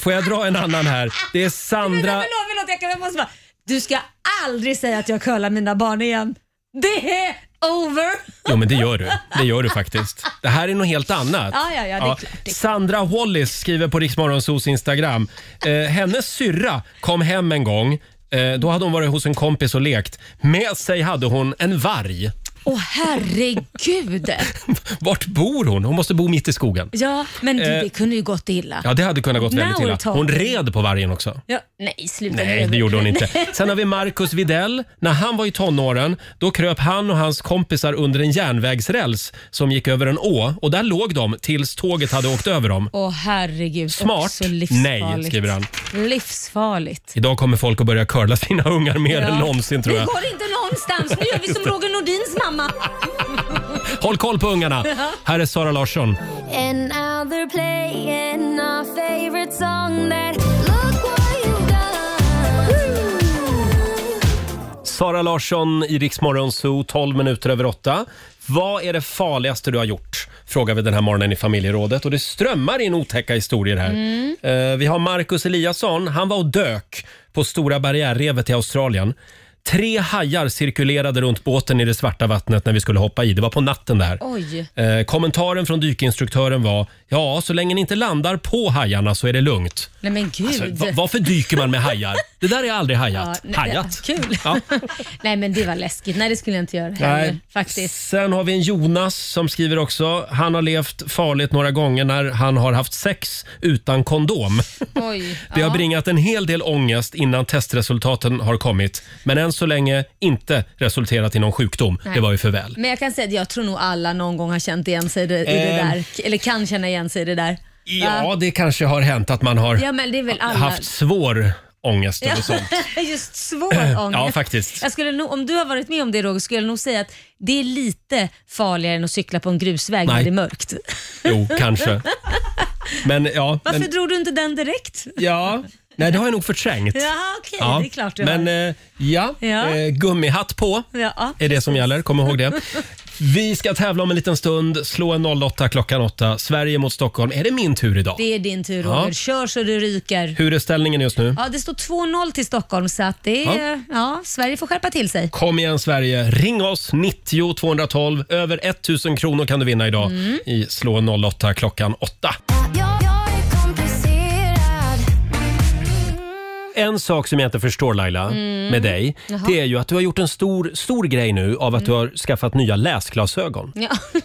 Speaker 1: Får jag dra en annan här? Det är
Speaker 2: Vänta,
Speaker 1: Sandra...
Speaker 2: förlåt, förlåt. Jag, kan, jag måste bara... Du ska aldrig säga att jag curlar mina barn igen. Det är over.
Speaker 1: Jo, men det gör du. Det gör du faktiskt. Det här är något helt annat.
Speaker 2: Ja, ja, ja, det är klart, det är klart.
Speaker 1: Sandra Wallis skriver på Riksmorgonsos Instagram. Eh, hennes syrra kom hem en gång. Eh, då hade hon varit hos en kompis och lekt. Med sig hade hon en varg.
Speaker 2: Åh herregud.
Speaker 1: Vart bor hon? Hon måste bo mitt i skogen.
Speaker 2: Ja, men du,
Speaker 1: Eh.
Speaker 2: det kunde ju gått illa.
Speaker 1: Ja, det hade kunnat gått väldigt
Speaker 2: Now
Speaker 1: illa.
Speaker 2: we're talking.
Speaker 1: Hon red på vargen också.
Speaker 2: Ja, nej, sluta
Speaker 1: Nej,
Speaker 2: nu.
Speaker 1: det gjorde hon inte. Sen har vi Marcus Videll. När han var i tonåren, då kröp han och hans kompisar under en järnvägsräls som gick över en å och där låg de tills tåget hade åkt över dem.
Speaker 2: Åh herregud.
Speaker 1: Smart?
Speaker 2: Också livsfarligt.
Speaker 1: Nej, skriver han.
Speaker 2: Livsfarligt.
Speaker 1: Idag kommer folk att börja curla sina ungar mer än någonsin tror jag.
Speaker 2: Det går inte någonstans. Nu gör vi som Roger Nordins mamma.
Speaker 1: Håll koll på ungarna. Här är Sara Larsson.
Speaker 6: And now they're playing our favorite song that Look What You've Done.
Speaker 1: Sara Larsson i Rix Morgon Zoo, 12 minuter över 8. Vad är det farligaste du har gjort? Frågar vi den här morgonen i familjerådet. Och det strömmar in otäcka historier här.
Speaker 2: Mm.
Speaker 1: Eh, vi har Marcus Eliasson. Han var och dök på Stora barriärrevet i Australien. Tre hajar cirkulerade runt båten i det svarta vattnet när vi skulle hoppa i. Det var på natten där.
Speaker 2: Oj.
Speaker 1: Eh, kommentaren från dykinstruktören var ja, så länge ni inte landar på hajarna så är det lugnt.
Speaker 2: Nej men gud.
Speaker 1: Så, Alltså, va- varför dyker man med hajar? Det där är aldrig hajat.
Speaker 2: nej,
Speaker 1: hajat.
Speaker 2: ja, kul.
Speaker 1: Ja.
Speaker 2: Nej men det var läskigt. Nej det skulle jag inte göra heller,
Speaker 1: Nej.
Speaker 2: faktiskt.
Speaker 1: Sen har vi en Jonas som skriver också. Han har levt farligt några gånger när han har haft sex utan kondom.
Speaker 2: Oj.
Speaker 1: Det har bringat en hel del ångest innan testresultaten har kommit. Men än så länge inte resulterat i någon sjukdom. Det var ju för väl.
Speaker 2: Men jag kan säga att jag tror nog alla någon gång har känt igen sig i det, i det
Speaker 1: Ehm.
Speaker 2: där. K- Eller kan känna igen sig i det där.
Speaker 1: Ja, det kanske har hänt att man har
Speaker 2: Ja men det är väl alla.
Speaker 1: haft svår ångest
Speaker 2: Ja,
Speaker 1: eller sånt.
Speaker 2: Just svår ångest.
Speaker 1: Ja, faktiskt.
Speaker 2: Jag skulle nog, om du har varit med om det Roger, skulle jag nog säga att det är lite farligare än att cykla på en grusväg
Speaker 1: Nej.
Speaker 2: när det är mörkt.
Speaker 1: Jo, kanske. Men ja.
Speaker 2: Varför
Speaker 1: Men,
Speaker 2: drog du inte den direkt?
Speaker 1: ja. Nej, det har jag nog förträngt.
Speaker 2: Jaha, okej.
Speaker 1: Ja,
Speaker 2: Det är klart du
Speaker 1: Men
Speaker 2: har.
Speaker 1: eh, ja,
Speaker 2: Ja.
Speaker 1: Eh, gummihatt på
Speaker 2: eh, Ja.
Speaker 1: är det som gäller. Kom ihåg det. Vi ska tävla om en liten stund. Slå en 08 klockan 8. Sverige mot Stockholm. Är det min tur idag?
Speaker 2: Det är din tur Roger.
Speaker 1: Ja.
Speaker 2: Kör så du ryker.
Speaker 1: Hur är ställningen just nu?
Speaker 2: Ja, det står 2-0 till Stockholm så att det är, ja. Sverige får skärpa till sig.
Speaker 1: Kom igen Sverige, ring oss 90 212. Över 1000 kronor kan du vinna idag
Speaker 2: Mm.
Speaker 1: i Slå 08 klockan 8.
Speaker 6: Jag, jag är komplicerad.
Speaker 1: En sak som jag inte förstår Laila,
Speaker 2: Mm.
Speaker 1: med dig, det är ju att du har gjort en stor, stor grej nu av
Speaker 2: Mm.
Speaker 1: att du har skaffat nya läsglasögon.
Speaker 2: Ja.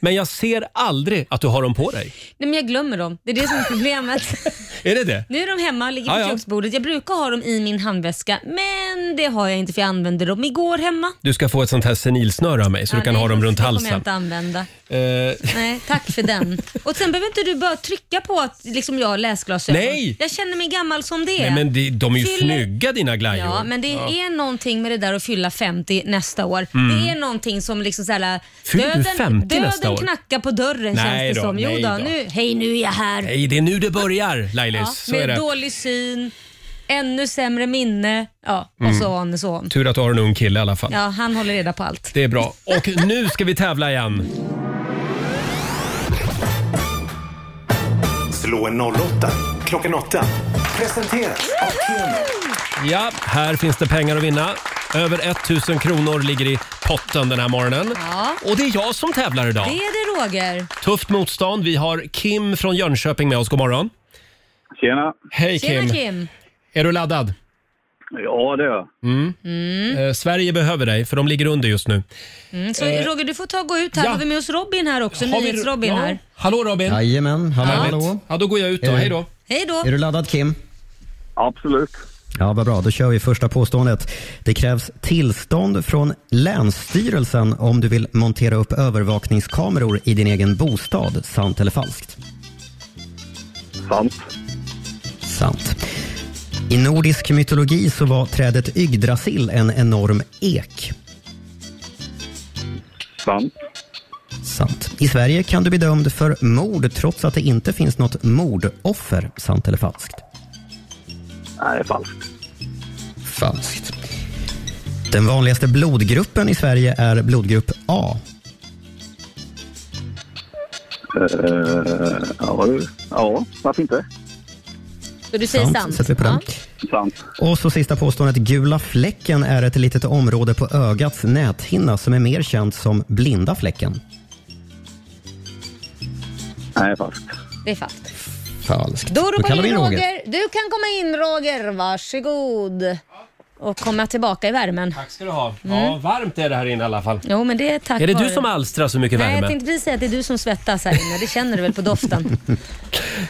Speaker 1: Men jag ser aldrig att du har dem på dig.
Speaker 2: Nej, men jag glömmer dem. Det är det som är problemet.
Speaker 1: Är det det?
Speaker 2: nu är de hemma och ligger på
Speaker 1: Ja, ja.
Speaker 2: köksbordet. Jag brukar ha dem i min handväska, men det har jag inte för jag använde dem igår hemma.
Speaker 1: Du ska få ett sånt här senilsnöre av mig så du kan
Speaker 2: nej,
Speaker 1: ha dem runt
Speaker 2: det kommer jag
Speaker 1: halsen.
Speaker 2: inte använda.
Speaker 1: Eh,
Speaker 2: Nej, tack för den. Och sen behöver inte du bara trycka på att liksom jag har läsglasögon.
Speaker 1: Nej!
Speaker 2: Jag känner mig gammal som det är.
Speaker 1: nej, men de, de är ju
Speaker 2: Till-
Speaker 1: snygga dina glajjor.
Speaker 2: Ja, men det är någonting med det där att fylla 50 nästa år. Det är någonting som liksom såhär...
Speaker 1: Mm. Fyller du 50
Speaker 2: döden
Speaker 1: nästa år?
Speaker 2: knackar på dörren
Speaker 1: Nej
Speaker 2: känns det
Speaker 1: då,
Speaker 2: som. Jo
Speaker 1: nej
Speaker 2: då,
Speaker 1: då.
Speaker 2: nu, hej nu är jag här.
Speaker 1: Nej, det är nu det börjar Lailis.
Speaker 2: ja,
Speaker 1: så är
Speaker 2: med
Speaker 1: det.
Speaker 2: dålig syn, ännu sämre minne ja, och
Speaker 1: Mm.
Speaker 2: så on och så on.
Speaker 1: Tur att du har en ung kille i alla fall.
Speaker 2: Ja, han håller reda på allt.
Speaker 1: Det är bra. Och nu ska vi tävla igen.
Speaker 3: Slå en 08 klockan 8. Presenteras av Keno.
Speaker 1: Ja, här finns det pengar att vinna. Över 1000 kronor ligger i potten den här morgonen.
Speaker 2: Ja.
Speaker 1: Och det är jag som tävlar idag.
Speaker 2: Det är det Roger.
Speaker 1: Tufft motstånd. Vi har Kim från Jönköping med oss. God morgon.
Speaker 9: Tjena.
Speaker 1: Hej
Speaker 2: Tjena
Speaker 1: Kim.
Speaker 2: Kim.
Speaker 1: Är du laddad?
Speaker 9: Ja, det är jag.
Speaker 1: Eh, Sverige behöver dig, för de ligger under just nu.
Speaker 2: Mm, så Roger, du får ta och gå ut här.
Speaker 1: Eh, ja.
Speaker 2: Har vi med oss Robin här också?
Speaker 1: Har vi-
Speaker 2: Nyhets-Robin
Speaker 1: ja.
Speaker 2: här.
Speaker 1: Hallå Robin.
Speaker 9: Jajamän. Hallå,
Speaker 1: Härligt.
Speaker 9: hallå.
Speaker 1: Ja, då går jag ut då.
Speaker 9: Eh.
Speaker 1: Hej då.
Speaker 2: Hej då.
Speaker 9: Är du laddad, Kim?
Speaker 4: Absolut.
Speaker 9: Ja, vad bra. Då kör vi första påståendet. Det krävs tillstånd från Länsstyrelsen om du vill montera upp övervakningskameror i din egen bostad. Sant eller falskt?
Speaker 4: Sant.
Speaker 9: Sant. I nordisk mytologi så var trädet Yggdrasil en enorm ek.
Speaker 4: Sant.
Speaker 9: Sant. I Sverige kan du bli dömd för mord trots att det inte finns något mordoffer. Sant eller falskt?
Speaker 4: Nej, det är falskt.
Speaker 9: Falskt. Den vanligaste blodgruppen i Sverige är blodgrupp A.
Speaker 4: ja, ja, varför inte?
Speaker 2: Så du säger sant?
Speaker 9: Sätter vi på den.
Speaker 10: sant.
Speaker 9: Och så sista påståendet. Gula fläcken är ett litet område på ögats näthinna som är mer känt som blinda fläcken.
Speaker 10: Nej, falskt.
Speaker 2: Det är falskt.
Speaker 9: Falskt.
Speaker 2: Då ropar vi in Roger. Du kan komma in Roger, varsågod. Och komma tillbaka i värmen.
Speaker 1: Tack ska du ha. Ja,
Speaker 2: Mm.
Speaker 1: varmt är det här inne i alla fall.
Speaker 2: Jo, men det är tack
Speaker 1: Är det du
Speaker 2: vare-
Speaker 1: som alstrar så mycket
Speaker 2: Nej, jag
Speaker 1: värme?
Speaker 2: tänkte precis säga att det är du som svettas här inne. Det känner du väl på doften?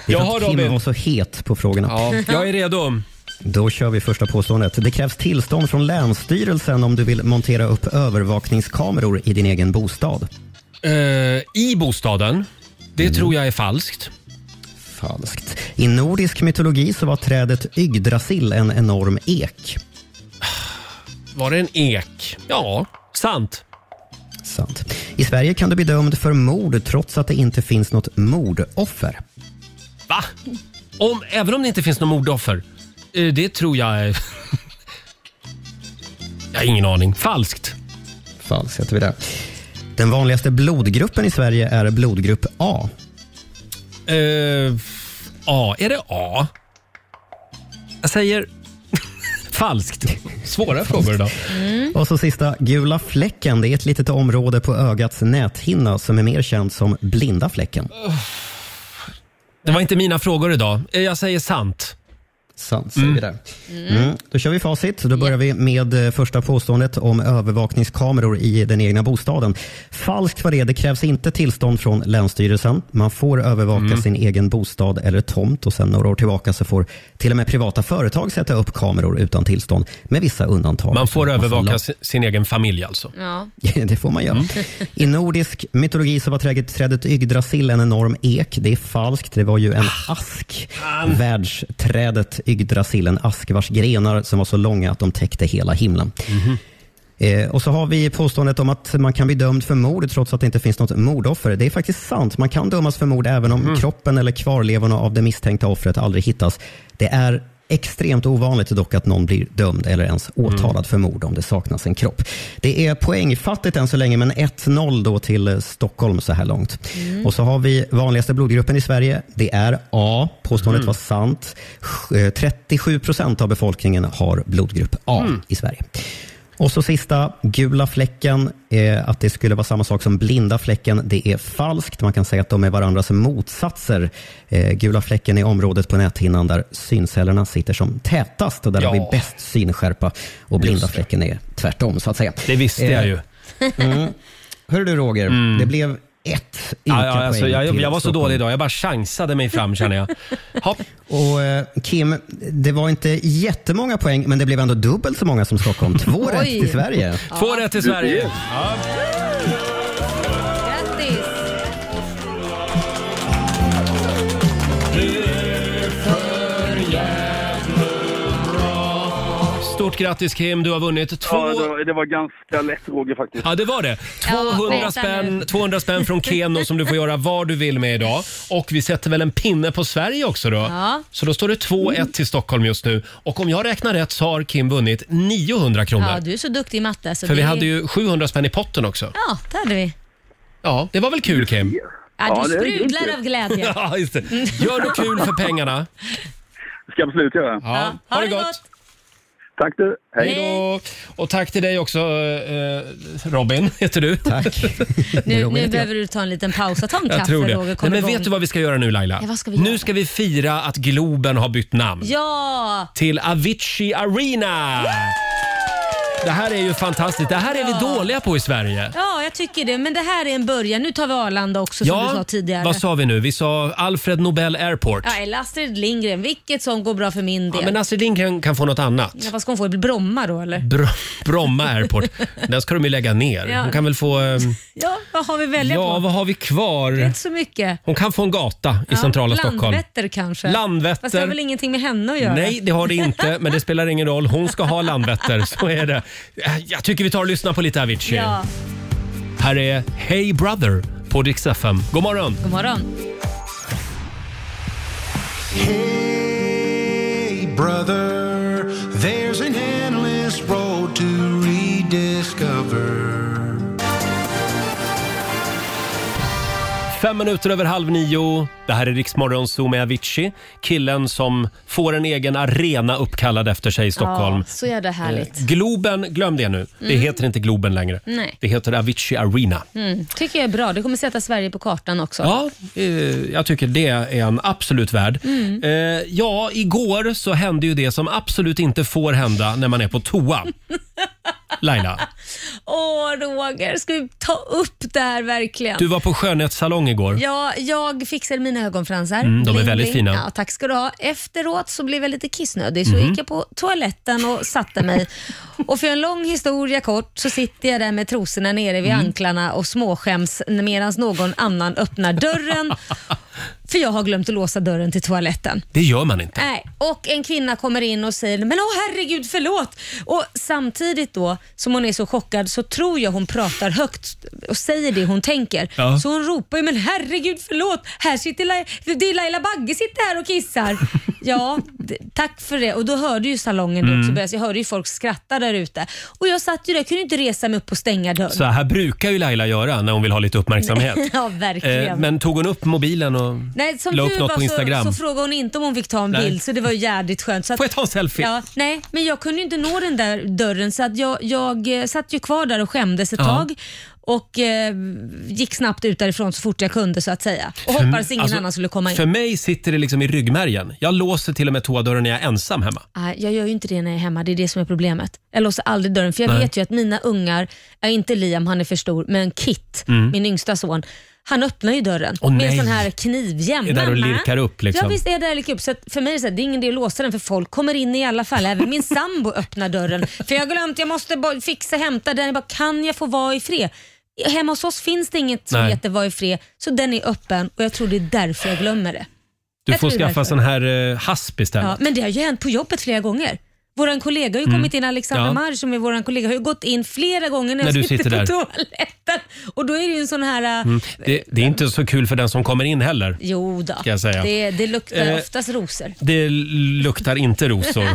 Speaker 9: Jag
Speaker 1: har
Speaker 9: har Robin.
Speaker 1: Robin.
Speaker 9: var så het på frågorna.
Speaker 1: Ja, jag är redo.
Speaker 9: Då kör vi första påståendet. Det krävs tillstånd från Länsstyrelsen om du vill montera upp övervakningskameror i din egen bostad.
Speaker 1: Eh, I bostaden. Det
Speaker 9: Mm.
Speaker 1: tror jag är falskt.
Speaker 9: Falskt. I nordisk mytologi så var trädet Yggdrasil en enorm ek.
Speaker 1: Var det en ek? Ja, sant.
Speaker 9: Sant. I Sverige kan du bli dömd för mord trots att det inte finns något mordoffer.
Speaker 1: Va? Om, även om det inte finns något mordoffer? Eh, det tror jag är... jag har ingen aning. Falskt.
Speaker 9: Falskt heter vi det. Den vanligaste blodgruppen i Sverige är blodgrupp A.
Speaker 1: Eh, A. Är det A? Jag säger falskt. Svåra frågor idag.
Speaker 9: Och så sista, gula fläcken. Det är ett litet område på ögats näthinna som är mer känt som blinda fläcken.
Speaker 1: Det var inte mina frågor idag. Eh, Jag säger sant.
Speaker 9: Sant, säger vi där. Mm. Då kör vi facit. Då börjar vi med eh, första påståendet om övervakningskameror i den egna bostaden. Falskt var det. Det krävs inte tillstånd från Länsstyrelsen. Man får övervaka
Speaker 1: Mm.
Speaker 9: sin egen bostad eller tomt och sen några år tillbaka så får till och med privata företag sätta upp kameror utan tillstånd med vissa undantag.
Speaker 1: Man får
Speaker 9: Massa
Speaker 1: övervaka
Speaker 9: lag-
Speaker 1: sin, sin egen familj alltså.
Speaker 2: Ja.
Speaker 9: det får man göra. I nordisk mytologi så var trädet, trädet Yggdrasil en enorm ek. Det är falskt. Det var ju en ask. Världsträdet Yggdrasil, en ask vars grenar som var så långa att de täckte hela himlen. Eh, och så har vi påståendet om att man kan bli dömd för mord trots att det inte finns något mordoffer. Det är faktiskt sant. Man kan dömas för mord även
Speaker 1: Mm.
Speaker 9: om kroppen eller kvarlevorna av det misstänkta offret aldrig hittas. Det är extremt ovanligt dock att någon blir dömd eller ens
Speaker 1: Mm.
Speaker 9: åtalad för mord om det saknas en kropp. Det är poängfattigt än så länge, men 1-0 då till eh, Stockholm så här långt.
Speaker 1: Mm.
Speaker 9: Och så har vi vanligaste blodgruppen i Sverige. Det är A. Påståendet
Speaker 1: Mm.
Speaker 9: var sant. Sj- eh, 37 procent av befolkningen har blodgrupp A
Speaker 1: Mm.
Speaker 9: i Sverige. Och så sista, gula fläcken, eh, att det skulle vara samma sak som blinda fläcken. Det är falskt. Man kan säga att de är varandras motsatser. Eh, gula fläcken är området på näthinnan där syncellerna sitter som tätast och där har vi
Speaker 1: Ja.
Speaker 9: bäst synskärpa. Och
Speaker 1: Just
Speaker 9: blinda
Speaker 1: det.
Speaker 9: fläcken är tvärtom, så att säga.
Speaker 1: Det visste
Speaker 9: Eh,
Speaker 1: jag ju. Mm.
Speaker 9: Mm. Hör du Roger, det blev ett
Speaker 1: Ja,
Speaker 9: ynka
Speaker 1: ja, alltså,
Speaker 9: poäng
Speaker 1: jag,
Speaker 9: till
Speaker 1: jag var så
Speaker 9: Stockholm.
Speaker 1: dålig idag. Jag bara chansade mig fram känner jag.
Speaker 9: Och eh, Kim, det var inte jättemånga poäng, men det blev ändå dubbelt så många som Stockholm. Två
Speaker 1: Oj.
Speaker 9: rätt till Sverige.
Speaker 1: Två rätt till Sverige. Ja.
Speaker 2: Grattis!
Speaker 1: Stort grattis Kim, du har vunnit två...
Speaker 10: Ja, det, var, det var ganska lätt Roger faktiskt.
Speaker 1: Ja, det var det. 200,
Speaker 10: vänta
Speaker 1: spänn, 200 spänn från Keno som du får göra vad du vill med idag. Och vi sätter väl en pinne på Sverige också då.
Speaker 2: Ja.
Speaker 1: Så då står det 2-1 till Stockholm just nu. Och om jag räknar rätt så har Kim vunnit 900 kronor.
Speaker 2: Ja, du är så duktig i matte. Så
Speaker 1: För vi
Speaker 2: det-
Speaker 1: hade ju 700 spänn i potten också.
Speaker 2: Ja, det hade vi.
Speaker 1: Ja, det var väl kul Kim?
Speaker 2: Ja, du sprudlar av glädje.
Speaker 1: Ja, just det. Gör något kul för pengarna.
Speaker 10: ska jag absolut göra.
Speaker 1: Ja. Ha det gott!
Speaker 10: Tack du. Hej.
Speaker 1: Hej då! Och tack till dig också eh, Robin, heter du.
Speaker 9: Tack.
Speaker 2: Nu, nu behöver du ta en liten paus och ta en
Speaker 1: Jag
Speaker 2: kaffe,
Speaker 1: tror det.
Speaker 2: Roger. Kom
Speaker 1: Nej, men
Speaker 2: igång.
Speaker 1: vet du vad vi ska göra nu Laila?
Speaker 2: Ja, vad ska vi
Speaker 1: Nu ska vi fira att Globen har bytt namn.
Speaker 2: Ja!
Speaker 1: Till Avicii Arena! Det här är ju fantastiskt. Det här är vi dåliga på i Sverige.
Speaker 2: Ja, jag tycker det. Men det här är en början. Nu tar vi Arlanda också, som du sa tidigare.
Speaker 1: vad sa vi nu? Vi sa Alfred Nobel Airport.
Speaker 2: Ja, eller Astrid Lindgren. Vilket som går bra för min del.
Speaker 1: men Astrid Lindgren kan få något annat.
Speaker 2: Ja, vad ska hon få? Bromma då, eller?
Speaker 1: Br- Bromma Airport. Den ska de ju lägga ner.
Speaker 2: Ja.
Speaker 1: Hon kan väl få... ehm,
Speaker 2: Ja, vad har vi att välja
Speaker 1: Ja,
Speaker 2: på?
Speaker 1: vad har vi kvar?
Speaker 2: Inte så mycket.
Speaker 1: Hon kan få en gata i
Speaker 2: Ja,
Speaker 1: centrala Stockholm.
Speaker 2: Landvetter kanske?
Speaker 1: Landvetter.
Speaker 2: Fast det har väl ingenting med henne att göra?
Speaker 1: Nej, det har det inte, men det spelar ingen roll. Hon ska ha Landvetter, så är det. Eh, Jag tycker vi tar och lyssnar på lite Avicii.
Speaker 2: Ja,
Speaker 1: Här är Hey Brother på Dix FM. God morgon!
Speaker 2: god morgon.
Speaker 11: Hey, brother, there's an endless road to rediscover.
Speaker 1: Fem minuter över halv nio. Det här är Riksmorgon Zoo med Avicii. Killen som får en egen arena uppkallad efter sig i Stockholm.
Speaker 2: Ja, så jävla härligt.
Speaker 1: Eh, Globen, glöm det nu. Det
Speaker 2: Mm.
Speaker 1: heter inte Globen längre.
Speaker 2: Nej.
Speaker 1: Det heter Avicii Arena.
Speaker 2: Mm. Tycker jag är bra. Det kommer sätta Sverige på kartan också.
Speaker 1: Ja, eh, jag tycker det är en absolut värd.
Speaker 2: Mm.
Speaker 1: Eh, ja, igår så hände ju det som absolut inte får hända när man är på toa. Laila,
Speaker 2: Åh, Roger, ska vi ta upp det här verkligen?
Speaker 1: du var på skönhetssalong igår.
Speaker 2: Ja, jag fixade mina ögonfransar.
Speaker 1: Mm, de är väldigt fina.
Speaker 2: Ja, tack ska du ha. Efteråt så blev jag lite kissnödig så
Speaker 1: Mhm.
Speaker 2: gick jag på toaletten och satte mig. och för en lång historia kort så sitter jag där med trosorna nere
Speaker 1: Mm.
Speaker 2: vid anklarna och småskäms medan någon annan öppnar dörren. för jag har glömt att låsa dörren till toaletten.
Speaker 1: Det gör man inte.
Speaker 2: Nej, och en kvinna kommer in och säger “men åh herregud, förlåt”. Och samtidigt då, som hon är så chockad, så tror jag hon pratar högt och säger det hon tänker.
Speaker 6: Ja.
Speaker 2: Så hon ropar ju “men herregud, förlåt, här sitter Laila, det är Laila Bagge sitter här och kissar”. ja, d- tack för det. Och då hörde ju salongen det
Speaker 1: Mm.
Speaker 2: också börja, så jag hörde ju folk skratta där ute. Och jag satt ju där, kunde inte resa mig upp och stänga dörren.
Speaker 1: Så här brukar ju Laila göra när hon vill ha lite uppmärksamhet.
Speaker 2: ja, verkligen.
Speaker 1: Eh, men tog hon upp mobilen och
Speaker 2: Nej, som
Speaker 1: la
Speaker 2: tur
Speaker 1: upp något på
Speaker 2: var
Speaker 1: Instagram?
Speaker 2: så, så frågade hon inte om hon fick ta en
Speaker 1: Nej.
Speaker 2: bild, så det var ju jädrigt skönt. Så att,
Speaker 1: Får jag ta en selfie?
Speaker 2: Ja, nej, men jag kunde ju inte nå den där dörren så att jag, jag eh, satt ju kvar där och skämdes ett
Speaker 1: Ja.
Speaker 2: tag och eh, gick snabbt ut därifrån så fort jag kunde så att säga. Och
Speaker 1: För-
Speaker 2: hoppades ingen
Speaker 1: alltså,
Speaker 2: annan skulle komma in.
Speaker 1: För mig sitter det liksom i ryggmärgen. Jag låser till och med toadörren när jag är ensam hemma.
Speaker 2: Nej, jag gör ju inte det när jag är hemma. Det är det som är problemet. Jag låser aldrig dörren för jag
Speaker 1: Nej.
Speaker 2: vet ju att mina ungar, ja, inte Liam, han är för stor, men Kit,
Speaker 1: Mm.
Speaker 2: min yngsta son, han öppnar ju dörren
Speaker 1: Åh,
Speaker 2: med en
Speaker 1: nej.
Speaker 2: sån här knivjämn.
Speaker 1: Är där och
Speaker 2: Mamma.
Speaker 1: lirkar upp, liksom.
Speaker 2: Ja visst är jag där och lirkar upp. Så att för mig är det, så här, det är ingen idé att låsa den för folk kommer in i alla fall. Även min sambo öppnar dörren. För jag har glömt, jag måste bara fixa, hämta den. Jag bara, kan jag få vara i fred? Hemma hos oss finns det inget som
Speaker 1: Nej.
Speaker 2: heter vara i fred, så den är öppen och jag tror det är därför jag glömmer det.
Speaker 1: Du
Speaker 2: Jag
Speaker 1: får
Speaker 2: tror det är
Speaker 1: skaffa
Speaker 2: därför.
Speaker 1: sån här eh, hasp istället.
Speaker 2: Ja, men det har ju hänt på jobbet flera gånger. Vår kollega har ju
Speaker 1: Mm.
Speaker 2: kommit in, Alexandra
Speaker 1: Ja.
Speaker 2: Marr som är vår kollega, har ju gått in flera gånger när,
Speaker 1: När du
Speaker 2: jag sitter,
Speaker 1: sitter
Speaker 2: på
Speaker 1: där.
Speaker 2: toaletten. Och då är det ju en sån här... äh,
Speaker 1: Mm. Det, det är inte så kul för den som kommer in heller.
Speaker 2: Jo då.
Speaker 1: Ska jag säga.
Speaker 2: Det, det luktar
Speaker 1: Eh,
Speaker 2: oftast rosor.
Speaker 1: Det luktar inte rosor.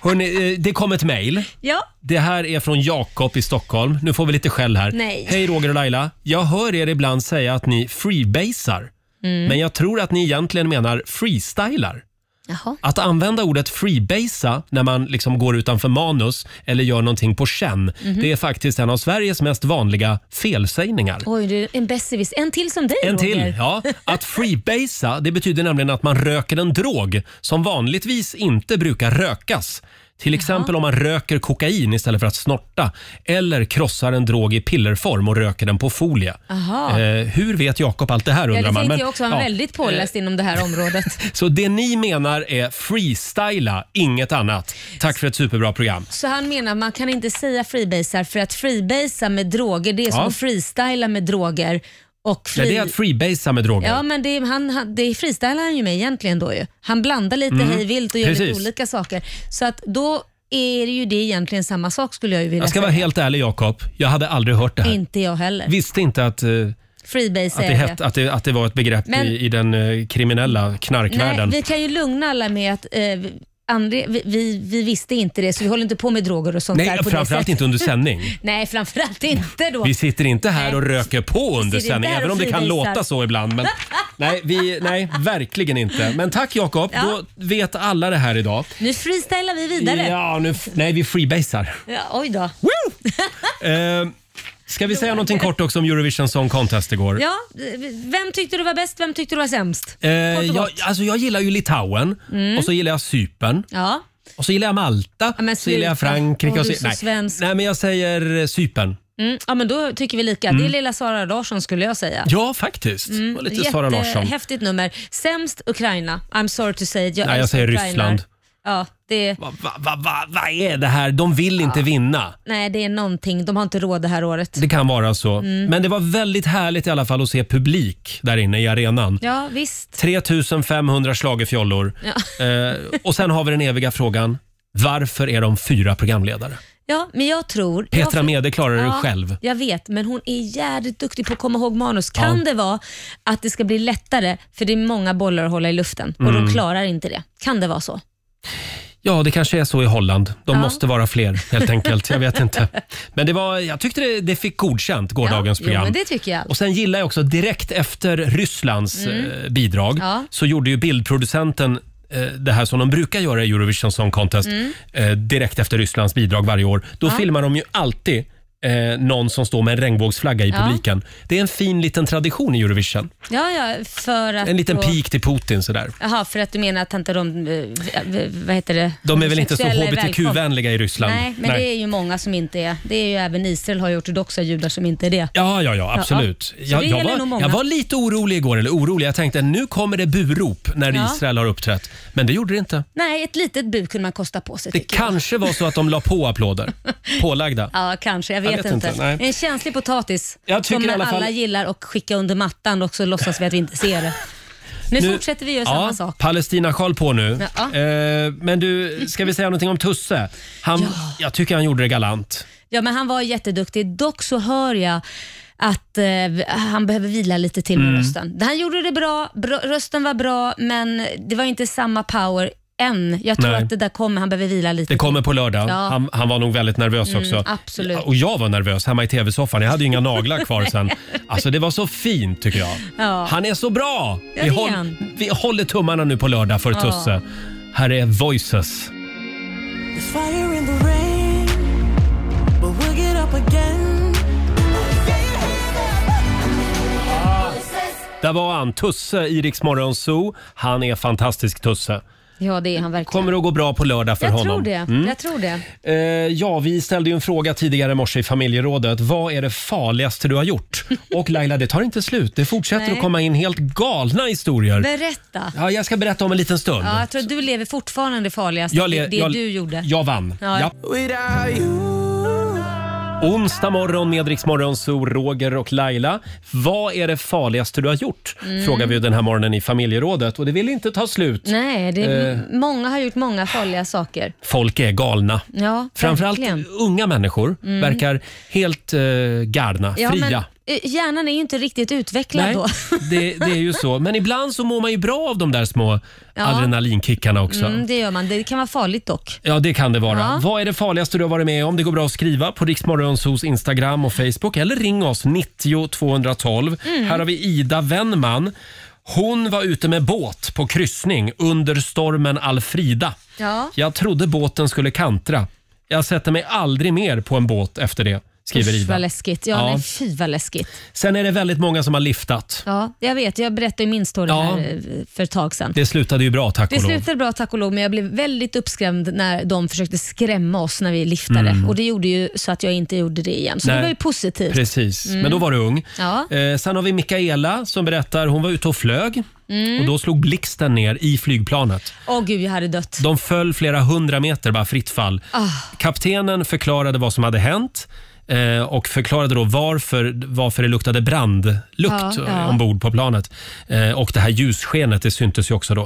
Speaker 1: Hörrni, eh, det kom ett mejl.
Speaker 2: Ja.
Speaker 1: Det här är från Jakob i Stockholm. Nu får vi lite skäll här.
Speaker 2: Nej.
Speaker 1: Hej Roger och Laila. Jag hör er ibland säga att ni freebasar.
Speaker 2: Mm.
Speaker 1: Men jag tror att ni egentligen menar freestylar.
Speaker 2: Jaha.
Speaker 1: Att använda ordet freebasa när man liksom går utanför manus eller gör någonting på känn,
Speaker 2: Mhm.
Speaker 1: det är faktiskt en av Sveriges mest vanliga felsägningar.
Speaker 2: Oj, det är en besserwiss. En till som dig
Speaker 1: En till.
Speaker 2: Roger.
Speaker 1: Ja. Att freebasa det betyder nämligen att man röker en drog som vanligtvis inte brukar rökas. Till exempel om man röker kokain istället för att snorta eller krossar en drog i pillerform och röker den på folie.
Speaker 2: Jaha.
Speaker 1: Eh, hur vet Jakob allt det
Speaker 2: ja,
Speaker 1: här undrar
Speaker 2: det
Speaker 1: man.
Speaker 2: tänkte
Speaker 1: Men,
Speaker 2: jag också. Han är
Speaker 1: ja. Eh.
Speaker 2: väldigt påläst inom det här området.
Speaker 1: Så det ni menar är freestyla, inget annat. Tack för ett superbra program.
Speaker 2: Så han menar man kan inte säga freebasar för att freebasa med droger, det är som
Speaker 1: Ja.
Speaker 2: att freestyla med droger. Och free...
Speaker 1: Nej, det är att freebasea med droger.
Speaker 2: Ja, men det, är- han, han, det är freestylar han ju med egentligen då ju. Han blandar lite
Speaker 1: Mm.
Speaker 2: hejvilt och gör lite
Speaker 1: Precis.
Speaker 2: olika saker. Så att då är det ju det egentligen samma sak skulle jag ju vilja
Speaker 1: Jag ska
Speaker 2: säga.
Speaker 1: vara helt ärlig Jakob, jag hade aldrig hört det här.
Speaker 2: Inte jag heller.
Speaker 1: Visste inte att, eh,
Speaker 2: Freebase
Speaker 1: att, det,
Speaker 2: är
Speaker 1: het, att, det, att det var ett begrepp
Speaker 2: Men-
Speaker 1: i, i den eh, kriminella knarkvärlden.
Speaker 2: Nej, vi kan ju lugna alla med att eh, vi- André, vi, vi, vi visste inte det, så vi håller inte på med droger och sånt
Speaker 1: Nej,
Speaker 2: där på det
Speaker 1: framförallt
Speaker 2: sättet.
Speaker 1: inte under sändning.
Speaker 2: Nej, framförallt inte då.
Speaker 1: Vi sitter inte här och röker på under
Speaker 2: sitter
Speaker 1: sändning,
Speaker 2: där
Speaker 1: även
Speaker 2: och
Speaker 1: om det kan
Speaker 2: freebasar.
Speaker 1: låta så ibland. Men, nej, vi, nej, verkligen inte. Men tack Jakob,
Speaker 2: Ja.
Speaker 1: då vet alla det här idag.
Speaker 2: Nu freestylar vi vidare.
Speaker 1: Ja, nu, f- nej, vi freebasar.
Speaker 2: Ja, oj då.
Speaker 1: Eh, ska vi säga någonting kort också om Eurovision Song Contest igår?
Speaker 2: Ja, eh, vem tyckte du var bäst? Vem tyckte du var sämst?
Speaker 1: Eh, jag, alltså jag gillar ju Litauen
Speaker 2: Mm.
Speaker 1: och så gillar jag Cypern.
Speaker 2: Ja.
Speaker 1: Och så gillar jag Malta,
Speaker 2: men
Speaker 1: så gillar jag
Speaker 2: sluta.
Speaker 1: Frankrike.
Speaker 2: Åh,
Speaker 1: och
Speaker 2: du är så
Speaker 1: nej.
Speaker 2: svensk.
Speaker 1: nej, men jag säger eh, Cypern.
Speaker 2: Mm, ja, men då tycker vi lika.
Speaker 1: Mm.
Speaker 2: Det är lilla Sara Larsson skulle jag säga.
Speaker 1: Ja, faktiskt.
Speaker 2: Mm.
Speaker 1: Det var lite Sara Larsson.
Speaker 2: Häftigt nummer. Sämst Ukraina. I'm sorry to say it. Jag
Speaker 1: Nej, jag
Speaker 2: älskar
Speaker 1: säger
Speaker 2: Ukraina.
Speaker 1: Ryssland.
Speaker 2: Ja, det,
Speaker 1: Vad va, va, va, vad är det här? De vill inte vinna.
Speaker 2: nej, det är någonting. De har inte råd det här året.
Speaker 1: Det kan vara så.
Speaker 2: Mm.
Speaker 1: Men det var väldigt härligt i alla fall att se publik där inne i arenan.
Speaker 2: Ja, visst.
Speaker 1: 3500 schlagerfjollor.
Speaker 2: Ja.
Speaker 1: Eh, och sen har vi den eviga frågan. Varför är de fyra programledare?
Speaker 2: Ja, men jag tror...
Speaker 1: Petra
Speaker 2: jag,
Speaker 1: Mede klarar det
Speaker 2: ja,
Speaker 1: själv.
Speaker 2: Jag vet, men hon är jävligt duktig på att komma ihåg manus. Kan
Speaker 1: Ja.
Speaker 2: det vara att det ska bli lättare, för det är många bollar att hålla i luften och
Speaker 1: Mm.
Speaker 2: de klarar inte det? Kan det vara så?
Speaker 1: Ja, det kanske är så i Holland. De
Speaker 5: Ja.
Speaker 1: måste vara fler helt enkelt. Jag vet inte. Men det var, jag tyckte det, det fick godkänt, gårdagens
Speaker 2: ja, Jo,
Speaker 1: program.
Speaker 2: men det tycker jag.
Speaker 1: Och sen gillar jag också direkt efter Rysslands
Speaker 2: Mm.
Speaker 1: eh, bidrag
Speaker 2: Ja.
Speaker 1: så gjorde ju bildproducenten eh, det här som de brukar göra i Eurovision Song Contest
Speaker 12: Mm.
Speaker 1: eh, direkt efter Rysslands bidrag varje år. Då
Speaker 12: Ja.
Speaker 1: filmar de ju alltid eh, någon som står med en regnbågsflagga i
Speaker 2: Ja.
Speaker 1: publiken. Det är en fin liten tradition i Eurovision.
Speaker 2: Ja, ja, för att
Speaker 1: En liten
Speaker 2: då-
Speaker 1: pik till Putin sådär.
Speaker 2: Jaha, för att du menar att inte de, eh, v- vad heter det?
Speaker 1: De är väl inte så
Speaker 2: Homosexuella är välkomna.
Speaker 1: hbtq-vänliga i Ryssland?
Speaker 2: Nej, men det är ju många som inte är. Det är ju även Israel har ju ortodoxa judar som inte är det.
Speaker 1: Ja, ja, ja, absolut.
Speaker 2: Ja, ja. Så
Speaker 1: Jag,
Speaker 2: det
Speaker 1: jag,
Speaker 2: gäller nog
Speaker 1: var,
Speaker 2: många.
Speaker 1: jag var lite orolig igår, eller orolig. Jag tänkte nu kommer det burop när
Speaker 2: Ja.
Speaker 1: Israel har uppträtt. Men det gjorde det inte.
Speaker 2: Nej, ett litet bu kunde man kosta på sig.
Speaker 1: Det
Speaker 2: tycker jag.
Speaker 1: kanske var så att de la på applåder. Pålagda.
Speaker 2: Ja, kanske. Jag vet,
Speaker 1: Jag vet
Speaker 2: inte.
Speaker 1: inte, nej.
Speaker 2: Det är en känslig potatis
Speaker 1: Jag tycker
Speaker 2: som
Speaker 1: i alla fall-
Speaker 2: alla gillar och skicka under mattan och så låtsas vi att vi inte ser det. Nu, fortsätter vi göra samma
Speaker 1: ja,
Speaker 2: sak.
Speaker 1: Palestina-sjal på nu.
Speaker 2: Ja.
Speaker 1: Eh, men du, ska vi säga någonting om Tusse? Han, Jag tycker han gjorde det galant.
Speaker 2: Ja, men han var jätteduktig. Dock så hör jag att eh, han behöver vila lite till med
Speaker 1: Mm.
Speaker 2: rösten. Han gjorde det bra, bra, rösten var bra, men det var inte samma power än. Jag tror
Speaker 1: Nej.
Speaker 2: att det där kommer, han behöver vila lite.
Speaker 1: Det kommer på lördag.
Speaker 2: Ja.
Speaker 1: Han, han var nog väldigt nervös
Speaker 2: Mm,
Speaker 1: också.
Speaker 2: absolut.
Speaker 1: Ja, Och jag var nervös hemma i tv-soffan. Jag hade ju inga naglar kvar sen.
Speaker 2: Nej.
Speaker 1: Alltså det var så fint tycker jag.
Speaker 2: Ja.
Speaker 1: Han är så bra!
Speaker 2: Ja,
Speaker 1: vi,
Speaker 2: det är
Speaker 1: håll,
Speaker 2: han.
Speaker 1: vi håller tummarna nu på lördag för
Speaker 2: Ja.
Speaker 1: Tusse. Här är Voices.
Speaker 12: There's fire in the rain, but we'll get up again.
Speaker 1: Där var han, Tusse i Rix Morgon Zoo. Han är fantastisk Tusse.
Speaker 2: Ja, det är han verkligen.
Speaker 1: Kommer att gå bra på lördag för
Speaker 2: jag
Speaker 1: honom.
Speaker 2: tror det.
Speaker 1: Mm.
Speaker 2: Jag tror det.
Speaker 1: Eh, ja, vi ställde ju en fråga tidigare i morse i familjerådet. Vad är det farligaste du har gjort? Och Laila, det tar inte slut. Det fortsätter
Speaker 2: Nej.
Speaker 1: att komma in helt galna historier.
Speaker 2: Berätta.
Speaker 1: Ja, jag ska berätta om en liten stund.
Speaker 2: Ja, jag tror att du lever fortfarande farligast.
Speaker 1: Jag le-
Speaker 2: det det
Speaker 1: jag-
Speaker 2: du gjorde.
Speaker 1: Jag vann.
Speaker 2: Ja.
Speaker 1: Ja. Onsdag morgon med Rix Morgon, så Roger och Laila. Vad är det farligaste du har gjort?
Speaker 2: Mm.
Speaker 1: Frågar vi ju den här morgonen i familjerådet och det vill inte ta slut.
Speaker 2: Nej, det är,
Speaker 1: Eh.
Speaker 2: många har gjort många farliga saker.
Speaker 1: Folk är galna.
Speaker 2: Ja,
Speaker 1: Framförallt
Speaker 2: verkligen.
Speaker 1: unga människor
Speaker 2: Mm.
Speaker 1: verkar helt eh, galna,
Speaker 2: Ja,
Speaker 1: fria.
Speaker 2: men, eh, hjärnan är ju inte riktigt utvecklad
Speaker 1: Nej,
Speaker 2: då. Mm,
Speaker 1: det, det är ju så. Men ibland så mår man ju bra av de där små
Speaker 2: Ja.
Speaker 1: adrenalinkickarna också.
Speaker 2: Mm, det gör man. Det kan vara farligt dock.
Speaker 1: Ja, det kan det vara.
Speaker 2: Ja.
Speaker 1: Vad är det farligaste du har varit med om? Det går bra att skriva på Riksmorgonsos Instagram och Facebook eller ring oss 90 212.
Speaker 12: Mm.
Speaker 1: Här har vi Ida Wennman. Hon var ute med båt på kryssning under stormen Alfrida.
Speaker 2: Ja.
Speaker 1: Jag trodde båten skulle kantra. Jag sätter mig aldrig mer på en båt efter det, skriver
Speaker 2: Usch,
Speaker 1: Ida.
Speaker 2: vad läskigt. Ja,
Speaker 1: Ja.
Speaker 2: Nej, fy vad läskigt.
Speaker 1: Sen är det väldigt många som har liftat.
Speaker 2: Ja, jag vet, jag berättade ju min story
Speaker 1: Ja.
Speaker 2: här eh, för ett tag sedan.
Speaker 1: Det slutade ju bra, tack
Speaker 2: Det
Speaker 1: och lov.
Speaker 2: slutade bra tack och lov, men jag blev väldigt uppskrämd när de försökte skrämma oss när vi liftade.
Speaker 1: Mm.
Speaker 2: Och Det gjorde ju så att jag inte gjorde det igen. Så
Speaker 1: Nej.
Speaker 2: det var ju positivt.
Speaker 1: Precis,
Speaker 2: Mm.
Speaker 1: men då var du ung.
Speaker 2: Ja.
Speaker 1: Eh, sen har vi Mikaela som berättar, hon var ute och flög
Speaker 2: Mm.
Speaker 1: och då slog blixten ner i flygplanet.
Speaker 2: Åh gud, jag hade dött.
Speaker 1: De föll flera hundra meter, bara fritt fall.
Speaker 2: Ah.
Speaker 1: Kaptenen förklarade vad som hade hänt eh, och förklarade då varför, varför det luktade brandlukt
Speaker 12: Ja, ja.
Speaker 1: ombord på planet. Eh, och det här ljusskenet, det syntes ju också då.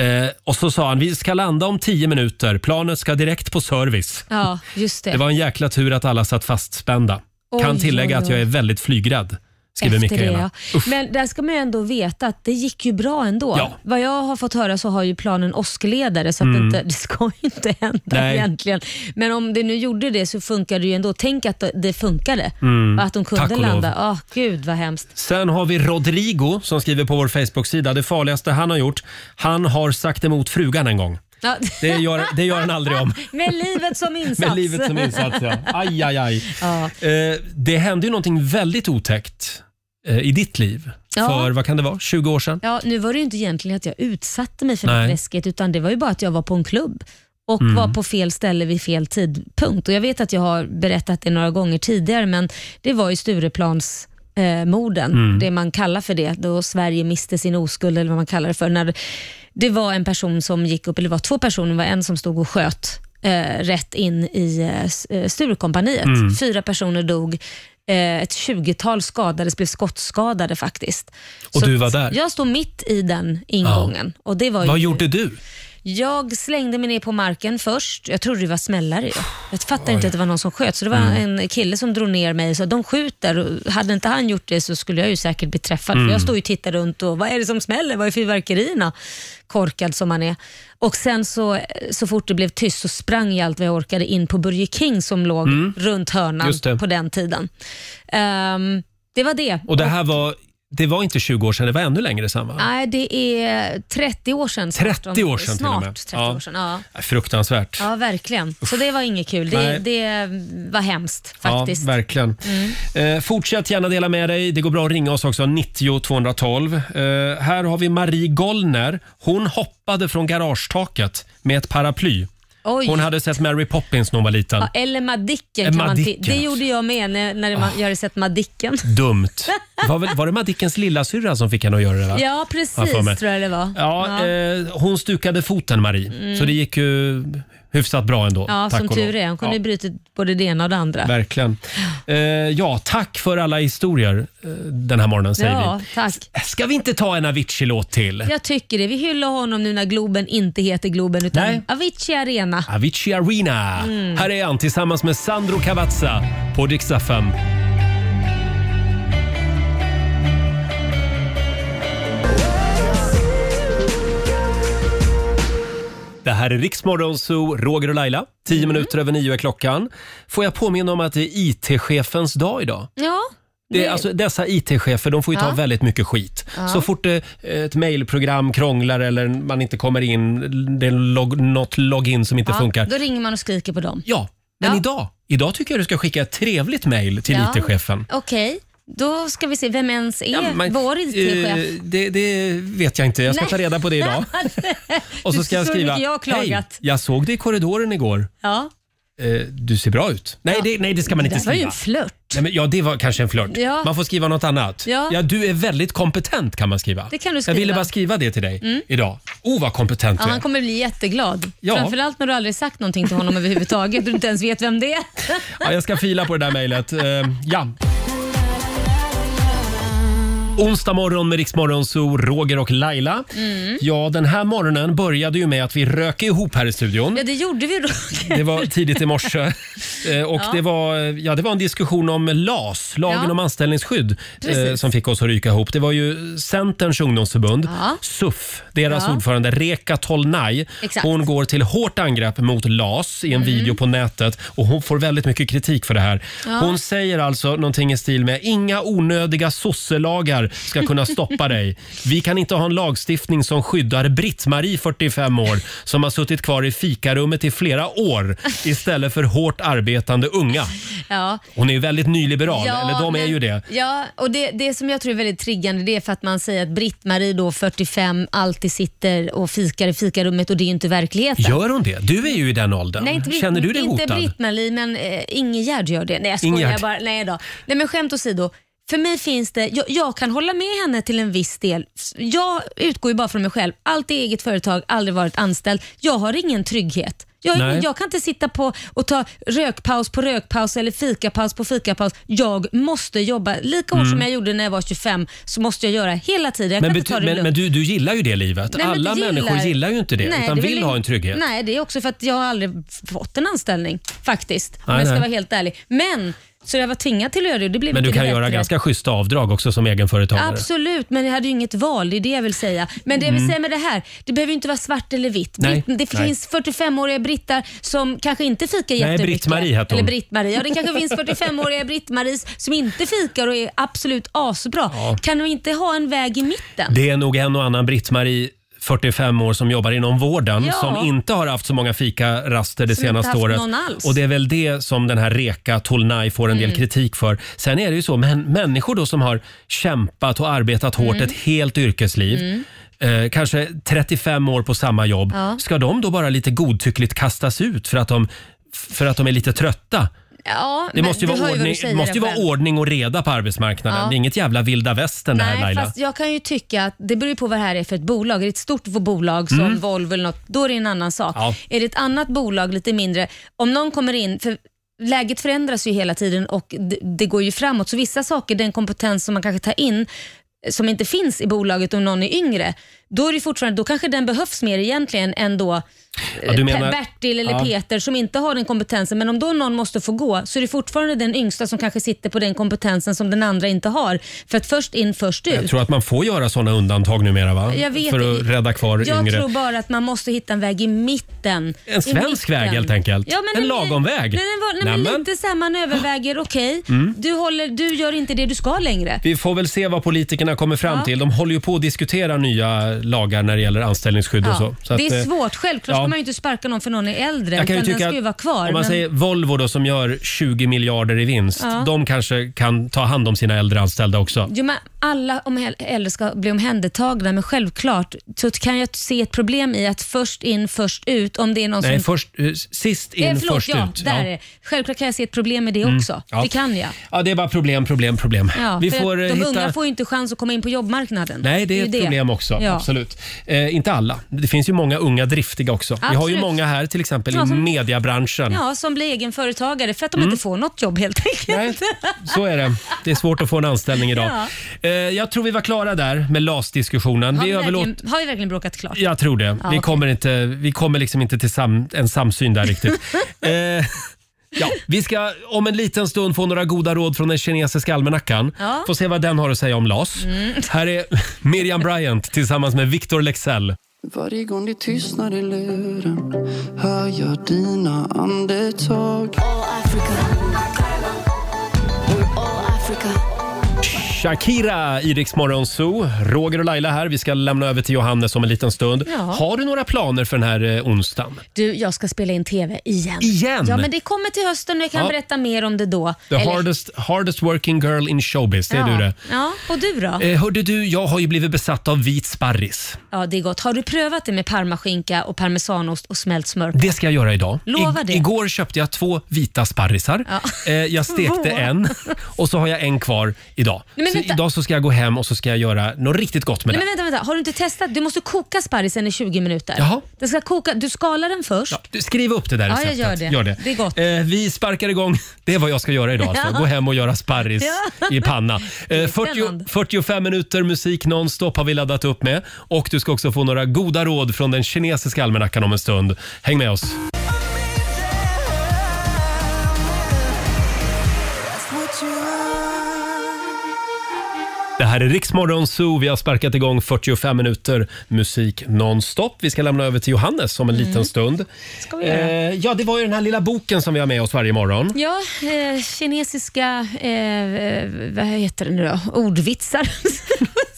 Speaker 1: Eh, och så sa han, vi ska landa om tio minuter, planet ska direkt på service.
Speaker 2: Ja, just det.
Speaker 1: Det var en jäkla tur att alla satt fastspända. kan
Speaker 2: Oj,
Speaker 1: tillägga
Speaker 2: oj,
Speaker 1: att jag
Speaker 2: oj.
Speaker 1: är väldigt flygrädd, skriver
Speaker 2: Efter det,
Speaker 1: Mikaela.
Speaker 2: ja. Men där ska man ju ändå veta att det gick ju bra ändå.
Speaker 1: Ja.
Speaker 2: Vad jag har fått höra så har ju planen åskledare, så att
Speaker 1: Mm.
Speaker 2: det, inte, det ska ju inte hända
Speaker 1: Nej.
Speaker 2: egentligen. Men om det nu gjorde det så funkade det ju ändå. Tänk att det funkade
Speaker 1: Mm.
Speaker 2: och att de
Speaker 1: Tack
Speaker 2: kunde
Speaker 1: och lov.
Speaker 2: landa. Ah, Gud vad hemskt.
Speaker 1: Sen har vi Rodrigo som skriver på vår Facebook-sida. Det farligaste han har gjort, han har sagt emot frugan en gång.
Speaker 2: Ja.
Speaker 1: Det gör, det gör han aldrig om.
Speaker 2: Med livet som insats.
Speaker 1: Med livet som insats, ja. Aj, aj, aj. Eh, det hände ju någonting väldigt otäckt eh, i ditt liv
Speaker 2: Ja.
Speaker 1: för, vad kan det vara, 20 år sedan?
Speaker 2: Ja, nu var det ju inte egentligen att jag utsatte mig för
Speaker 1: Nej.
Speaker 2: något läskigt, utan det var ju bara att jag var på en klubb och
Speaker 1: Mm.
Speaker 2: var på fel ställe vid fel tidpunkt. Och Jag vet att jag har berättat det några gånger tidigare, men det var ju Stureplans Eh, morden,
Speaker 12: Mm.
Speaker 2: det man kallar för det, då Sverige miste sin oskuld eller vad man kallar det för. När det var en person som gick upp, eller det var två personer, det var en som stod och sköt eh, rätt in i eh, S- eh, Sturecompagniet.
Speaker 12: Mm.
Speaker 2: Fyra personer dog, eh, ett tjugotal skadades, blev skottskadade faktiskt.
Speaker 1: Och du var där?
Speaker 2: Jag stod mitt i den ingången. Och det var ju,
Speaker 1: Vad gjorde du?
Speaker 2: Jag slängde mig ner på marken först. Jag trodde det var smällare. Jag, jag fattade inte att det var någon som sköt. Så det var
Speaker 1: Mm.
Speaker 2: en kille som drog ner mig och sa de skjuter. Och hade inte han gjort det så skulle jag ju säkert bli träffad.
Speaker 1: Mm.
Speaker 2: För jag stod ju och tittade runt och vad är det som smäller? Vad är fyrverkerierna? Korkad som man är. Och sen så, så fort det blev tyst så sprang jag allt vad jag orkade in på Burger King som låg
Speaker 1: Mm.
Speaker 2: runt hörnan
Speaker 1: Just det.
Speaker 2: på den tiden. Ehm, det var det.
Speaker 1: Och det här var, det var inte 20 år sedan, det var ännu längre sedan va?
Speaker 2: Nej, det är 30 år sedan. snart.
Speaker 1: 30 år sedan till och
Speaker 2: Snart
Speaker 1: med.
Speaker 2: 30
Speaker 1: Ja.
Speaker 2: år sedan, ja.
Speaker 1: Fruktansvärt.
Speaker 2: Ja, verkligen. Så det var inget kul. Det,
Speaker 1: Nej.
Speaker 2: det var hemskt faktiskt. Mm.
Speaker 1: Ja, verkligen. Eh, fortsätt gärna dela med dig. Det går bra att ringa oss också, 90 212. Eh, här har vi Marie Gollner. Hon hoppade från garagetaket med ett paraply.
Speaker 2: Oj.
Speaker 1: Hon hade sett Mary Poppins när hon var liten.
Speaker 2: Ja, eller Madicken.
Speaker 1: Eh,
Speaker 2: Kan man ti-
Speaker 1: Madicken. Ah.
Speaker 2: det gjorde jag med när, när man, jag hade sett Madicken.
Speaker 1: Dumt. Var, väl, var det Madickens lillasyrra som fick henne att göra det? Va?
Speaker 2: Ja,
Speaker 1: Har för mig.
Speaker 2: precis tror jag det var.
Speaker 1: Ja, Eh, hon stukade foten, Marie.
Speaker 2: Mm.
Speaker 1: Så det gick ju hyfsat bra ändå.
Speaker 2: ja
Speaker 1: tack
Speaker 2: som
Speaker 1: och lov.
Speaker 2: tur är. Hon kunde
Speaker 1: Ja.
Speaker 2: ju brutit både det ena och det andra.
Speaker 1: Verkligen. Eh, ja, tack för alla historier eh, den här morgonen säger
Speaker 2: Ja,
Speaker 1: vi.
Speaker 2: tack.
Speaker 1: Ska vi inte ta en Avicii-låt till?
Speaker 2: Jag tycker det. Vi hyllar honom nu när Globen inte heter Globen utan Avicii Arena.
Speaker 1: Avicii Arena.
Speaker 2: Mm.
Speaker 1: Här är han tillsammans med Sandro Cavazza på Dix FM. Det här är Riksmorgon Zoo, Roger och Laila. 10 minuter över nio är klockan. Får jag påminna om att det är IT-chefens dag idag?
Speaker 2: Ja.
Speaker 1: Det,
Speaker 2: det-
Speaker 1: är alltså, dessa IT-chefer de får ju ta
Speaker 2: Ja.
Speaker 1: väldigt mycket skit.
Speaker 2: Ja.
Speaker 1: Så fort eh, ett mejlprogram krånglar eller man inte kommer in, det är log, något login som inte
Speaker 2: ja,
Speaker 1: funkar.
Speaker 2: Då ringer man och skriker på dem.
Speaker 1: Ja, men idag, idag tycker jag du ska skicka ett trevligt mejl till
Speaker 2: Ja.
Speaker 1: IT-chefen.
Speaker 2: Okej, då ska vi se. Vem ens är
Speaker 1: men,
Speaker 2: vår IT-chef?
Speaker 1: eh, det, det vet jag inte. Jag ska
Speaker 2: Nej.
Speaker 1: ta reda på det idag. Och så
Speaker 2: Du
Speaker 1: ska jag
Speaker 2: förstår hur
Speaker 1: skriva,
Speaker 2: mycket jag har
Speaker 1: hej,
Speaker 2: klagat."
Speaker 1: jag såg dig i korridoren igår.
Speaker 2: Ja.
Speaker 1: Eh, du ser bra ut. Nej, det, nej, det ska man
Speaker 2: Det
Speaker 1: inte
Speaker 2: där var
Speaker 1: skriva.
Speaker 2: ju en flört.
Speaker 1: Nej, men, ja, det var kanske en flört.
Speaker 2: Ja.
Speaker 1: Man får skriva något annat.
Speaker 2: Ja.
Speaker 1: du är väldigt kompetent kan man skriva.
Speaker 2: Det kan du
Speaker 1: Jag
Speaker 2: skriva.
Speaker 1: ville bara skriva det till dig
Speaker 2: Mm.
Speaker 1: idag. Oh, vad kompetent
Speaker 2: Ja,
Speaker 1: du är.
Speaker 2: han kommer bli jätteglad.
Speaker 1: Ja.
Speaker 2: Framförallt när du aldrig sagt någonting till honom överhuvudtaget. Du inte ens vet vem det är.
Speaker 1: Ja, jag ska fila på det där mejlet. Eh, ja. Onsdag morgon med Riksmorgon så Roger och Laila.
Speaker 2: Mm.
Speaker 1: Ja, den här morgonen började ju med att vi rök ihop här i studion.
Speaker 2: Ja, det gjorde vi Roger.
Speaker 1: Det var tidigt i morse. Eh, Och
Speaker 2: Ja.
Speaker 1: det, var, ja, det var en diskussion om LAS, lagen
Speaker 2: Ja.
Speaker 1: om anställningsskydd, eh,
Speaker 2: Precis.
Speaker 1: som fick oss att ryka ihop. Det var ju Centerns ungdomsförbund,
Speaker 2: Ja.
Speaker 1: SUF, deras
Speaker 2: Ja.
Speaker 1: ordförande Reka Tolnaj.
Speaker 2: Exakt. Mhm.
Speaker 1: Hon går till hårt angrepp mot LAS i en video på nätet och hon får väldigt mycket kritik för det här.
Speaker 2: Ja.
Speaker 1: Hon säger alltså någonting i stil med “inga onödiga sosselagar ska kunna stoppa dig. Vi kan inte ha en lagstiftning som skyddar Britt-Marie, 45 år, som har suttit kvar i fikarummet i flera år istället för hårt arbetande unga”.
Speaker 2: Ja.
Speaker 1: Hon är ju väldigt nyliberal,
Speaker 2: Ja,
Speaker 1: eller de är
Speaker 2: men-
Speaker 1: ju det.
Speaker 2: Ja, och det, det som jag tror är väldigt triggande det är för att man säger att Britt-Marie då 45 alltid sitter och fikar i fikarummet och det är ju inte verkligheten.
Speaker 1: Gör hon det? Du är ju i den åldern.
Speaker 2: Nej, inte, Britt-
Speaker 1: Känner du dig
Speaker 2: Inte
Speaker 1: hotad?
Speaker 2: Britt-Marie, men eh, Ingegärd gör det. Nej, jag skojar
Speaker 1: Ingegärd.
Speaker 2: bara. Nej, då. Nej, men skämt åsido. För mig finns det, jag, jag kan hålla med henne till en viss del. Jag utgår ju bara från mig själv. Alltid eget företag, aldrig varit anställd. Jag har ingen trygghet. Jag, har
Speaker 13: Nej.
Speaker 2: ingen, jag kan inte sitta på och ta rökpaus på rökpaus eller fikapaus på fikapaus. Jag måste jobba. Lika hårt
Speaker 1: Mm.
Speaker 2: som jag gjorde när jag var 25 så måste jag göra hela tiden. Jag
Speaker 1: Men,
Speaker 2: kan inte ta
Speaker 1: bety-
Speaker 2: det
Speaker 1: men,
Speaker 2: lugnt.
Speaker 1: men du, du gillar ju det livet.
Speaker 2: Nej, men
Speaker 1: Alla
Speaker 2: det
Speaker 1: människor gillar ju inte det,
Speaker 2: Nej,
Speaker 1: utan
Speaker 2: är väl
Speaker 1: vill
Speaker 2: ing-
Speaker 1: ha en trygghet.
Speaker 2: Nej, det är också för att jag har aldrig fått en anställning faktiskt. Om
Speaker 1: Nej,
Speaker 2: jag ska
Speaker 1: nej.
Speaker 2: vara helt ärlig. Men, så jag var tvingad till att göra det och det blev
Speaker 1: Men du
Speaker 2: mycket
Speaker 1: kan göra
Speaker 2: bättre.
Speaker 1: ganska schyssta avdrag också som egenföretagare.
Speaker 2: Absolut, men jag hade ju inget val. Det är det jag vill säga. Men det jag vill
Speaker 1: Mm.
Speaker 2: säga med det här, det behöver ju inte vara svart eller vitt.
Speaker 1: Nej,
Speaker 2: Britt- det
Speaker 1: nej.
Speaker 2: finns 45-åriga brittar som kanske inte fikar
Speaker 1: Nej,
Speaker 2: jättemycket.
Speaker 1: Britt-Marie hette hon.
Speaker 2: Eller Britt-Marie. Ja, det kanske finns 45-åriga Britt-Maries som inte fikar och är absolut asbra.
Speaker 1: Ja.
Speaker 2: Kan de inte ha en väg i mitten?
Speaker 1: Det är nog en och annan Britt-Marie 45 år som jobbar inom vården
Speaker 2: Ja.
Speaker 1: som inte har haft så många fikaraster det
Speaker 2: Som inte
Speaker 1: senaste
Speaker 2: haft
Speaker 1: året.
Speaker 2: någon alls.
Speaker 1: Och det är väl det som den här Reka Tolnaj får en del
Speaker 2: Mm.
Speaker 1: kritik för. Sen är det ju så, men människor då som har kämpat och arbetat hårt
Speaker 2: Mm.
Speaker 1: ett helt yrkesliv
Speaker 2: Mm.
Speaker 1: Eh, kanske 35 år på samma jobb.
Speaker 2: Ja.
Speaker 1: Ska de då bara lite godtyckligt kastas ut för att de, för att de är lite trötta?
Speaker 2: Ja,
Speaker 1: Det
Speaker 2: men
Speaker 1: måste ju,
Speaker 2: hör
Speaker 1: vara,
Speaker 2: vad du
Speaker 1: ordning,
Speaker 2: säger
Speaker 1: måste
Speaker 2: där
Speaker 1: ju vara
Speaker 2: själv.
Speaker 1: ordning och reda på arbetsmarknaden.
Speaker 2: Ja.
Speaker 1: Det är inget jävla vilda västern det här
Speaker 2: Nej,
Speaker 1: Laila.
Speaker 2: fast jag kan ju tycka att det beror ju på vad det här är för ett bolag. Är det ett stort bolag som
Speaker 1: Mm.
Speaker 2: Volvo eller något, då är det en annan sak.
Speaker 1: Ja.
Speaker 2: Är det ett annat bolag, lite mindre, om någon kommer in, för läget förändras ju hela tiden och det, det går ju framåt, så vissa saker, den kompetens som man kanske tar in, som inte finns i bolaget om någon är yngre, då är det fortfarande, då kanske den behövs mer egentligen än då
Speaker 1: Ja, du
Speaker 2: eh,
Speaker 1: menar-
Speaker 2: Bertil eller
Speaker 1: Ja.
Speaker 2: Peter som inte har den kompetensen. Men om då någon måste få gå så är det fortfarande den yngsta som kanske sitter på den kompetensen som den andra inte har. För att först in, först ut.
Speaker 1: Jag tror att man får göra sådana undantag numera va?
Speaker 2: Jag vet
Speaker 1: För att
Speaker 2: inte.
Speaker 1: rädda kvar
Speaker 2: Jag
Speaker 1: yngre.
Speaker 2: tror bara att man måste hitta en väg i mitten.
Speaker 1: En svensk
Speaker 2: I
Speaker 1: väg helt enkelt.
Speaker 2: Ja, men
Speaker 1: en lagom väg.
Speaker 2: Nej, den var, nej, men
Speaker 1: Nämen.
Speaker 2: lite så här man överväger, okej,
Speaker 1: Mm.
Speaker 2: du, håller- du gör inte det du ska längre.
Speaker 1: Vi får väl se vad politikerna kommer fram
Speaker 2: Ja.
Speaker 1: till. De håller ju på att diskutera nya lagar när det gäller anställningsskydd och så. så
Speaker 2: det är
Speaker 1: att, eh,
Speaker 2: svårt. Självklart
Speaker 1: ja.
Speaker 2: ska man ju inte sparka någon för någon är äldre.
Speaker 1: Jag kan ju
Speaker 2: utan den
Speaker 1: tycka
Speaker 2: ska ju
Speaker 1: att
Speaker 2: vara kvar.
Speaker 1: Om man
Speaker 2: men-
Speaker 1: säger Volvo då som gör 20 miljarder i vinst.
Speaker 2: Ja.
Speaker 1: De kanske kan ta hand om sina äldre anställda också.
Speaker 2: Jo, men alla om äl- äldre ska bli omhändertagna, men självklart så kan jag se ett problem i att först in, först ut. Om det är någon
Speaker 1: Nej,
Speaker 2: som...
Speaker 1: först, eh, sist in,
Speaker 2: Eh, förlåt,
Speaker 1: först
Speaker 2: ja,
Speaker 1: ut.
Speaker 2: Där är det. Självklart kan jag se ett problem i det
Speaker 1: Mm,
Speaker 2: också.
Speaker 1: ja.
Speaker 2: Det kan jag.
Speaker 1: ja, det är bara problem, problem, problem.
Speaker 2: Ja,
Speaker 1: Vi
Speaker 2: för
Speaker 1: får
Speaker 2: att
Speaker 1: eh,
Speaker 2: de
Speaker 1: hitta...
Speaker 2: unga får ju inte chans att komma in på jobbmarknaden.
Speaker 1: Nej, det är
Speaker 2: ju
Speaker 1: ett problem också.
Speaker 2: Ja.
Speaker 1: Absolut. Eh, inte alla. Det finns ju många unga driftiga också. Vi har ju
Speaker 2: Absolut.
Speaker 1: många här till exempel
Speaker 2: Ja,
Speaker 1: i
Speaker 2: som-
Speaker 1: mediabranschen.
Speaker 2: Ja, som blir egenföretagare för att de
Speaker 1: Mm.
Speaker 2: inte får något jobb helt enkelt.
Speaker 1: Så är det. Det är svårt att få en anställning idag.
Speaker 2: Ja.
Speaker 1: Eh, jag tror vi var klara där med LAS-diskussionen.
Speaker 2: Har vi,
Speaker 1: Vi överlåter...
Speaker 2: verkligen, har vi verkligen bråkat klart?
Speaker 1: Jag tror det. vi,
Speaker 2: okej.
Speaker 1: kommer inte, vi kommer liksom inte till sam, en samsyn där riktigt. eh, ja, vi ska om en liten stund få några goda råd från den kinesiska almanackan.
Speaker 6: Ja.
Speaker 1: Får se vad den har att säga om LAS.
Speaker 6: Mm.
Speaker 1: Här är Miriam Bryant tillsammans med Victor Lexell.
Speaker 13: Varje gång det tystnar i luren hör jag dina andetag All Africa We're all Africa
Speaker 1: Shakira i Rix Morgon Zoo. Roger och Laila här. Vi ska lämna över till Johannes om en liten stund.
Speaker 2: Ja.
Speaker 1: Har du några planer för den här eh, onsdagen?
Speaker 2: Du, jag ska spela in TV igen.
Speaker 1: Igen?
Speaker 2: Ja, men det kommer till hösten och jag kan
Speaker 1: Ja.
Speaker 2: berätta mer om det då.
Speaker 1: The
Speaker 2: Eller-
Speaker 1: hardest, hardest working girl in showbiz, det är du det.
Speaker 2: Ja, och du då?
Speaker 1: Eh, hörde du, jag har ju blivit besatt av vit sparris.
Speaker 2: Ja, det är gott. Har du prövat det med parmaskinka och parmesanost och smält smör på?
Speaker 1: Det ska jag göra idag.
Speaker 2: Lova det.
Speaker 1: Igår köpte jag två vita sparrisar.
Speaker 2: Ja.
Speaker 1: Eh, jag stekte
Speaker 2: Två.
Speaker 1: en och så har jag en kvar idag.
Speaker 2: Nej, men
Speaker 1: så
Speaker 2: vänta.
Speaker 1: idag så ska jag gå hem och så ska jag göra något riktigt gott med
Speaker 2: Nej,
Speaker 1: det.
Speaker 2: men vänta, vänta. Har du inte testat? Du måste koka sparrisen i 20 minuter.
Speaker 1: Jaha.
Speaker 2: Den ska koka. Du skalar den först.
Speaker 1: Du, Skriv upp det där
Speaker 2: Ja, jag
Speaker 1: receptet.
Speaker 2: gör det. Det är gott.
Speaker 1: Eh, vi sparkar igång. Det är vad jag ska göra idag. Alltså.
Speaker 2: Ja.
Speaker 1: Gå hem och göra sparris
Speaker 2: Ja.
Speaker 1: i panna. Eh,
Speaker 2: spännande.
Speaker 1: 40, 45 minuter musik nonstop har vi laddat upp med. Och du ska också få några goda råd från den kinesiska almanackan om en stund. Häng med oss.
Speaker 12: That's what you are.
Speaker 1: Det här är Riksmorgon Zoo. Vi har sparkat igång 45 minuter musik nonstop. Vi ska lämna över till Johannes om en liten stund.
Speaker 2: Mm.
Speaker 1: Eh,
Speaker 2: Ska vi göra.
Speaker 1: ja, det var ju den här lilla boken som vi har med oss varje morgon.
Speaker 2: Ja, eh, kinesiska, eh, eh, vad heter det nu då? Ordvitsar.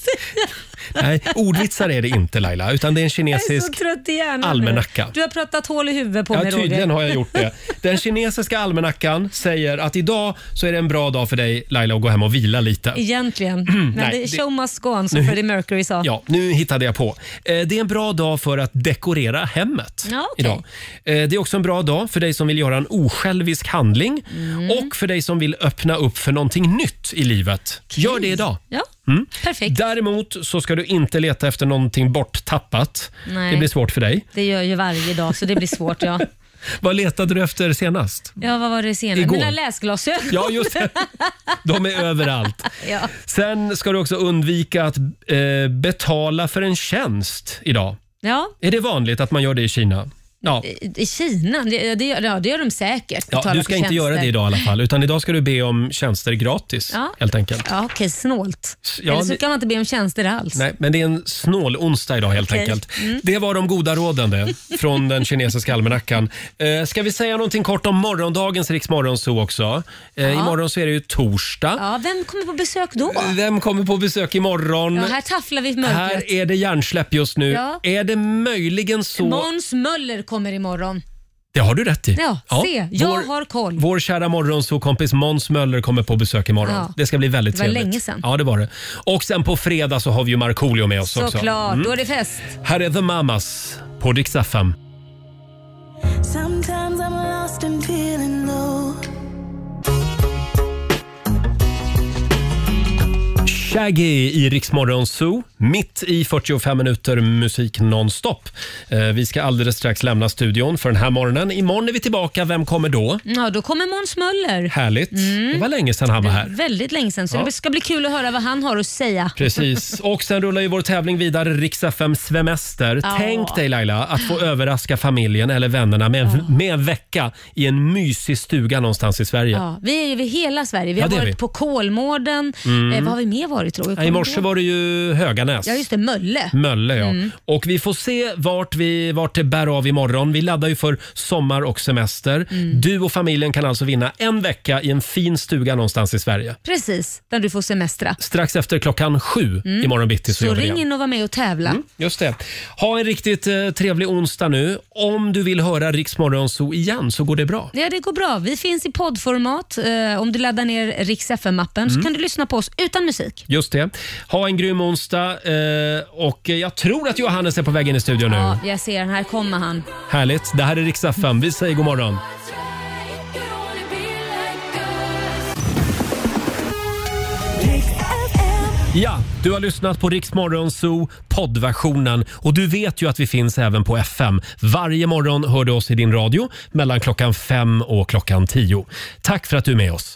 Speaker 1: Nej, ordvitsar är det inte Laila, utan det är en
Speaker 2: Jag är
Speaker 1: kinesisk
Speaker 2: så trött i hjärnan nu.
Speaker 1: almanacka.
Speaker 2: Du har pratat hål i huvudet på
Speaker 1: ja,
Speaker 2: mig Roger.
Speaker 1: tydligen har jag gjort det. Den kinesiska almanackan säger att idag så är det en bra dag för dig Laila att gå hem och vila lite.
Speaker 2: Egentligen. Men
Speaker 1: Nej,
Speaker 2: det,
Speaker 1: det-
Speaker 2: show must go on, som
Speaker 1: Nu-
Speaker 2: Freddie Mercury sa.
Speaker 1: Ja, nu hittade jag på. Eh, Det är en bra dag för att dekorera hemmet
Speaker 2: Ja, okej.
Speaker 1: idag. Eh, Det är också en bra dag för dig som vill göra en osjälvisk handling
Speaker 2: Mm.
Speaker 1: och för dig som vill öppna upp för någonting nytt i livet. Gör det idag.
Speaker 2: Ja,
Speaker 1: Mm.
Speaker 2: Perfekt.
Speaker 1: Däremot så ska du inte leta efter någonting borttappat.
Speaker 2: Nej.
Speaker 1: Det blir svårt för dig.
Speaker 2: det gör ju varje dag, så det blir svårt. Ja,
Speaker 1: Vad letade du efter senast?
Speaker 2: ja vad var det senare?
Speaker 1: Igår.
Speaker 2: Mina läsglasögon.
Speaker 1: Ja, just det. De är överallt.
Speaker 2: ja.
Speaker 1: Sen ska du också undvika att eh, betala för en tjänst idag.
Speaker 2: ja,
Speaker 1: Är det vanligt att man gör det i Kina? Ja.
Speaker 2: i Kina. Det, det, gör- ja, det gör de säkert.
Speaker 1: Ja,
Speaker 2: Eh, Betala
Speaker 1: du ska
Speaker 2: för
Speaker 1: inte göra det
Speaker 2: tjänster.
Speaker 1: idag i alla fall, utan idag ska du be om tjänster gratis
Speaker 2: Ja.
Speaker 1: helt enkelt.
Speaker 2: Ja, okej, snålt.
Speaker 1: ja,
Speaker 2: Eller så
Speaker 1: ni-
Speaker 2: kan man inte be om tjänster alls.
Speaker 1: Nej, men det är en snål onsdag idag helt
Speaker 2: Okej.
Speaker 1: enkelt.
Speaker 2: Mm.
Speaker 1: Det var de goda råden det, från den kinesiska almanackan. Eh, ska vi säga någonting kort om morgondagens Riksmorgonzoo också? Eh,
Speaker 2: Ja.
Speaker 1: Imorgon så är det ju torsdag.
Speaker 2: Ja, vem kommer på besök då?
Speaker 1: Vem kommer på besök imorgon?
Speaker 2: Ja, här tafflar vi i mörkret.
Speaker 1: Här är det hjärnsläpp just nu.
Speaker 2: Ja.
Speaker 1: Är det möjligen så...
Speaker 2: Måns Möller kommer imorgon.
Speaker 1: Det har du rätt i.
Speaker 2: Ja, se. Jag
Speaker 1: Vår,
Speaker 2: har koll.
Speaker 1: vår kära morgonsåkompis Måns Möller kommer på besök imorgon.
Speaker 2: Ja.
Speaker 1: Det ska bli väldigt
Speaker 2: Det var
Speaker 1: trevligt.
Speaker 2: länge sedan.
Speaker 1: Ja, det var det. Och sen på fredag så har vi ju Markoolio med oss också.
Speaker 2: Såklart,
Speaker 1: Mm.
Speaker 2: då är det fest.
Speaker 1: Här är The Mamas på Dix FM.
Speaker 12: Sometimes I'm lost and feeling low.
Speaker 1: Shaggy i Rix Morgon Zoo, mitt i 45 minuter musik nonstop. Eh, Vi ska alldeles strax lämna studion för den här morgonen. Imorgon är vi tillbaka. Vem kommer då?
Speaker 2: Ja, då kommer Måns Möller.
Speaker 1: Härligt. Det var länge sedan han var här.
Speaker 2: Väldigt länge sedan, så
Speaker 1: Ja.
Speaker 2: det ska bli kul att höra vad han har att säga.
Speaker 1: Precis. Och sen rullar ju vår tävling vidare, Rix FM Svemester.
Speaker 2: Ja.
Speaker 1: Tänk dig Laila, att få överraska familjen eller vännerna med, en- med en vecka i en mysig stuga någonstans i Sverige.
Speaker 2: Ja, vi är ju över hela Sverige. Vi
Speaker 1: Ja,
Speaker 2: har
Speaker 1: det är
Speaker 2: varit
Speaker 1: vi.
Speaker 2: på Kolmården.
Speaker 1: Mm.
Speaker 2: Eh, vad har vi mer varit tror jag?
Speaker 1: I morse var det ju Höganäs.
Speaker 2: Ja, just det. Mölle.
Speaker 1: Mölle, ja.
Speaker 2: Mm.
Speaker 1: Och vi får se vart, vi, vart det bär av imorgon. Vi laddar ju för sommar och semester.
Speaker 2: Mm.
Speaker 1: Du och familjen kan alltså vinna en vecka i en fin stuga någonstans i Sverige.
Speaker 2: Precis, där du får semestra.
Speaker 1: Strax efter klockan sju
Speaker 2: Mm.
Speaker 1: imorgon bitti så,
Speaker 2: Så
Speaker 1: gör vi
Speaker 2: ring
Speaker 1: det igen. Mm.
Speaker 2: in och var med och tävla.
Speaker 1: Just det. Ha en riktigt eh, trevlig onsdag nu. Om du vill höra Rix Morgonzoo igen så går det bra.
Speaker 2: Ja, det går bra. Vi finns i poddformat. Eh, om du laddar ner Rix FM-appen så
Speaker 1: Mm.
Speaker 2: kan du lyssna på oss utan musik.
Speaker 1: Just det. Ha en grym onsdag. Eh, och jag tror att Johannes är på väg in i studion nu.
Speaker 2: Ja, jag ser den. Här kommer han.
Speaker 1: Härligt. Det här är Rix FM. Vi säger god morgon. Ja, du har lyssnat på Rix Morgonzoo poddversionen och du vet ju att vi finns även på FM. Varje morgon hör du oss i din radio mellan klockan fem och klockan tio. Tack för att du är med oss.